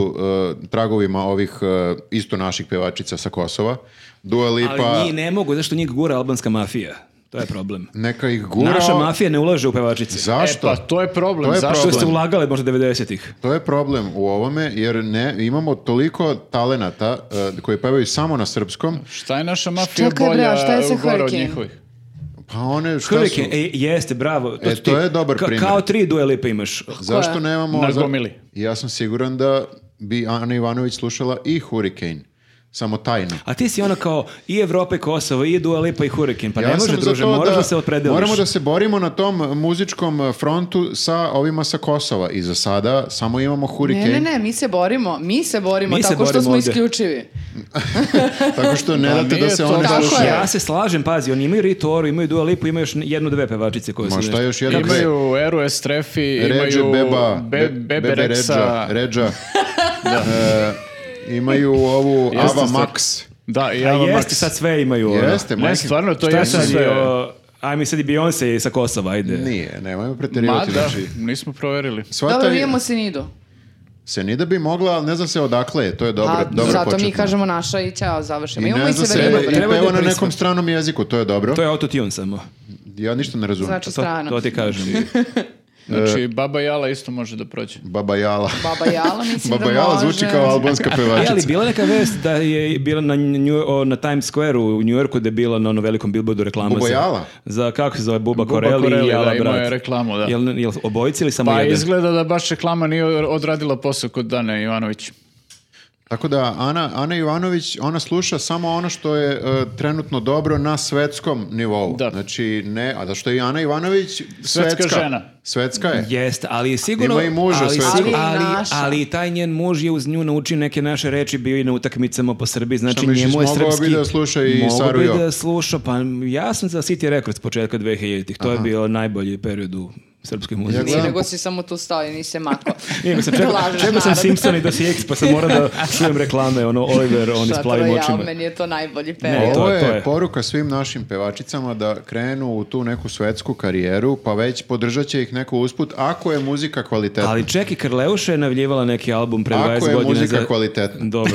Speaker 4: uh, tragovima ovih uh, isto naših pevačica sa Kosova. Dua
Speaker 2: Ali
Speaker 4: Lipa,
Speaker 2: njih ne mogu, zašto njih gura albanska mafija. To je problem.
Speaker 4: neka ih gura.
Speaker 2: Naša mafija ne ulaže u pevačice.
Speaker 4: Zašto?
Speaker 1: E pa, to je problem.
Speaker 4: To je
Speaker 1: Zašto
Speaker 2: Što
Speaker 4: problem.
Speaker 2: ste ulagali možda 90-ih?
Speaker 4: To je problem u ovome, jer ne, imamo toliko talenata uh, koji pevaju samo na srpskom,
Speaker 1: Šta je naša mafija
Speaker 3: Čekaj, bre,
Speaker 1: bolja
Speaker 3: a šta je sa
Speaker 1: gore od
Speaker 3: Hurricane?
Speaker 1: njihovih?
Speaker 4: pa one šta su...
Speaker 2: Hurricane, e, jeste, bravo.
Speaker 4: E,
Speaker 2: su
Speaker 4: to
Speaker 2: ti-
Speaker 4: je dobar primjer.
Speaker 2: Kao tri Dua Lipa imaš.
Speaker 4: Zašto
Speaker 3: Koja?
Speaker 4: nemamo...
Speaker 1: Na gomili.
Speaker 4: Ja sam siguran da bi Ana Ivanović slušala i Hurricane. samo tajno.
Speaker 2: A ti si ono kao i Evropa i Kosovo, i Dua Lipa i Hurricane. Pa
Speaker 4: Ja
Speaker 2: ne
Speaker 4: sam
Speaker 2: može,
Speaker 4: za
Speaker 2: druže,
Speaker 4: to
Speaker 2: moraš da, se opredeliš.
Speaker 4: Moramo da se borimo na tom muzičkom eh, frontu sa ovima sa Kosova. I za sada samo imamo Hurricane,
Speaker 3: Ne, ne, ne, mi se borimo, mi se borimo
Speaker 2: Mi se
Speaker 3: tako što
Speaker 2: borimo
Speaker 3: smo
Speaker 2: ovde.
Speaker 3: isključivi.
Speaker 4: tako što ne
Speaker 1: Pa
Speaker 4: date da
Speaker 1: nije
Speaker 4: se
Speaker 1: to
Speaker 4: one
Speaker 3: tako
Speaker 4: slušaju.
Speaker 3: je.
Speaker 2: Ja se slažem, pazi, oni imaju Ritoru, imaju Dua Lipu, imaju još jednu dve pevačice koje su
Speaker 4: Ma šta
Speaker 2: nešto-
Speaker 4: još jedan bre?
Speaker 1: Imaju Eru Estrefi,
Speaker 4: Ređe,
Speaker 1: imaju
Speaker 4: Beba,
Speaker 1: Be-
Speaker 4: Be-
Speaker 1: Bebe
Speaker 4: Bebe
Speaker 1: Rexha.
Speaker 4: Ređa, Ređa. E, imaju ovu
Speaker 1: Jeste
Speaker 4: Ava
Speaker 1: sve.
Speaker 4: Max.
Speaker 1: Da, i
Speaker 2: A
Speaker 1: Ava
Speaker 2: jeste,
Speaker 1: Max.
Speaker 2: sad sve imaju. ono.
Speaker 4: Jeste,
Speaker 1: Ne,
Speaker 4: majke-
Speaker 1: stvarno, to
Speaker 2: Šta
Speaker 1: jesu
Speaker 2: sad
Speaker 1: sve.
Speaker 2: je, o, ajme sad i Beyoncé sa Kosova, ajde.
Speaker 4: Nije, nemojmo
Speaker 1: Ma
Speaker 4: preterivati.
Speaker 1: da,
Speaker 4: Znači,
Speaker 1: nismo proverili.
Speaker 3: Dobro,
Speaker 4: shvataju-
Speaker 3: vidimo se nidu.
Speaker 4: se ni da bi mogla, ali ne znam se odakle je, to je dobro,
Speaker 3: A,
Speaker 4: dobro
Speaker 3: zato mi
Speaker 4: početno.
Speaker 3: kažemo naša i ćao,
Speaker 4: I
Speaker 3: završimo. Imamo
Speaker 4: ne
Speaker 3: i
Speaker 4: znam se,
Speaker 3: Severinu,
Speaker 4: i
Speaker 3: bre.
Speaker 2: Treba da
Speaker 4: peva na
Speaker 2: prispa-
Speaker 4: nekom stranom jeziku, to je dobro.
Speaker 2: To je autotune samo.
Speaker 4: Ja ništa ne razumem.
Speaker 3: Znači
Speaker 2: To,
Speaker 3: strano.
Speaker 2: to ti kažem.
Speaker 1: Znači, Baba Jala isto može da prođe.
Speaker 4: Baba Jala.
Speaker 3: Baba Jala
Speaker 4: [LAUGHS]
Speaker 3: mislim da
Speaker 4: Baba
Speaker 3: može.
Speaker 4: Jala zvuči kao
Speaker 3: [LAUGHS]
Speaker 4: albanska
Speaker 1: Pa
Speaker 2: E, ali
Speaker 4: pevačica.
Speaker 2: bila je neka vest da je bila na, New, o, na Times Square u New Yorku da je bila na onom velikom billboardu reklama. za-
Speaker 4: Bubajala?
Speaker 2: Za, kako se zove, Buba,
Speaker 1: Buba
Speaker 2: Koreli,
Speaker 1: Koreli,
Speaker 2: i Jala
Speaker 1: da, imao
Speaker 2: Brat.
Speaker 1: je reklamu, da.
Speaker 2: Jel, jel obojici ili samo
Speaker 1: Pa
Speaker 2: jedan?
Speaker 1: izgleda da baš reklama nije odradila posao kod Dane Ivanović.
Speaker 4: Tako da, Ana, Ana Ivanović, ona sluša samo ono što je e, trenutno dobro na svetskom nivou.
Speaker 1: Da.
Speaker 4: Znači, ne, a da što je i Ana Ivanović svetska.
Speaker 1: žena.
Speaker 4: Svetska je.
Speaker 2: Jeste, ali sigurno...
Speaker 4: Ima i muža
Speaker 2: ali,
Speaker 4: sve.
Speaker 2: sigurno-
Speaker 3: Ali
Speaker 2: ali,
Speaker 3: i naša.
Speaker 2: ali i taj njen muž je uz nju naučio neke naše reči, bio i na utakmicama po Srbiji, znači
Speaker 4: Šta misliš,
Speaker 2: njemu je
Speaker 4: mogao bi
Speaker 2: srpski...
Speaker 4: da sluša i
Speaker 2: Mogao
Speaker 4: Saru Jo?
Speaker 2: bi da sluša, pa ja sam za City Records početka 2000-ih, to je bio najbolji period u srpskoj muzici.
Speaker 3: Nije,
Speaker 4: Gledam
Speaker 3: nego si samo tu stao i nisi se
Speaker 4: [LAUGHS]
Speaker 3: makao.
Speaker 2: Nije, nego sam čekao,
Speaker 3: Lažeš
Speaker 2: čekao sam
Speaker 3: narod.
Speaker 2: Simpson i Dosijeks, pa sam morao da čujem reklame, ono, Oliver, on s
Speaker 3: Šatora
Speaker 2: plavim
Speaker 3: jao,
Speaker 2: očima.
Speaker 3: Meni je to najbolji
Speaker 2: Ne,
Speaker 3: period.
Speaker 2: to
Speaker 4: Ovo
Speaker 2: je-
Speaker 4: je,
Speaker 2: to je.
Speaker 4: poruka svim našim pevačicama da krenu u tu neku svetsku karijeru, pa već podržat će ih neko usput, ako je muzika kvalitetna.
Speaker 2: Ali čeki Karleuša je navljivala neki album pre 20
Speaker 4: Ako je
Speaker 2: godina.
Speaker 4: muzika
Speaker 2: za-
Speaker 4: kvalitetna.
Speaker 2: Dobro.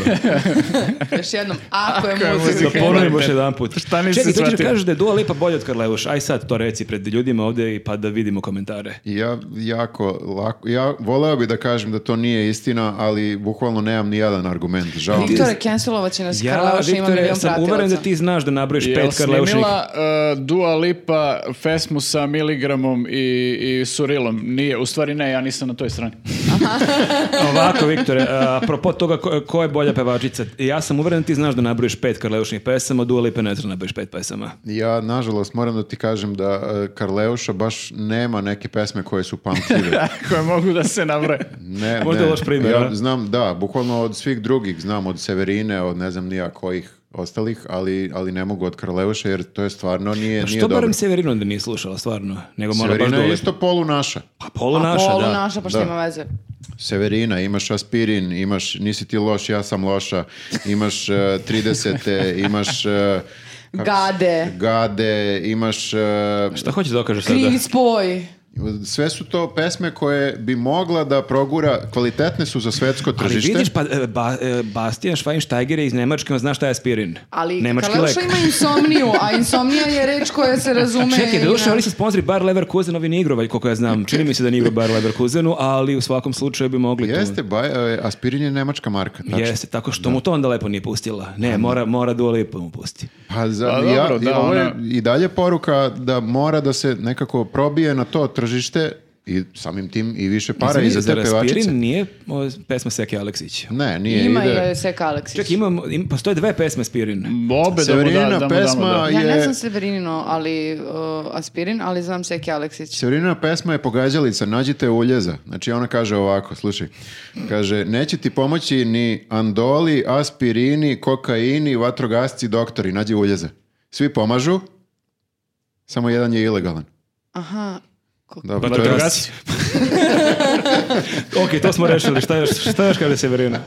Speaker 3: Još jednom, ako je
Speaker 2: da
Speaker 3: muzika.
Speaker 2: ponovim još jedan put.
Speaker 1: Šta nisi
Speaker 2: Čekaj, ti ćeš
Speaker 1: shvatio?
Speaker 2: kažeš da je Dua Lipa bolja od Karleuša. Aj sad to reci pred ljudima ovdje i pa da vidimo komentare.
Speaker 4: Ja jako lako, ja voleo bi da kažem da to nije istina, ali bukvalno nemam ni jedan argument, žao. mi je.
Speaker 3: Viktore, cancelovat će nas
Speaker 2: Ja,
Speaker 3: Karleuša, ima
Speaker 2: Viktore,
Speaker 3: milion
Speaker 2: sam
Speaker 3: pratilaca.
Speaker 2: uveren da ti znaš da nabrojiš
Speaker 1: Jel
Speaker 2: pet Karleušnih.
Speaker 1: snimila e, Dua Lipa fesmu sa miligramom i, i surilom? Nije, u stvari ne, ja nisam na toj strani. [LAUGHS]
Speaker 2: Ovako, Viktore, a, apropo toga ko, ko je bolja pevačica, ja sam uveren da ti znaš da nabrojiš pet Karleušnih pesama, Dua Lipa ne zna da nabrojiš pet pesama.
Speaker 4: Ja, nažalost, moram da ti kažem da e, Karleuša baš nema neke pesme koje su
Speaker 2: [LAUGHS]
Speaker 4: pamtljive.
Speaker 1: Koje mogu da se nabroje.
Speaker 4: Ne,
Speaker 2: Možda
Speaker 4: ne.
Speaker 2: loš primjer,
Speaker 4: Ja
Speaker 2: a?
Speaker 4: znam, da, bukvalno od svih drugih znam, od Severine, od ne znam nija kojih ostalih, ali, ali ne mogu od Karleuša jer to je stvarno nije, nije
Speaker 2: Pa Što
Speaker 4: dobro.
Speaker 2: barem Severinu da nije slušala, stvarno? Nego mora baš
Speaker 4: Severina
Speaker 2: Dua
Speaker 4: je
Speaker 2: Lipa.
Speaker 4: isto polu naša.
Speaker 2: Pa polu
Speaker 3: A
Speaker 2: naša,
Speaker 3: polu
Speaker 2: da.
Speaker 3: naša, pa što
Speaker 4: Da.
Speaker 3: ima veze?
Speaker 4: Severina, imaš aspirin, imaš nisi ti loš, ja sam loša, imaš uh, 30, imaš uh,
Speaker 3: Gade,
Speaker 4: gade, imaš... uh,
Speaker 2: Šta hoćeš da dokažeš sada?
Speaker 3: krivi spoj.
Speaker 4: sve su to pesme koje bi mogla da progura, kvalitetne su za svetsko
Speaker 2: Ali
Speaker 4: tržište.
Speaker 2: vidiš, pa, e, ba, e, Bastian Schweinsteiger je iz Nemačke, on zna šta je aspirin.
Speaker 3: Ali
Speaker 2: Nemački
Speaker 3: Karleuša
Speaker 2: lek.
Speaker 3: ima insomniju,
Speaker 2: [LAUGHS]
Speaker 3: a insomnija je reč koja se razume...
Speaker 2: A čekaj,
Speaker 3: i
Speaker 2: da
Speaker 3: na-
Speaker 2: oni su sponzori Bar Leverkusen, ovi ne igrovalj, koliko ja znam. Čini mi se da ne igra Bar Leverkusenu, ali u svakom slučaju bi mogli tu.
Speaker 4: Jeste, ba, e, aspirin je nemačka marka. Tačno.
Speaker 2: Jeste, tako što mu to onda lepo nije pustila. Ne, mora, mora Dua Lipa mu pusti.
Speaker 4: Pa za,
Speaker 1: Pa
Speaker 4: ja,
Speaker 1: dobro, da,
Speaker 4: i ovo je
Speaker 1: ona-
Speaker 4: i dalje poruka da mora da se nekako probije na to tržište i samim tim i više para
Speaker 2: Izvini,
Speaker 4: i za te
Speaker 2: zar aspirin
Speaker 4: pevačice.
Speaker 2: nije o, pesma Seke Aleksić.
Speaker 4: Ne, nije.
Speaker 3: Ima
Speaker 4: ide-
Speaker 3: je Seka Aleksić.
Speaker 2: Čekaj, imam, im, postoje dve pesme
Speaker 4: [LAUGHS]
Speaker 2: aspirin.
Speaker 1: Obe da mu da,
Speaker 4: Severina
Speaker 1: da mu
Speaker 4: pesma
Speaker 1: damo, da.
Speaker 3: Ja ne
Speaker 4: je-
Speaker 3: znam Severinino, ali uh, aspirin, ali znam Seki Aleksić.
Speaker 4: Severina pesma je pogađalica, nađite uljeza. Znači ona kaže ovako, slušaj, kaže, neće ti pomoći ni andoli, aspirini, kokaini, vatrogasci, doktori, nađi uljeza. Svi pomažu, samo jedan je ilegalan.
Speaker 3: Aha, ko-
Speaker 1: Pa
Speaker 4: Dobro, Pa to je-
Speaker 1: Vatrogasci.
Speaker 2: ok, to smo rešili. Šta još, šta još kaže Severina?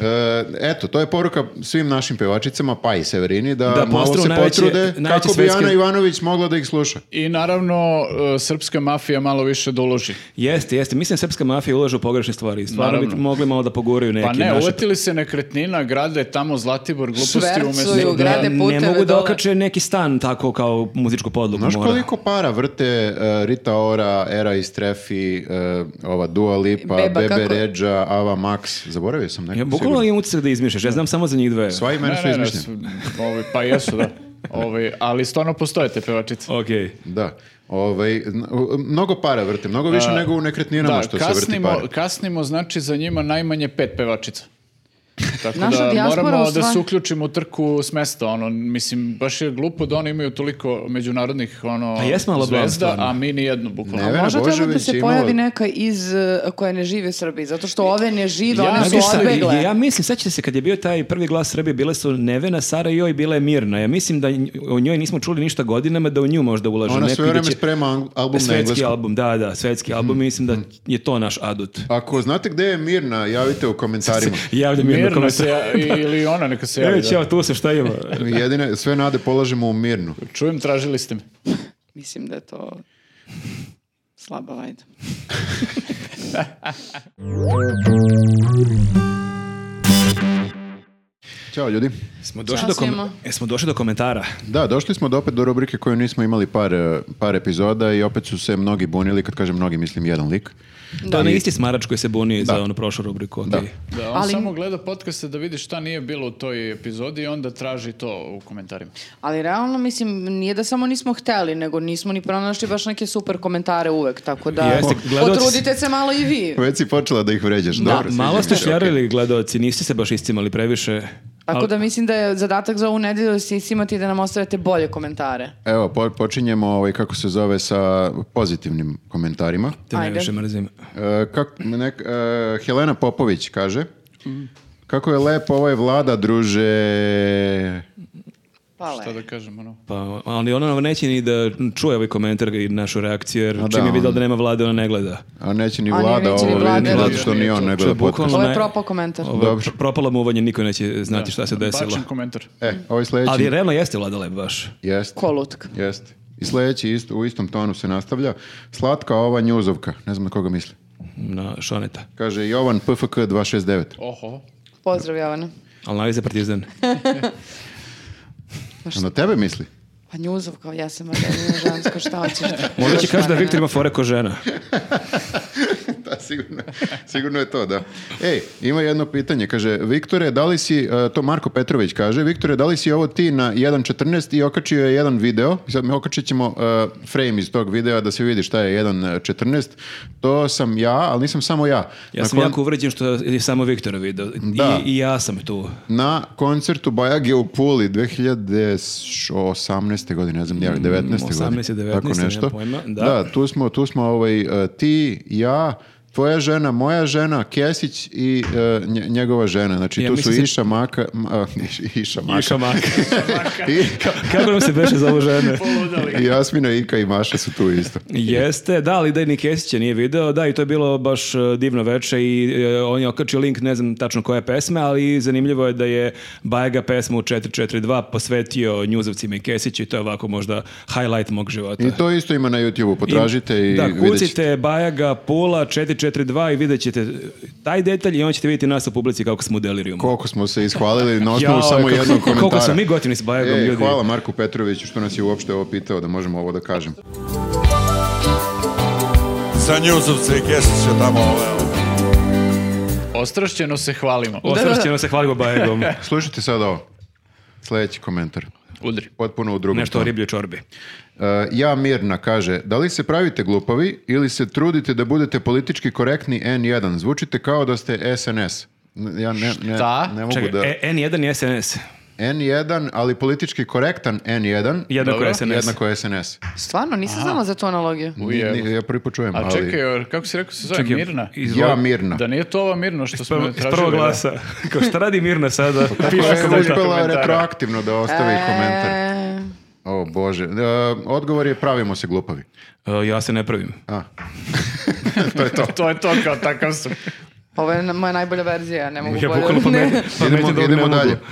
Speaker 4: E, eto, to je poruka svim našim pevačicama, pa i Severini, da,
Speaker 2: Da
Speaker 4: malo
Speaker 2: postanu
Speaker 4: se
Speaker 2: najveće-
Speaker 4: potrude
Speaker 2: najveće
Speaker 4: kako bi
Speaker 2: svetske-
Speaker 4: Ana Ivanović mogla da ih sluša.
Speaker 1: I naravno, e, srpska mafija malo više doloži.
Speaker 2: Jeste, jeste. Mislim, srpska mafija ulaže u pogrešne stvari. Stvarno bi
Speaker 1: Naravno.
Speaker 2: mogli malo da poguraju neki
Speaker 1: Pa ne,
Speaker 2: naše-
Speaker 1: uvetili se nekretnina, grade tamo Zlatibor, gluposti
Speaker 3: Švercuju,
Speaker 1: umesto...
Speaker 3: grade
Speaker 2: Ne-
Speaker 3: puteve
Speaker 2: Ne mogu da
Speaker 3: dole.
Speaker 2: okače neki stan tako kao muzičku podlogu
Speaker 4: Znaš
Speaker 2: mora.
Speaker 4: koliko para vrte e, Rita Ora, Era iz Trefi, e, ova Dua Lipa,
Speaker 3: Beba,
Speaker 4: Bebe
Speaker 3: kako-
Speaker 4: Ređa, Ava Max, zaboravio sam neko.
Speaker 2: Ja
Speaker 4: sigurno.
Speaker 2: bukvalno imam utisak da izmišljaš, ja znam samo za njih dve.
Speaker 4: Sva imena
Speaker 1: Ne,
Speaker 4: su
Speaker 1: ne, ne,
Speaker 4: izmišljena.
Speaker 1: s- ovi, pa jesu, da. Ovi, ali stvarno postoje te pevačice.
Speaker 2: Ok.
Speaker 4: Da. Ovaj, n- u- mnogo para vrte, mnogo više nego u nekretninama
Speaker 1: Da,
Speaker 4: što se vrti
Speaker 1: kasnimo,
Speaker 4: para.
Speaker 1: kasnimo znači za njima najmanje pet pevačica. Tako
Speaker 3: Naša
Speaker 1: da
Speaker 3: dijaspora
Speaker 1: moramo
Speaker 3: u
Speaker 1: da
Speaker 3: stvari-
Speaker 1: se uključimo u trku s mesta, ono, mislim, baš je glupo da oni imaju toliko međunarodnih, ono,
Speaker 2: A Pa jesmo, ali bravo,
Speaker 1: zvezda,
Speaker 2: stvarno.
Speaker 1: a mi ni jednu, bukvalno.
Speaker 4: Nevera
Speaker 3: Možda treba da
Speaker 4: Božović
Speaker 3: se
Speaker 4: je imala-
Speaker 3: pojavi neka iz e, koja ne žive u Srbiji, zato što ove ne žive,
Speaker 1: Ja
Speaker 3: one su
Speaker 1: mislim-
Speaker 2: Šta,
Speaker 3: odbegle.
Speaker 2: Znači, ja mislim, sećate se kad je bio taj prvi glas Srbije, bile su Nevena, Sara i joj, bila je Mirna. Ja mislim da nj- o njoj nismo čuli ništa godinama, da u nju možda ulaže
Speaker 4: Ona
Speaker 2: neko
Speaker 4: sve
Speaker 2: i da
Speaker 4: vreme
Speaker 2: će-
Speaker 4: sprema ang- album na
Speaker 2: Svetski
Speaker 4: engleskom. Mhm.
Speaker 2: album, da, da, svetski album, mislim da je to naš adut.
Speaker 4: Ako znate gde je Mirna, javite u komentarima.
Speaker 2: Javlja mi jedno
Speaker 1: Mirna se,
Speaker 2: komentar.
Speaker 1: ja- [LAUGHS] ili ona neka se javi.
Speaker 2: Evo,
Speaker 1: Da.
Speaker 2: ćao, tu se, šta
Speaker 4: [LAUGHS]
Speaker 2: ima?
Speaker 4: Jedine, sve nade polažemo u Mirnu.
Speaker 1: Čujem, tražili ste me.
Speaker 3: Mislim da je to slaba vajda.
Speaker 4: Ćao ljudi.
Speaker 2: Smo došli,
Speaker 3: Ćao
Speaker 2: do kom-
Speaker 3: svima.
Speaker 2: Jesmo došli do komentara.
Speaker 4: Da, došli smo do opet do rubrike koju nismo imali par, e, par epizoda i opet su se mnogi bunili, kad kažem mnogi mislim jedan lik.
Speaker 2: To je onaj isti smarač koji se buni za onu prošlu rubriku. okej.
Speaker 1: Da, on
Speaker 3: Ali-
Speaker 1: samo gleda podcaste da vidi šta nije bilo u toj epizodi i onda traži to u komentarima.
Speaker 3: Ali realno, mislim, nije da samo nismo hteli, nego nismo ni pronašli baš neke super komentare uvek, tako da
Speaker 2: Jeste, gledaoci-
Speaker 3: potrudite se malo i vi.
Speaker 4: Već si počela da ih vređaš.
Speaker 2: Da,
Speaker 4: Dobro,
Speaker 2: malo
Speaker 4: sviđa
Speaker 2: ste
Speaker 4: mi se, okej.
Speaker 2: šljarili gledaoci, niste se baš iscimali previše.
Speaker 3: Tako
Speaker 2: Ali-
Speaker 3: da mislim da je zadatak za ovu nedelju da se imati i da nam ostavite bolje komentare.
Speaker 4: Evo, po- počinjemo ovaj, kako se zove sa pozitivnim komentarima.
Speaker 2: Te
Speaker 3: Ajde.
Speaker 2: najviše mrzim.
Speaker 4: E, kak- nek- e, Helena Popović kaže Kako je lepo ovaj vlada, druže.
Speaker 3: Pa
Speaker 1: Šta
Speaker 3: le.
Speaker 1: da kažem, ono.
Speaker 2: Pa, ali ona nam neće ni da čuje ovaj komentar i našu reakciju, jer
Speaker 4: A
Speaker 2: čim
Speaker 4: da,
Speaker 2: je vidjela
Speaker 4: on-
Speaker 2: da nema vlade, ona ne gleda.
Speaker 4: A neće ni
Speaker 3: A ni-
Speaker 4: vlada
Speaker 3: neće ni
Speaker 4: ovo,
Speaker 3: Vlada,
Speaker 4: vidi, ni
Speaker 3: da.
Speaker 4: zato što ni on ne gleda
Speaker 2: Čuje, bukvalno
Speaker 4: podcast.
Speaker 3: Ovo je
Speaker 2: naj-
Speaker 3: propao komentar.
Speaker 2: Ovo je
Speaker 4: Dobro.
Speaker 2: pro- propalo mu uvanje, niko neće znati šta se desilo.
Speaker 1: Bačen komentar.
Speaker 4: E, ovaj sledeći.
Speaker 2: Ali realno jeste vlada lep baš.
Speaker 4: Jest,
Speaker 3: Kolutka.
Speaker 4: jest. I sledeći isto, u istom tonu se nastavlja. Slatka ova njuzovka. Ne znam na koga misli.
Speaker 2: Na šoneta.
Speaker 4: Kaže Jovan PFK 269.
Speaker 1: Oho.
Speaker 3: Pozdrav, Jovana.
Speaker 2: Ali najviše partizan.
Speaker 4: Na tebe misli?
Speaker 3: Pa njuzov kao ja sam Adelina Žansko, šta hoćeš?
Speaker 2: Možda će kaži da Viktor ima fore ko žena.
Speaker 4: [LAUGHS] Da, Pa sigurno, sigurno je to, da. Ej, ima jedno pitanje. Kaže, Viktore, da li si, e, to Marko Petrović kaže, Viktore, da li si ovo ti na 1.14 i okačio je jedan video, i sad mi okačit ćemo e, frame iz tog videa da se vidi šta je 1.14. To sam ja, ali nisam samo ja.
Speaker 2: Ja
Speaker 4: Na
Speaker 2: sam
Speaker 4: kon-
Speaker 2: jako uvređen što je samo Viktor video.
Speaker 4: Da.
Speaker 2: I, I ja sam tu.
Speaker 4: Na koncertu Bajage u Puli 2018. godine, ne znam, ja, 19.
Speaker 2: 18.,
Speaker 4: godine.
Speaker 2: 19.,
Speaker 4: tako
Speaker 2: Mm, nemam
Speaker 4: nešto.
Speaker 2: pojma, da.
Speaker 4: tu smo, tu smo ovaj, eh, ti, ja, tvoja žena, moja žena, Kesić i eh, nje- njegova žena. Znači,
Speaker 2: Ja
Speaker 4: tu su
Speaker 2: mislim se-
Speaker 4: Iša Maka, ma, Iš- Iša Maka.
Speaker 2: Iša Maka.
Speaker 4: [LAUGHS] I,
Speaker 2: Kako nam se beše za ovo
Speaker 3: [LAUGHS]
Speaker 4: [LAUGHS]
Speaker 2: žene?
Speaker 4: i Jasmina, Ika i Maša su tu isto.
Speaker 2: Jeste, da, ali da i Nikesića nije video, da, i to je bilo baš e, divno veče i e, on je okačio link, ne znam tačno koja je pesma, ali zanimljivo je da je Bajega pesmu 442 posvetio njuzovcima i Kesiću i to je ovako možda highlight mog života.
Speaker 4: I to isto ima na YouTube-u, potražite i,
Speaker 2: da,
Speaker 4: vidjet ćete.
Speaker 2: kucite Bajaga Pula 442 i vidjet ćete taj detalj i onda ćete vidjeti nas u publici kako smo u delirijumu.
Speaker 4: koliko smo se ishvalili na osnovu
Speaker 2: [LAUGHS] Jao,
Speaker 4: samo
Speaker 2: kako-
Speaker 4: jednog komentara.
Speaker 2: koliko smo mi gotivni s Bajagom,
Speaker 4: E,
Speaker 2: ljudi.
Speaker 4: Hvala Marku Petroviću što nas je uopšte ovo pitao da možemo ovo da kažem.
Speaker 6: Za njuzovce i kesiće tamo ove.
Speaker 1: Ostrašćeno se hvalimo.
Speaker 2: Ostrašćeno se hvalimo
Speaker 4: [LAUGHS]
Speaker 2: Bajegom.
Speaker 4: Slušajte sad ovo. Sljedeći komentar.
Speaker 1: Udri.
Speaker 4: Potpuno u drugom
Speaker 2: Nešto o
Speaker 4: tonu.
Speaker 2: riblju čorbi.
Speaker 4: E, ja Mirna kaže, da li se pravite glupavi ili se trudite da budete politički korektni N1? Zvučite kao da ste SNS. N- Ja ne, ne,
Speaker 1: Šta?
Speaker 4: ne mogu
Speaker 2: Čekaj,
Speaker 4: da...
Speaker 2: e, N1 je SNS.
Speaker 4: N1, ali politički korektan N1,
Speaker 2: Jednako
Speaker 1: Dobro.
Speaker 2: je SNS.
Speaker 4: jednako SNS.
Speaker 3: Stvarno, nisam znala za tu analogiju.
Speaker 1: Ujeo.
Speaker 4: Ni- ni- Ja prvi put čujem,
Speaker 1: A
Speaker 4: ali...
Speaker 1: čekaj, jer kako si rekao se zove?
Speaker 2: Čekaj,
Speaker 1: Mirna?
Speaker 2: izvoli.
Speaker 4: Ja Mirna.
Speaker 1: Da nije to ova Mirna što smo
Speaker 2: Prvo,
Speaker 1: je
Speaker 2: Pa iz
Speaker 1: tražili?
Speaker 2: prvog
Speaker 1: da?
Speaker 2: glasa. Kao šta radi Mirna sada? Piše
Speaker 4: Koja je
Speaker 2: komentar.
Speaker 4: uspela
Speaker 1: komentara.
Speaker 4: retroaktivno da ostavi komentar.
Speaker 3: E,
Speaker 4: O bože, E, odgovor je pravimo se glupavi.
Speaker 2: E, ja se ne [LAUGHS] pravim.
Speaker 4: A. to je to.
Speaker 1: [LAUGHS] To je to, kao takav sam.
Speaker 3: Ovo je na- moja najbolja verzija, ja ne mogu
Speaker 2: Ja
Speaker 3: bolje.
Speaker 2: bukvalno pa
Speaker 3: Ne.
Speaker 2: meni, pa
Speaker 4: idemo
Speaker 2: meni dok ne
Speaker 4: idemo
Speaker 2: mogu.
Speaker 4: dalje. [LAUGHS]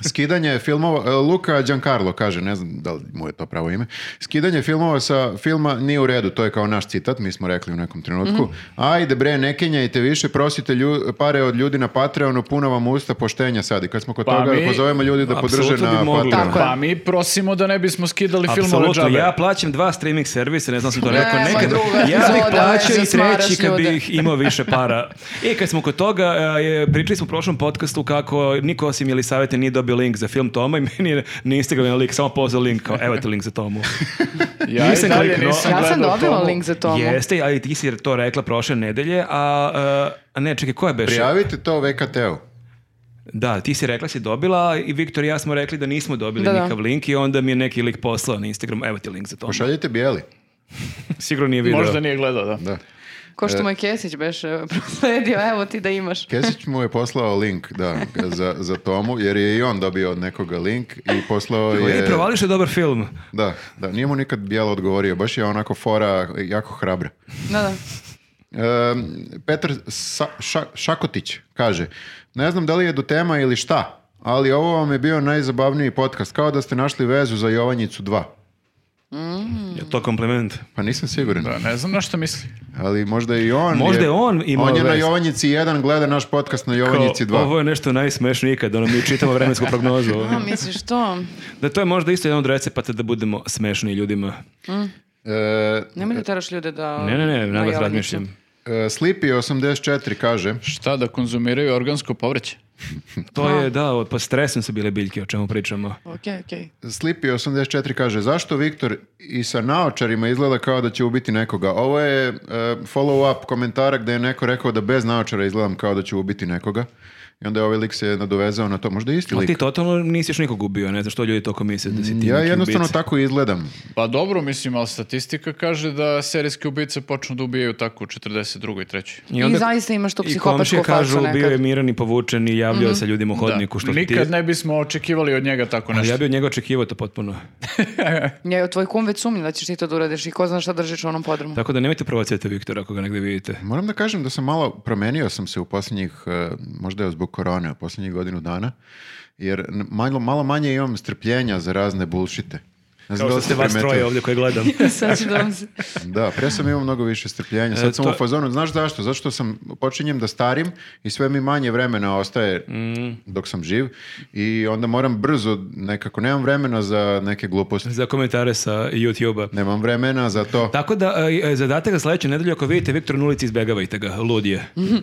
Speaker 4: Skidanje filmova, e, Luka Giancarlo kaže, ne znam da li mu je to pravo ime, skidanje filmova sa filma nije u redu, to je kao naš citat, mi smo rekli u nekom trenutku. Ajde bre, ne kenjajte više, prosite lju- pare od ljudi na Patreonu, puno vam usta poštenja sad. I kad smo kod
Speaker 1: Pa
Speaker 4: toga,
Speaker 1: mi-
Speaker 4: pozovemo ljudi da podrže
Speaker 2: Apsolutno bi
Speaker 4: na
Speaker 2: mogli.
Speaker 4: Patreonu.
Speaker 3: Tako je.
Speaker 1: Pa mi prosimo da ne bismo skidali filmove
Speaker 2: Apsolutno,
Speaker 1: džabe.
Speaker 2: ja plaćam dva streaming servisa, ne znam sam to rekao
Speaker 3: Nemoj
Speaker 2: nekad.
Speaker 3: druga
Speaker 2: Ja bih
Speaker 3: epizoda,
Speaker 2: plaćao
Speaker 3: već
Speaker 2: i treći
Speaker 3: smaraš
Speaker 2: kad
Speaker 3: ljude.
Speaker 2: bih imao više para. E, kad smo kod toga, e, je, pričali smo u prošlom podcastu kako niko osim Jelisavete nije dobio link za film Toma i meni je na Instagramu jedan lik samo pozvao link, kao evo ti link za Tomu.
Speaker 1: Ja i
Speaker 2: Nisam
Speaker 1: dalje
Speaker 2: kliknuo.
Speaker 1: nisam
Speaker 3: Ja sam
Speaker 1: gledao
Speaker 3: dobila
Speaker 1: tomu.
Speaker 3: link za tomu.
Speaker 2: Jeste, ali ti si to rekla prošle nedelje, a, e, a ne, čekaj, ko je beše?
Speaker 4: Prijavite to VKT-u.
Speaker 2: Da, ti si rekla si dobila i Viktor i ja smo rekli da nismo dobili
Speaker 3: Da, da.
Speaker 2: nikav link i onda mi je neki lik poslao na Instagram, evo ti link za to.
Speaker 4: Pošaljite bijeli.
Speaker 2: Sigurno nije video.
Speaker 1: Možda nije gledao, da.
Speaker 4: Da.
Speaker 3: Ko što mu je Kesić beš e, prosledio, evo ti da imaš.
Speaker 4: Kesić mu je poslao link da, za, za Tomu, jer je i on dobio od nekoga link i poslao
Speaker 2: Koji
Speaker 4: je...
Speaker 2: provališ je dobar film.
Speaker 4: Da, da, nije mu nikad bijelo odgovorio, baš je onako fora, jako hrabra.
Speaker 3: Da, da.
Speaker 4: Ehm, Petar Sa- Ša- Šakotić kaže, ne znam da li je do tema ili šta, ali ovo vam je bio najzabavniji podcast, kao da ste našli vezu za Jovanjicu 2.
Speaker 3: Hmm.
Speaker 2: Je to kompliment.
Speaker 4: Pa nisam siguran,
Speaker 1: Da, ne znam na što misli.
Speaker 4: ali možda i on
Speaker 2: Možda je on imao
Speaker 4: On je na
Speaker 2: vezu.
Speaker 4: Jovanjici 1, gleda naš podcast na Jovanjici 2.
Speaker 2: Ovo je nešto najsmešnije ikad, ono mi čitamo vremensku
Speaker 3: [LAUGHS]
Speaker 2: prognozu.
Speaker 3: A, misliš to?
Speaker 2: da to je možda isto jedan od recepata da budemo smešni ljudima.
Speaker 4: E,
Speaker 3: Nemoj da teraš ljude da...
Speaker 2: Ne, ne, ne, na
Speaker 3: na
Speaker 2: vas
Speaker 3: Jovanjicu.
Speaker 2: razmišljam.
Speaker 4: e, Sleepy84 kaže,
Speaker 1: Šta da konzumiraju organsko povrće?
Speaker 2: To je, da, od- pod stresom su bile biljke, o čemu pričamo.
Speaker 3: Okej, okej.
Speaker 4: Sleepy84 kaže, zašto Viktor i sa naočarima izgleda kao da će ubiti nekoga? Ovo je e, follow-up komentara gde je neko rekao da bez naočara izgledam kao da će ubiti nekoga. I onda je ovaj lik se nadovezao na to. Možda je isti
Speaker 2: Ali ti
Speaker 4: lik.
Speaker 2: totalno nisi još nikog ubio, ne znam što ljudi toko misle da si ti
Speaker 4: Ja
Speaker 2: neki
Speaker 4: jednostavno
Speaker 2: ubica.
Speaker 4: tako izgledam.
Speaker 1: Pa dobro, mislim, ali statistika kaže da serijske ubice počnu da ubijaju tako u 42. i 3.
Speaker 3: I zaista imaš to psihopatsko
Speaker 2: komšije
Speaker 3: facu
Speaker 2: kažu,
Speaker 3: nekad. Mhm.
Speaker 2: bio je miran i povučen i javljao se ljudima u hodniku. Što ti...
Speaker 1: Nikad ne bismo očekivali od njega tako
Speaker 2: Ali
Speaker 1: nešto. [LAUGHS]
Speaker 2: ja bi od njega očekivao to potpuno.
Speaker 3: Ja, tvoj kum već sumnja da ćeš ti to da uradiš i ko zna šta držiš u onom podrumu.
Speaker 2: Tako da nemojte provocirati Viktora ako ga negde vidite.
Speaker 4: Moram da kažem da sam malo promenio sam se u posljednjih, e, možda je zbog korone, u posljednjih godinu dana, jer n- malo, malo manje imam strpljenja za razne bullshite. Ne znam da li ste primetili.
Speaker 2: ovdje koje
Speaker 1: [LAUGHS]
Speaker 2: gledam.
Speaker 3: [LAUGHS] Sad ću da vam se...
Speaker 4: Da, pre sam imao mnogo više strpljenja. Sad sam
Speaker 2: E, to-
Speaker 4: u fazonu, znaš zašto? Zato što sam počinjem da starim i sve mi manje vremena ostaje
Speaker 2: Mm.
Speaker 4: dok sam živ i onda moram brzo nekako nemam vremena za neke gluposti.
Speaker 2: Za komentare sa YouTube-a.
Speaker 4: Nemam vremena za to.
Speaker 2: Tako da, e, e, zadatak za sledeću nedelju, ako vidite Viktor na ulici, izbegavajte ga, lud je.
Speaker 3: Mhm.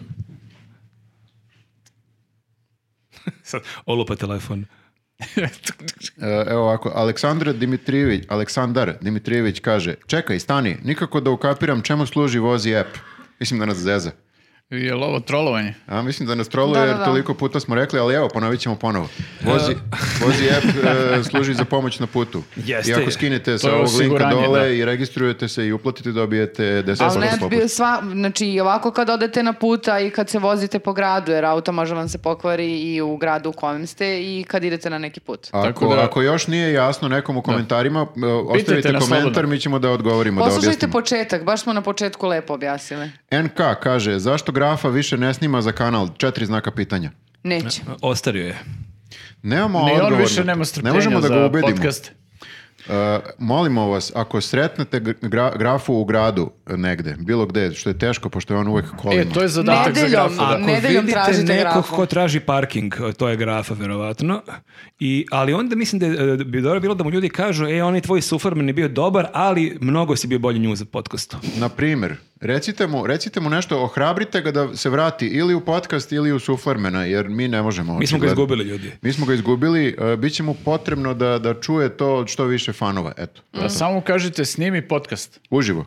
Speaker 2: [LAUGHS] Sad, olupa telefon.
Speaker 4: E, Evo ovako, Aleksandar Dimitrijević, Aleksandar Dimitrijević kaže: "Čekaj, stani, nikako da ukapiram čemu služi vozi app." Mislim da nas zeza.
Speaker 1: Je li ovo trolovanje?
Speaker 4: A mislim da nas troluje
Speaker 3: Da, da,
Speaker 4: jer
Speaker 3: da.
Speaker 4: toliko puta smo rekli, ali evo, ponovit ćemo ponovo. Vozi, vozi app e, služi za pomoć na putu.
Speaker 2: Jeste.
Speaker 4: I ako skinete
Speaker 1: To
Speaker 4: sa
Speaker 1: je
Speaker 4: ovog linka
Speaker 1: osiguranje,
Speaker 4: dole
Speaker 1: da.
Speaker 4: i registrujete se i uplatite, dobijete 10%
Speaker 3: Ali ne,
Speaker 4: popust.
Speaker 3: bi- sva, znači i ovako kad odete na puta i kad se vozite po gradu, jer auto može vam se pokvari i u gradu u kojem ste i kad idete na neki put.
Speaker 4: Ako,
Speaker 1: Tako da-
Speaker 4: ako još nije jasno nekom u komentarima, e, ostavite
Speaker 1: nas
Speaker 4: komentar,
Speaker 1: slobodno.
Speaker 4: mi ćemo da odgovorimo, da
Speaker 3: Poslušajte
Speaker 4: objasnimo.
Speaker 3: početak, baš smo na početku lepo objasnili.
Speaker 4: NK kaže, zašto grafa više ne snima za kanal? Četiri znaka pitanja.
Speaker 3: Neće.
Speaker 2: Ostario je.
Speaker 4: Nemamo
Speaker 1: Ni
Speaker 4: odgovor.
Speaker 1: on
Speaker 4: na-
Speaker 1: više nema
Speaker 4: ne
Speaker 1: strpljenja
Speaker 4: možemo da ga
Speaker 1: za
Speaker 4: ubedimo.
Speaker 1: podcast.
Speaker 4: E, molimo vas, ako sretnete gra- grafu u gradu e, negde, bilo gde, što je teško, pošto je on uvek kolima.
Speaker 1: E, to je zadatak za
Speaker 3: Nedeljom,
Speaker 1: grafu.
Speaker 3: a-
Speaker 1: Da.
Speaker 2: Ako
Speaker 3: Nedeljom
Speaker 2: vidite
Speaker 3: tražite
Speaker 2: nekog
Speaker 3: grafa.
Speaker 2: ko traži parking, to je grafa verovatno. I, ali onda mislim da, je, e, bi dobro bilo da mu ljudi kažu e, onaj tvoj sufarman je bio dobar, ali mnogo si bio bolji nju za podcastu.
Speaker 4: Na primjer, recite mu, recite mu nešto, ohrabrite ga da se vrati ili u podcast ili u Suflermena, jer mi ne možemo.
Speaker 2: Mi smo ga
Speaker 4: očigledno.
Speaker 2: izgubili ljudi.
Speaker 4: Mi smo ga izgubili, e, bit će mu potrebno da, da čuje to od što više fanova, eto.
Speaker 1: Da samo kažete snimi podcast.
Speaker 4: Uživo.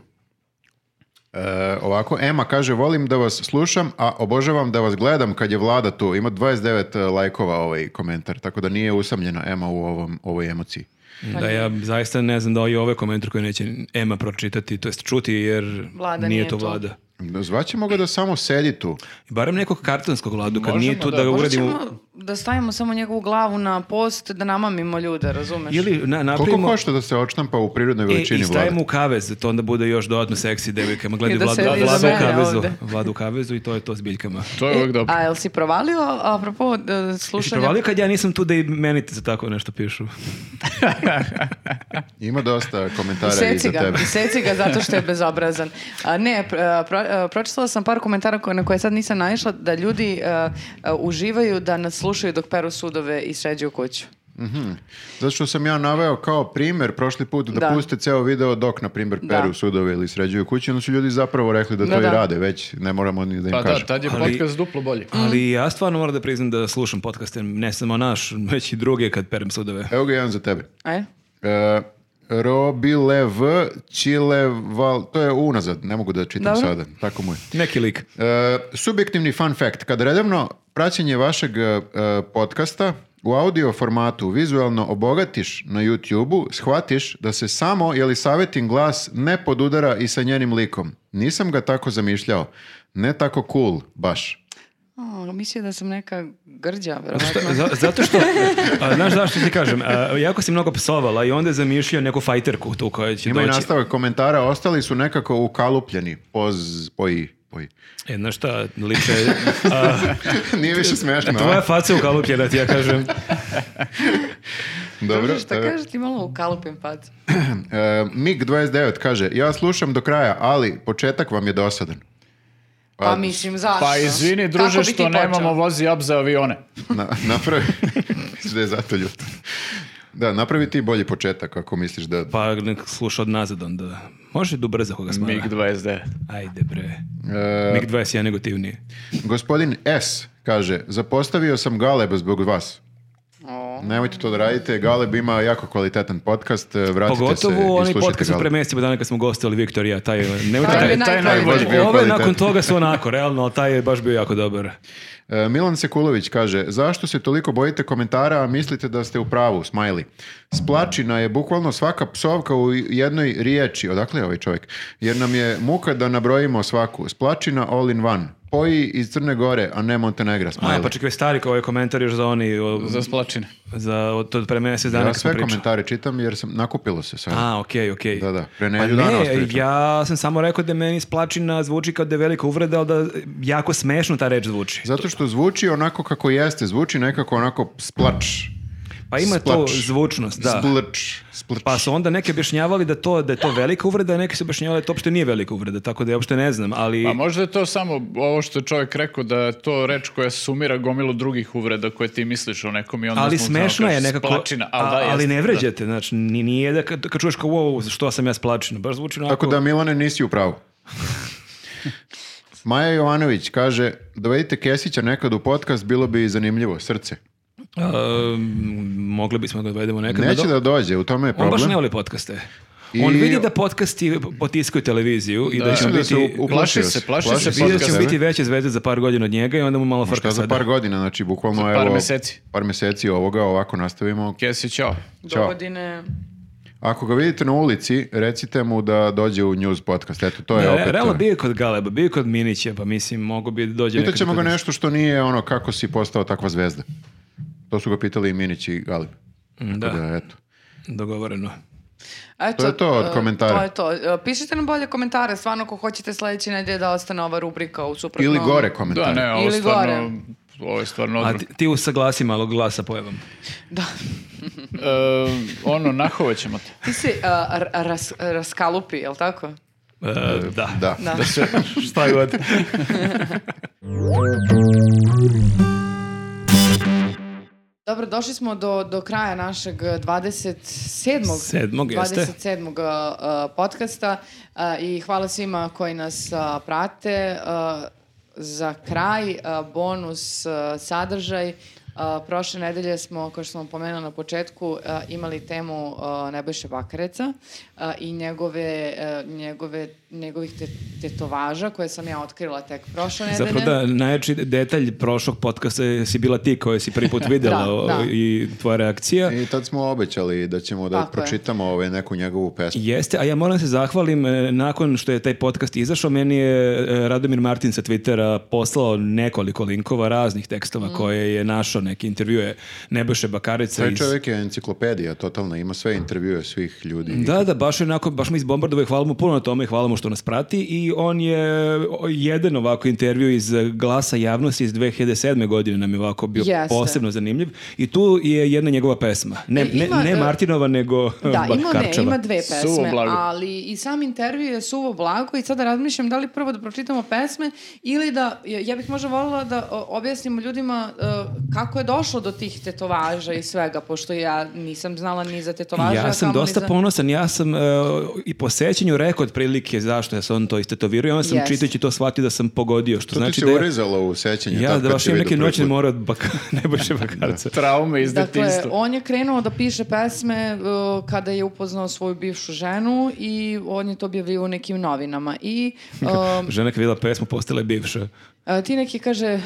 Speaker 4: E, ovako, Ema kaže, volim da vas slušam, a obožavam da vas gledam kad je vlada tu. Ima 29 lajkova ovaj komentar, tako da nije usamljena Ema u ovom, ovoj emociji.
Speaker 2: Da ja zaista ne znam da i ove komentar koje neće Ema pročitati, to jest čuti jer
Speaker 3: Vlada
Speaker 2: nije
Speaker 3: nije
Speaker 2: to
Speaker 3: tu.
Speaker 2: vlada.
Speaker 4: Zvaćemo ga da samo sedi tu.
Speaker 2: Barem nekog kartonskog vladu, kad
Speaker 1: Možemo,
Speaker 2: nije tu da,
Speaker 1: da.
Speaker 2: ga
Speaker 1: Možda
Speaker 3: Možda
Speaker 2: uradimo.
Speaker 3: ćemo da stavimo samo njegovu glavu na post, da namamimo ljude, razumeš?
Speaker 2: Ili na,
Speaker 4: Koliko
Speaker 2: napravimo...
Speaker 4: košta da se očnampa u prirodnoj
Speaker 2: E,
Speaker 4: veličini
Speaker 2: i
Speaker 4: vlade?
Speaker 2: stavimo u kavez, to onda bude još dodatno seksi devojkama. Gledaj
Speaker 3: I da
Speaker 2: vladu,
Speaker 3: sedi
Speaker 2: vladu
Speaker 3: za
Speaker 2: u
Speaker 3: mene
Speaker 2: kavezu.
Speaker 3: ovde.
Speaker 2: Vladu u kavezu i to je to s biljkama.
Speaker 1: To je uvek dobro.
Speaker 3: E, A jel si provalio, apropo e,
Speaker 2: Jesi
Speaker 3: slušanja?
Speaker 2: provalio kad ja nisam tu da i meni za tako nešto pišu?
Speaker 4: Ima dosta komentara
Speaker 3: Seci
Speaker 4: iza
Speaker 3: ga,
Speaker 4: tebe.
Speaker 3: seci ga zato
Speaker 4: [LAUGHS]
Speaker 3: što je bezobrazan. A, ne, pr- a, pro, a, pročitala sam par komentara koje- na koje sad nisam naišla da ljudi a, a, uživaju da nas slušaju dok peru sudove i sređuju kuću.
Speaker 4: Zato što sam ja naveo kao primjer prošli put da,
Speaker 3: Da.
Speaker 4: puste ceo video dok, na primjer,
Speaker 3: Da.
Speaker 4: peru sudove ili sređuju kuće, onda su ljudi zapravo rekli da to
Speaker 3: Da,
Speaker 4: i
Speaker 3: da.
Speaker 4: rade, već ne moramo ni da im
Speaker 1: Pa da,
Speaker 4: kažemo.
Speaker 1: tad je
Speaker 2: Ali-
Speaker 1: podcast duplo bolji.
Speaker 4: Mm.
Speaker 2: Ali ja stvarno moram da priznam da slušam podcaste, ne samo naš, već i druge kad perem sudove.
Speaker 4: Evo ga jedan za tebe.
Speaker 3: E?
Speaker 4: E, Robilev, Čileval, to je unazad, ne mogu da čitam
Speaker 3: Dobro.
Speaker 4: sada, tako mu je.
Speaker 2: Neki lik.
Speaker 4: E, subjektivni fun fact, kad redovno praćenje vašeg e, podcasta u audio formatu vizualno obogatiš na YouTube-u, shvatiš da se samo Elisavetin glas ne podudara i sa njenim likom. Nisam ga tako zamišljao. Ne tako cool, baš.
Speaker 3: O, mislio da sam neka grđa,
Speaker 2: Šta-
Speaker 3: verovatno.
Speaker 2: za- zato
Speaker 4: [LAUGHS]
Speaker 2: što, a, znaš zašto ti kažem, a, jako si mnogo psovala i onda je zamišljao neku fajterku tu koja će
Speaker 4: Ima i
Speaker 2: doći.
Speaker 4: nastavak komentara, ostali su nekako ukalupljeni. Poz, poji, poji. [LAUGHS]
Speaker 2: E, znaš šta, liče, a,
Speaker 4: Nije više smešno.
Speaker 2: tvoja
Speaker 4: a?
Speaker 2: faca je ukalupljena, ti ja kažem.
Speaker 4: Dobro.
Speaker 3: Šta
Speaker 4: e,
Speaker 3: kažeš ti malo u kalupim pad?
Speaker 4: E, MIG29 kaže, ja slušam do kraja, ali početak vam je dosadan.
Speaker 3: Pa mislim, zašto?
Speaker 1: Pa izvini, druže,
Speaker 3: Kako bi ti
Speaker 1: što nemamo
Speaker 3: počeo?
Speaker 1: vozi up za avione.
Speaker 4: Na, napravi... [LAUGHS] Misliš da je zato ljut. Da, napravi ti bolji početak ako misliš da...
Speaker 2: Pa nek sluša od nazad onda. Može da ubrza koga smara.
Speaker 1: MiG-29.
Speaker 2: Ajde bre.
Speaker 4: E,
Speaker 2: MiG-21 je negativniji.
Speaker 4: gospodin S kaže, zapostavio sam Galeb zbog vas.
Speaker 3: O.
Speaker 4: Nemojte to da radite, Galeb ima jako kvalitetan podcast, e, vratite se
Speaker 2: Pogotovo
Speaker 4: i
Speaker 2: onaj
Speaker 4: slušajte Pa,
Speaker 2: podcast u
Speaker 4: Galeb.
Speaker 2: premestima dana kad smo gostali Viktorija, taj, nemojte
Speaker 3: Taj
Speaker 2: taj,
Speaker 3: je
Speaker 1: taj
Speaker 3: najbolji.
Speaker 4: najbolji. bio
Speaker 2: E, Ove
Speaker 4: kvalitetan.
Speaker 2: nakon toga su onako, realno, ali taj je baš bio jako dobar.
Speaker 4: E, Milan Sekulović kaže, zašto se toliko bojite komentara, a mislite da ste u pravu, smajli. Splačina je bukvalno svaka psovka u jednoj riječi. Odakle je ovaj čovjek? Jer nam je muka da nabrojimo svaku. Splačina all in one. Poji iz Crne Gore, a ne Montenegra,
Speaker 2: A,
Speaker 4: smajli.
Speaker 2: pa čekaj, stari kao ovaj komentar još za oni, o,
Speaker 1: Za splačine.
Speaker 2: za, od, od pre mjesec dana
Speaker 4: ja
Speaker 2: kad smo
Speaker 4: sve
Speaker 2: pričali.
Speaker 4: komentare čitam jer sam nakupilo se sad.
Speaker 2: A, okej, okej.
Speaker 4: Da, da, pre
Speaker 2: Pa
Speaker 4: nedelju dana
Speaker 2: ne,
Speaker 4: ospričam.
Speaker 2: ja sam samo rekao da meni splačina zvuči kao da je velika uvreda, ali da jako smešno ta reč zvuči.
Speaker 4: Zato što zvuči onako kako jeste, zvuči nekako onako splač.
Speaker 2: Pa ima to
Speaker 4: splač.
Speaker 2: zvučnost, da.
Speaker 4: Splač, splač.
Speaker 2: Pa su onda neki objašnjavali da to da je to velika uvreda, a neki su objašnjavali da to uopšte nije velika uvreda, tako da ja uopšte ne znam, ali
Speaker 1: Pa možda je to samo ovo što je čovjek rekao, da je to reč koja sumira gomilu drugih uvreda koje ti misliš o nekom i onda
Speaker 2: ali
Speaker 1: smo samo
Speaker 2: smešno je
Speaker 1: kažeš,
Speaker 2: nekako,
Speaker 1: Splačina,
Speaker 2: a-
Speaker 1: ali, da,
Speaker 2: ali
Speaker 1: jeste,
Speaker 2: ne
Speaker 1: da.
Speaker 2: vređate, znači ni- nije da kad, kad čuješ kao wow, što sam ja splačina, baš zvuči onako.
Speaker 4: Tako da Milane nisi u pravu. Maja Jovanović kaže, dovedite Kesića nekad u podcast, bilo bi zanimljivo, srce.
Speaker 2: Ehm, mogli bismo da dovedemo nekad.
Speaker 4: Neće
Speaker 2: do-
Speaker 4: da dođe, u tome je
Speaker 2: On baš
Speaker 4: problem.
Speaker 2: ne voli podcaste.
Speaker 4: I-
Speaker 2: On vidi da podcasti potiskaju televiju i da,
Speaker 1: Da,
Speaker 2: ćemo
Speaker 4: Mislim da
Speaker 2: biti...
Speaker 4: se u- uplašio
Speaker 1: plaši
Speaker 4: se,
Speaker 1: se, plaši se
Speaker 2: I da ćemo
Speaker 1: podcasta.
Speaker 2: biti veće zvezde za par godina od njega i onda mu malo
Speaker 4: Šta
Speaker 2: frka
Speaker 4: za
Speaker 2: sada.
Speaker 4: par godina, znači bukvalno
Speaker 1: Za par
Speaker 4: evo,
Speaker 1: meseci.
Speaker 4: par meseci ovoga, ovako nastavimo.
Speaker 1: Kesi, ćao.
Speaker 3: Do
Speaker 4: Ćao.
Speaker 3: godine...
Speaker 4: Ako ga vidite na ulici, recite mu da dođe u news podcast. Eto, to je
Speaker 2: Ne,
Speaker 4: opet...
Speaker 2: realno
Speaker 4: to.
Speaker 2: bio je kod Galeba, bio je kod Minića, pa mislim, mogu bi da dođe nekad
Speaker 4: Pitaćemo
Speaker 2: kod
Speaker 4: ga
Speaker 2: nas.
Speaker 4: nešto što nije ono kako si postao takva zvezda. To su ga pitali i Minić i Galib.
Speaker 2: Mm,
Speaker 4: Tako
Speaker 2: Da,
Speaker 4: da, eto.
Speaker 2: dogovoreno.
Speaker 3: Eto,
Speaker 4: To je to od
Speaker 3: e,
Speaker 4: komentara.
Speaker 3: To je to. E, Pišite nam bolje komentare, stvarno ako hoćete sledeće nedelje da ostane ova rubrika u suprotnom.
Speaker 4: Ili gore
Speaker 1: Da,
Speaker 4: komentar.
Speaker 1: ne, ovo
Speaker 3: Ili
Speaker 1: stvarno... Ovo je stvarno
Speaker 2: A
Speaker 1: odvratno.
Speaker 2: ti, ti usaglasi malo glasa pojavom.
Speaker 3: Da.
Speaker 1: E, ono, nahovat ćemo
Speaker 2: [LAUGHS]
Speaker 1: te.
Speaker 3: Ti si a, ra- ras- raskalupi, jel tako?
Speaker 2: E, da.
Speaker 4: Da.
Speaker 3: Da.
Speaker 2: Šta god.
Speaker 3: Dobro, došli smo do, do kraja našeg 27.
Speaker 2: Sedmog, jeste.
Speaker 3: 27. uh, podcasta uh, i hvala svima koji nas uh, prate. Uh, Za kraj, uh, bonus uh, sadržaj. Uh, Prošle nedelje smo, kao što smo pomenuli na početku, uh, imali temu uh, Nebojše Bakareca uh, i njegove, uh, njegove, njegovih te- tetovaža koje sam ja otkrila tek prošle nedelje.
Speaker 2: Zapravo da, najjači detalj prošlog podcasta je- si bila ti koja si prvi
Speaker 3: [LAUGHS]
Speaker 2: put videla
Speaker 3: Da,
Speaker 2: o-
Speaker 3: da.
Speaker 2: i tvoja reakcija.
Speaker 4: I tad smo obećali da ćemo da
Speaker 3: Tako je.
Speaker 4: pročitamo ovaj neku njegovu pesmu.
Speaker 2: Jeste, a ja moram da se zahvalim, e, nakon što je taj podcast izašao, meni je e, Radomir Martin sa Twittera poslao nekoliko linkova raznih
Speaker 3: Mm.
Speaker 2: tekstova koje je našao, neki intervjue Nebojše Bakarica
Speaker 4: Taj
Speaker 2: iz...
Speaker 4: čovjek je enciklopedija totalna, ima sve intervjue svih ljudi.
Speaker 2: Da, da, baš je onako, baš mi izbombardovao i hvala mu puno na tome i hvala mu što nas prati i on je o, jedan ovako intervju iz glasa javnosti iz 2007. godine nam je ovako bio
Speaker 3: Jeste.
Speaker 2: posebno zanimljiv i tu je jedna njegova pesma. Ne,
Speaker 3: E, ima,
Speaker 2: ne, ne
Speaker 3: e,
Speaker 2: Martinova, nego [LAUGHS]
Speaker 3: Da, ima, ne,
Speaker 2: Bakarčeva.
Speaker 3: ima dve pesme,
Speaker 1: Suvo blago.
Speaker 3: ali i sam intervju je suvo blago i sada razmišljam da li prvo da pročitamo pesme ili da, ja ja bih možda volila da o, objasnimo ljudima e, kako kako je došlo do tih tetovaža i svega, pošto ja nisam znala ni za tetovaža.
Speaker 2: Ja sam
Speaker 3: kamoli
Speaker 2: dosta
Speaker 3: za-
Speaker 2: ponosan, ja sam e, i po sećanju rekao otprilike zašto je se on to istetovirao i onda sam
Speaker 3: Yes.
Speaker 2: čitajući to shvatio da sam pogodio, što
Speaker 4: To
Speaker 2: znači
Speaker 4: ti se
Speaker 2: da je-
Speaker 4: urezalo u sećanju.
Speaker 2: Ja,
Speaker 4: tako
Speaker 2: da
Speaker 4: kad
Speaker 2: baš
Speaker 4: si
Speaker 2: imam
Speaker 4: vidio
Speaker 2: neki
Speaker 4: prvi
Speaker 2: noćni
Speaker 4: put.
Speaker 2: mora od baka, [LAUGHS]
Speaker 4: [LAUGHS]
Speaker 2: Nebojše Bakarca.
Speaker 1: Traume iz
Speaker 3: Dakle,
Speaker 1: detinjstva.
Speaker 3: on je krenuo da piše pesme uh, kada je upoznao svoju bivšu ženu i on je to objavio u nekim novinama. I
Speaker 1: [LAUGHS]
Speaker 3: um,
Speaker 2: Žena kad je videla pesmu, postala je bivša.
Speaker 3: A, Ti neki kaže, e, e,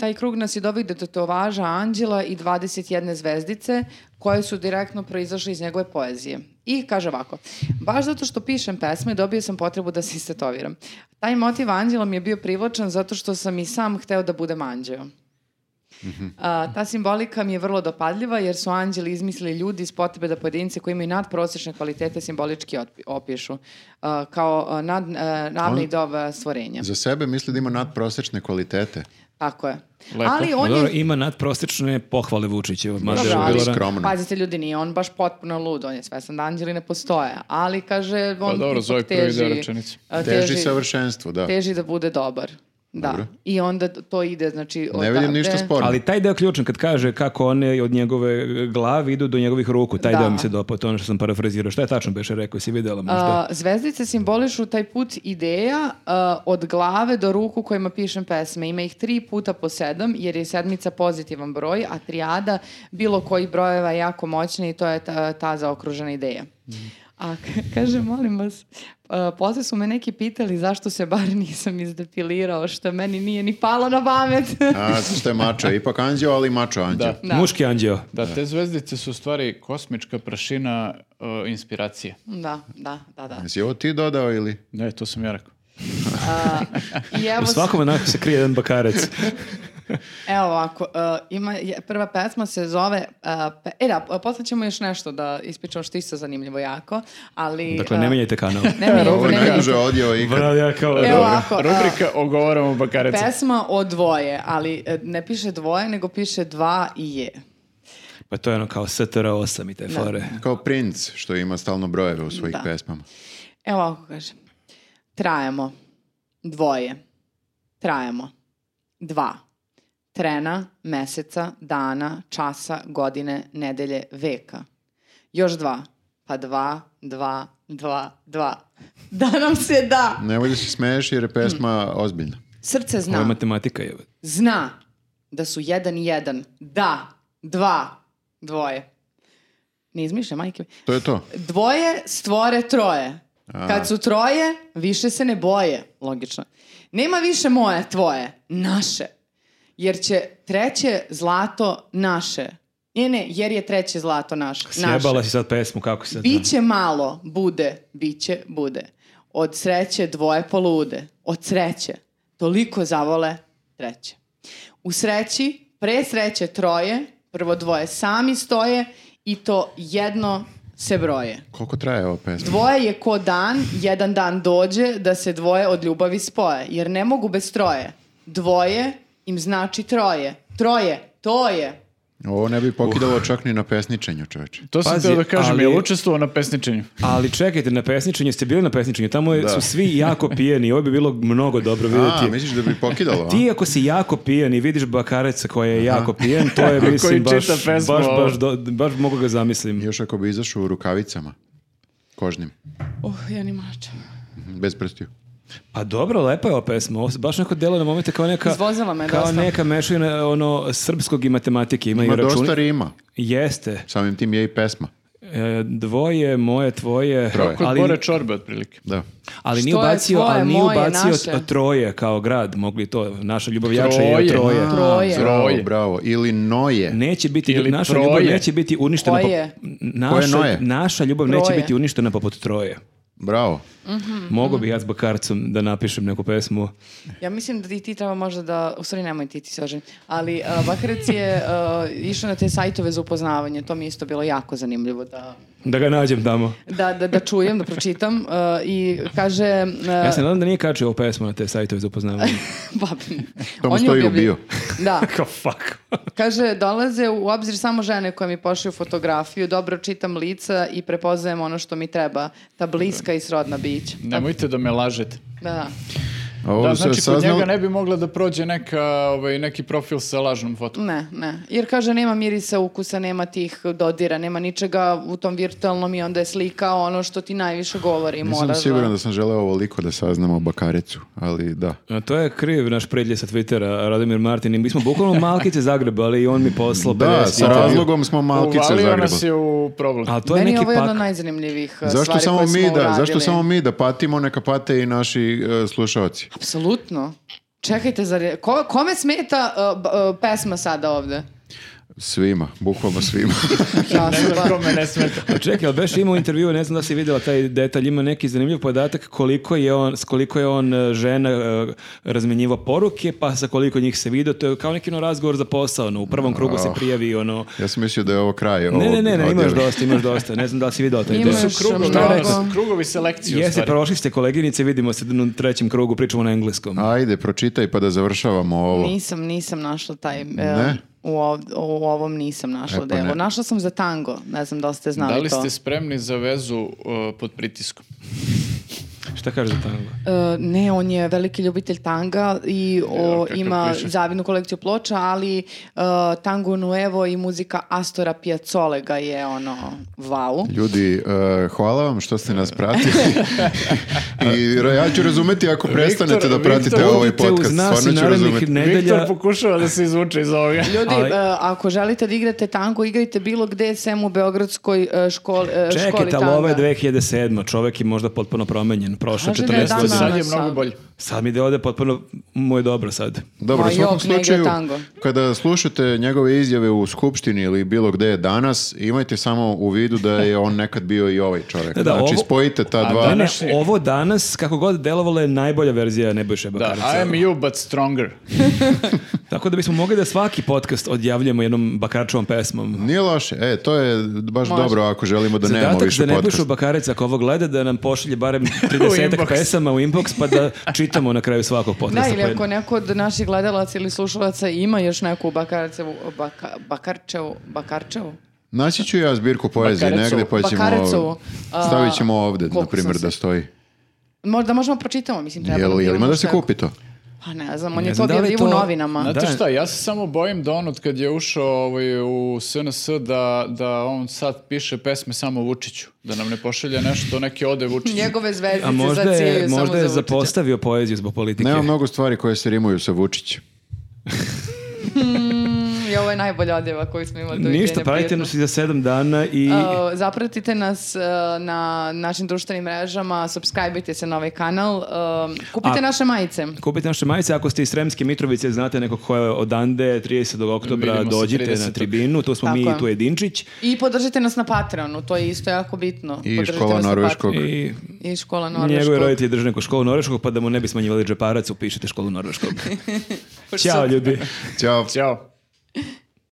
Speaker 3: taj krug nas je dovih do tetovaža Anđela i 21 zvezdice koje su direktno proizašle iz njegove poezije. I kaže ovako, baš zato što pišem pesme dobio sam potrebu da se istetoviram. Taj motiv Anđela mi je bio privlačan zato što sam i sam hteo da budem Anđeo. A, ta simbolika mi je vrlo dopadljiva jer su anđeli izmislili ljudi iz potrebe da pojedince koji imaju nadprosečne kvalitete simbolički otpi- opišu a, kao a, nad, e, a, nadnaidova stvorenja.
Speaker 4: Za sebe misli da ima nadprosečne kvalitete.
Speaker 3: Tako je.
Speaker 1: Lepo.
Speaker 3: Ali
Speaker 2: On
Speaker 3: on
Speaker 2: Pa Dobro,
Speaker 3: je...
Speaker 2: ima nadprosečne pohvale Vučićeva. mada je
Speaker 3: Dobro, ali-
Speaker 2: bila-
Speaker 4: skroman.
Speaker 3: Pazite ljudi, nije on baš potpuno lud, on je svesan da anđeli ne postoje, ali kaže on
Speaker 1: Pa dobro,
Speaker 3: ipak
Speaker 1: Zoe prvi
Speaker 3: teži,
Speaker 1: deo rečenice.
Speaker 3: a,
Speaker 4: Teži savršenstvo, da.
Speaker 3: teži da bude dobar. Da. I onda to ide, znači...
Speaker 4: Ne vidim ništa
Speaker 3: odavde-
Speaker 4: sporno.
Speaker 2: Ali taj deo ključan kad kaže kako one od njegove glave idu do njegovih ruku, taj
Speaker 3: Da.
Speaker 2: deo mi se dopao, to je ono što sam parafrazirao. Šta je tačno beše rekao, si videla možda?
Speaker 3: A, zvezdice simbolišu taj put ideja a, od glave do ruku kojima pišem pesme. Ima ih tri puta po sedam, jer je sedmica pozitivan broj, a trijada bilo koji brojeva je jako moćna i to je ta, ta zaokružena ideja.
Speaker 2: Mhm.
Speaker 3: A k- kaže, molim vas, a, posle su me neki pitali zašto se bar nisam izdepilirao, što meni nije ni palo na pamet. [LAUGHS]
Speaker 4: A, što je mačo, ipak anđeo, ali mačo anđeo.
Speaker 1: Da.
Speaker 3: da.
Speaker 2: Muški anđeo.
Speaker 1: Da, te zvezdice su u stvari kosmička prašina uh, inspiracije.
Speaker 3: Da, da, da, da.
Speaker 4: Jesi ovo ti dodao ili?
Speaker 1: Ne, to sam ja rekao.
Speaker 3: I evo,
Speaker 2: U svakom onako se krije jedan
Speaker 3: [LAUGHS]
Speaker 2: bakarec.
Speaker 3: Evo ovako, e, ima, je- prva pesma se zove, e, pe- e da, e, posle ćemo još nešto da ispričamo što je isto zanimljivo jako, ali...
Speaker 2: Dakle, ne
Speaker 3: e,
Speaker 2: menjajte kanal.
Speaker 3: [LAUGHS] ne menjajte,
Speaker 4: Ovo je
Speaker 3: ne menjajte.
Speaker 4: najduže odjeo ikad.
Speaker 2: Bravo, ja kao...
Speaker 3: Evo ovako, e,
Speaker 1: Rubrika Ogovaramo bakareca.
Speaker 3: pesma o dvoje, ali e, ne piše dvoje, nego piše dva i je.
Speaker 2: Pa to je ono kao STR 8 i te fore.
Speaker 4: Kao princ što ima stalno brojeve u svojih
Speaker 3: Da.
Speaker 4: pesmama.
Speaker 3: Evo ovako kaže. Trajemo. Dvoje. Trajemo. Dva. Trena, meseca, dana, časa, godine, nedelje, veka. Još dva. Pa dva, dva, dva, dva. [LAUGHS] Da nam se da.
Speaker 4: Nemoj da se smeješ jer je
Speaker 3: Mm.
Speaker 4: pesma ozbiljna.
Speaker 3: Srce
Speaker 2: Ovo je
Speaker 3: zna.
Speaker 2: matematika je.
Speaker 3: Zna da su jedan i jedan. Da. Dva. Dvoje. Ne izmišljam, majke mi.
Speaker 4: To je to.
Speaker 3: Dvoje stvore troje. Kad su troje, više se ne boje. Logično. Nema više moje, tvoje. Naše. Jer će treće zlato naše. Ne, ne, jer je treće zlato naše.
Speaker 2: Sjebala
Speaker 3: naše.
Speaker 2: si sad pesmu, kako se...
Speaker 3: Biće malo, bude, biće, bude. Od sreće dvoje polude. Od sreće. Toliko zavole treće. U sreći, pre sreće troje, prvo dvoje sami stoje i to jedno se broje.
Speaker 4: Koliko traje ova pesma?
Speaker 3: Dvoje je ko dan, jedan dan dođe da se dvoje od ljubavi spoje, jer ne mogu bez troje. Dvoje im znači troje. Troje, to je.
Speaker 4: Ovo ne bi pokidalo čak ni na pesničenju, čoveče.
Speaker 1: To sam
Speaker 2: Pazi,
Speaker 1: teo da kažem,
Speaker 2: ali-
Speaker 1: jel učestvovao na pesničenju?
Speaker 2: Ali čekajte, na pesničenju ste bili na pesničenju, tamo je- su svi jako pijeni, ovo bi bilo mnogo dobro
Speaker 4: A,
Speaker 2: vidjeti.
Speaker 4: misliš da
Speaker 2: [LAUGHS]
Speaker 4: bi
Speaker 1: Pa.
Speaker 4: pokidalo? a?
Speaker 2: Ti ako si jako pijan i vidiš bakareca koji je jako pijan, to
Speaker 1: [LAUGHS]
Speaker 2: je
Speaker 1: Koji
Speaker 2: mislim baš,
Speaker 1: čita
Speaker 2: baš,
Speaker 1: pesmu, ono. ovo.
Speaker 2: baš, do- baš mogu ga zamislim.
Speaker 4: Još ako bi izašao u rukavicama, kožnim, mhm,
Speaker 3: Oh, ja ni mačam.
Speaker 4: bez prstiju.
Speaker 2: Pa dobro, lepa je ova pesma, ovo se baš neko delo na momente kao neka,
Speaker 3: Izvozila me
Speaker 2: kao
Speaker 3: dosta.
Speaker 2: neka mešavina ono, srpskog i matematike. Ima,
Speaker 4: Ima
Speaker 2: i računi-
Speaker 4: dosta rima,
Speaker 2: Jeste.
Speaker 4: samim tim je i pesma.
Speaker 2: E, dvoje, moje, tvoje.
Speaker 4: Troje.
Speaker 1: Kod Bore čorbe, otprilike.
Speaker 4: Da.
Speaker 2: Ali nije
Speaker 3: Što je
Speaker 2: ubacio,
Speaker 3: tvoje,
Speaker 2: ali nije
Speaker 3: moje,
Speaker 2: ubacio
Speaker 3: naše?
Speaker 2: t- troje kao grad, mogli to, naša ljubav jača je
Speaker 1: Troje.
Speaker 2: troje.
Speaker 4: A,
Speaker 3: Troje.
Speaker 4: Bravo,
Speaker 1: Troje.
Speaker 4: bravo. Ili noje.
Speaker 2: Neće biti,
Speaker 1: Ili
Speaker 2: naša
Speaker 1: troje.
Speaker 2: ljubav neće biti uništena. pop-
Speaker 3: Koje?
Speaker 4: Koje
Speaker 2: naša,
Speaker 4: noje?
Speaker 2: naša ljubav neće
Speaker 3: Troje.
Speaker 2: biti uništena poput troje.
Speaker 4: Bravo.
Speaker 2: Mogu Mhm. bi ja s Bakarcom da napišem neku pesmu.
Speaker 3: Ja mislim da i ti treba možda da, u stvari nemoj ti, ti se oženi, ali uh, Bakarec je uh, išao na te sajtove za upoznavanje, to mi je isto bilo jako zanimljivo da,
Speaker 2: Da ga nađem tamo.
Speaker 3: da, da, da čujem, da pročitam uh, i kaže... uh,
Speaker 2: Ja
Speaker 3: [LAUGHS]
Speaker 2: se nadam da nije kačio ovu pesmu na te sajtove za upoznavanje.
Speaker 3: Babine.
Speaker 4: To mu
Speaker 3: On je
Speaker 4: stoji u
Speaker 3: objavio-
Speaker 4: [LAUGHS]
Speaker 3: Da.
Speaker 2: Kao fuck.
Speaker 3: Kaže, dolaze u obzir samo žene koje mi pošalju fotografiju, dobro čitam lica i prepoznajem ono što mi treba, ta bliska i srodna bića.
Speaker 1: Nemojte da me lažete.
Speaker 3: Da, da.
Speaker 4: A ovo
Speaker 1: Da,
Speaker 4: se
Speaker 1: znači kod
Speaker 4: saznalo-
Speaker 1: njega ne bi mogla da prođe neka, ovaj, neki profil sa lažnom fotom.
Speaker 3: Ne, ne. Jer kaže nema mirisa, ukusa, nema tih dodira, nema ničega u tom virtualnom i onda je slika ono što ti najviše govori.
Speaker 4: Nisam
Speaker 3: moraš
Speaker 4: siguran da sam želeo ovoliko da saznam o Bakarecu, ali da.
Speaker 2: [LAUGHS] A to je kriv naš predlje sa Twittera, Radomir Martin. i Mi smo bukvalno malkice Zagreba, ali i on mi poslao
Speaker 4: Da,
Speaker 2: 50
Speaker 4: sa
Speaker 2: eura.
Speaker 4: razlogom smo malkice
Speaker 1: Uvalio
Speaker 4: Zagreba.
Speaker 1: nas je u problem.
Speaker 2: A to je
Speaker 3: Meni je
Speaker 2: neki
Speaker 3: ovo jedna od
Speaker 2: pak.
Speaker 3: najzanimljivijih uh,
Speaker 4: Zašto
Speaker 3: stvari
Speaker 4: samo
Speaker 3: koje
Speaker 4: mi da,
Speaker 3: smo uradili.
Speaker 4: zašto samo mi da patimo, neka pate i naši e, slušaoci.
Speaker 3: Apsolutno. Čekajte, zar je- ko, kome smeta uh, b- uh, pesma sada
Speaker 2: [LAUGHS]
Speaker 3: ovde?
Speaker 4: Svima, bukvalno svima.
Speaker 3: Ja
Speaker 1: Ne
Speaker 3: sam
Speaker 1: znam
Speaker 3: ba-
Speaker 1: kome ne smeta.
Speaker 2: A Pa Čekaj, ali Beš imao intervju, ne znam da si vidjela taj detalj, ima neki zanimljiv podatak koliko je on, s koliko je on e, žena e, razmenjivao poruke, pa sa koliko njih se vidio, to je kao neki ono razgovor za posao, ono, u prvom krugu
Speaker 4: Oh.
Speaker 2: se prijavi, ono,
Speaker 4: Ja sam mislio da je ovo kraj.
Speaker 2: Ne,
Speaker 4: ovog
Speaker 2: ne, ne, ne, imaš
Speaker 4: odjava.
Speaker 2: dosta, imaš dosta. Ne znam da li si vidio taj
Speaker 3: Ima
Speaker 2: deo.
Speaker 3: još
Speaker 1: Su krugovi,
Speaker 3: mnogo.
Speaker 1: ono, su krugovi selekcije u
Speaker 2: Jeste,
Speaker 1: stvari.
Speaker 2: prošli ste koleginice, vidimo se u trećem krugu, pričamo na engleskom.
Speaker 4: Ajde, pročitaj pa da završavamo ovo.
Speaker 3: Nisam, nisam našla taj... e,
Speaker 4: Ne?
Speaker 3: U, ov- u ovom nisam našla
Speaker 4: E, pa
Speaker 3: delo.
Speaker 4: ne.
Speaker 3: Našla sam za tango, ne znam da li ste znali
Speaker 1: Da li
Speaker 3: to.
Speaker 1: ste spremni za vezu uh, pod pritiskom?
Speaker 2: Šta kaže za tango?
Speaker 3: E, ne, on je veliki ljubitelj tanga i o,
Speaker 1: kakav
Speaker 3: ima
Speaker 1: kliše.
Speaker 3: zavidnu kolekciju ploča, ali e, tango nuevo i muzika Astora Piazzole ga je ono vau.
Speaker 4: Ljudi, e, hvala vam što ste nas
Speaker 3: [LAUGHS]
Speaker 4: pratili. I ra- ja ću razumeti ako prestanete da pratite
Speaker 1: Viktor,
Speaker 4: ovaj
Speaker 2: Budite
Speaker 4: podcast.
Speaker 2: uz nas i
Speaker 4: Stvarno ću
Speaker 2: narednih
Speaker 4: razumeti.
Speaker 2: nedelja.
Speaker 1: Viktor pokušava da se izvuče iz ovoga.
Speaker 3: Ljudi,
Speaker 2: Ali-
Speaker 3: e, ako želite da igrate tango, igrajte bilo gde sem u Beogradskoj e, školi, e, školi
Speaker 2: Čekajte, ali
Speaker 3: tanga.
Speaker 2: ovo je 2007. Čovek je možda potpuno promenjen. Prošlo je
Speaker 3: Kaže da
Speaker 2: 14
Speaker 3: je danas-
Speaker 2: godina.
Speaker 1: Sad je
Speaker 3: Sam.
Speaker 1: mnogo bolje.
Speaker 2: Sad mi ide ovde potpuno, mu je dobro sad.
Speaker 4: Dobro,
Speaker 3: Ma
Speaker 4: u svakom
Speaker 3: jok, ne igra
Speaker 4: slučaju,
Speaker 3: tango.
Speaker 4: kada slušate njegove izjave u Skupštini ili bilo gde je danas, imajte samo u vidu da je on nekad bio i ovaj čovjek.
Speaker 2: [LAUGHS] Da, da,
Speaker 4: znači,
Speaker 2: ovo-
Speaker 4: spojite ta
Speaker 1: A
Speaker 4: dva.
Speaker 2: Ne, ne,
Speaker 1: Današnji-
Speaker 2: ovo danas, kako god delovalo, je najbolja verzija Nebojše
Speaker 1: Da,
Speaker 2: Bakarica.
Speaker 1: I am you but stronger.
Speaker 2: Tako da bismo mogli da svaki podcast odjavljamo jednom Bakarčevom pesmom.
Speaker 4: Nije loše. E, to je baš
Speaker 3: Može.
Speaker 4: dobro ako želimo da nemamo
Speaker 2: Zadatak
Speaker 4: više
Speaker 2: da ne
Speaker 4: podcast.
Speaker 2: pišu Bakarec ako ovo gleda, da nam pošalje
Speaker 4: [LAUGHS]
Speaker 2: barem 30
Speaker 1: inbox.
Speaker 2: pesama u inbox pa da čitamo na kraju svakog
Speaker 3: Da,
Speaker 2: podcasta. Pa,
Speaker 3: ili
Speaker 2: po
Speaker 3: ako
Speaker 2: jednu.
Speaker 3: neko od naših gledalaca ili slušalaca ima još neku Bakarcevu, baka, Bakarčevu, Bakarčevu?
Speaker 4: Naći ću ja zbirku poezije
Speaker 1: Bakarecovu.
Speaker 4: negde, pa ćemo...
Speaker 3: Bakarecovu. A,
Speaker 4: Stavit ćemo ovde, na
Speaker 3: koliko
Speaker 4: primjer,
Speaker 3: sam se-
Speaker 4: da stoji.
Speaker 3: Možda možemo pročitamo, mislim, treba.
Speaker 4: Jel,
Speaker 3: bi
Speaker 4: jel
Speaker 3: bilo
Speaker 4: ima da
Speaker 3: možda
Speaker 4: se
Speaker 3: neko-
Speaker 4: kupi to?
Speaker 3: Pa ne znam, on
Speaker 2: Ne
Speaker 3: je to
Speaker 2: znam da li
Speaker 3: objavljivo u
Speaker 2: to-
Speaker 3: novinama.
Speaker 2: Na-
Speaker 1: Znate
Speaker 2: Da.
Speaker 1: šta, ja se samo bojim da on od kad je ušao ovaj, u SNS da, da on sad piše pesme samo Vučiću. Da nam ne pošalje nešto, neke ode Vučiću.
Speaker 3: Njegove zvezdice
Speaker 2: A možda je,
Speaker 3: zacijaju samo
Speaker 2: možda je
Speaker 3: za Vučića.
Speaker 2: zapostavio poeziju zbog politike.
Speaker 4: Nema mnogo stvari koje se rimuju sa Vučićem.
Speaker 3: I ovo je najbolja odjeva koju smo imali. do
Speaker 2: Ništa,
Speaker 3: Evgenija
Speaker 2: pravite
Speaker 3: Prijetnog.
Speaker 2: nas i za sedam dana i...
Speaker 3: Uh, zapratite nas uh, na našim društvenim mrežama, subscribeajte se na ovaj kanal, um, kupite
Speaker 2: A-
Speaker 3: naše majice.
Speaker 2: Kupite naše majice, ako ste iz Sremske Mitrovice, znate nekog ko je odande, 30. oktobra
Speaker 1: Vidimo se
Speaker 2: dođite
Speaker 1: 30..
Speaker 2: na tribinu, tu smo
Speaker 3: Tako
Speaker 2: mi i
Speaker 3: je.
Speaker 2: tu je Dinčić.
Speaker 3: I podržite nas na Patreonu, to je isto jako bitno.
Speaker 4: I
Speaker 3: Podržite
Speaker 4: škola
Speaker 3: nas na
Speaker 4: norveškog.
Speaker 2: I
Speaker 3: Patreonu. I škola
Speaker 2: njegovi
Speaker 3: norveškog.
Speaker 2: roditelji drže neku školu norveškog,
Speaker 3: [LAUGHS]
Speaker 2: pa da mu ne bi smanjivali džeparac, upišite školu norveškog. Ćao ljudi.
Speaker 4: Ćao.
Speaker 1: Ćao.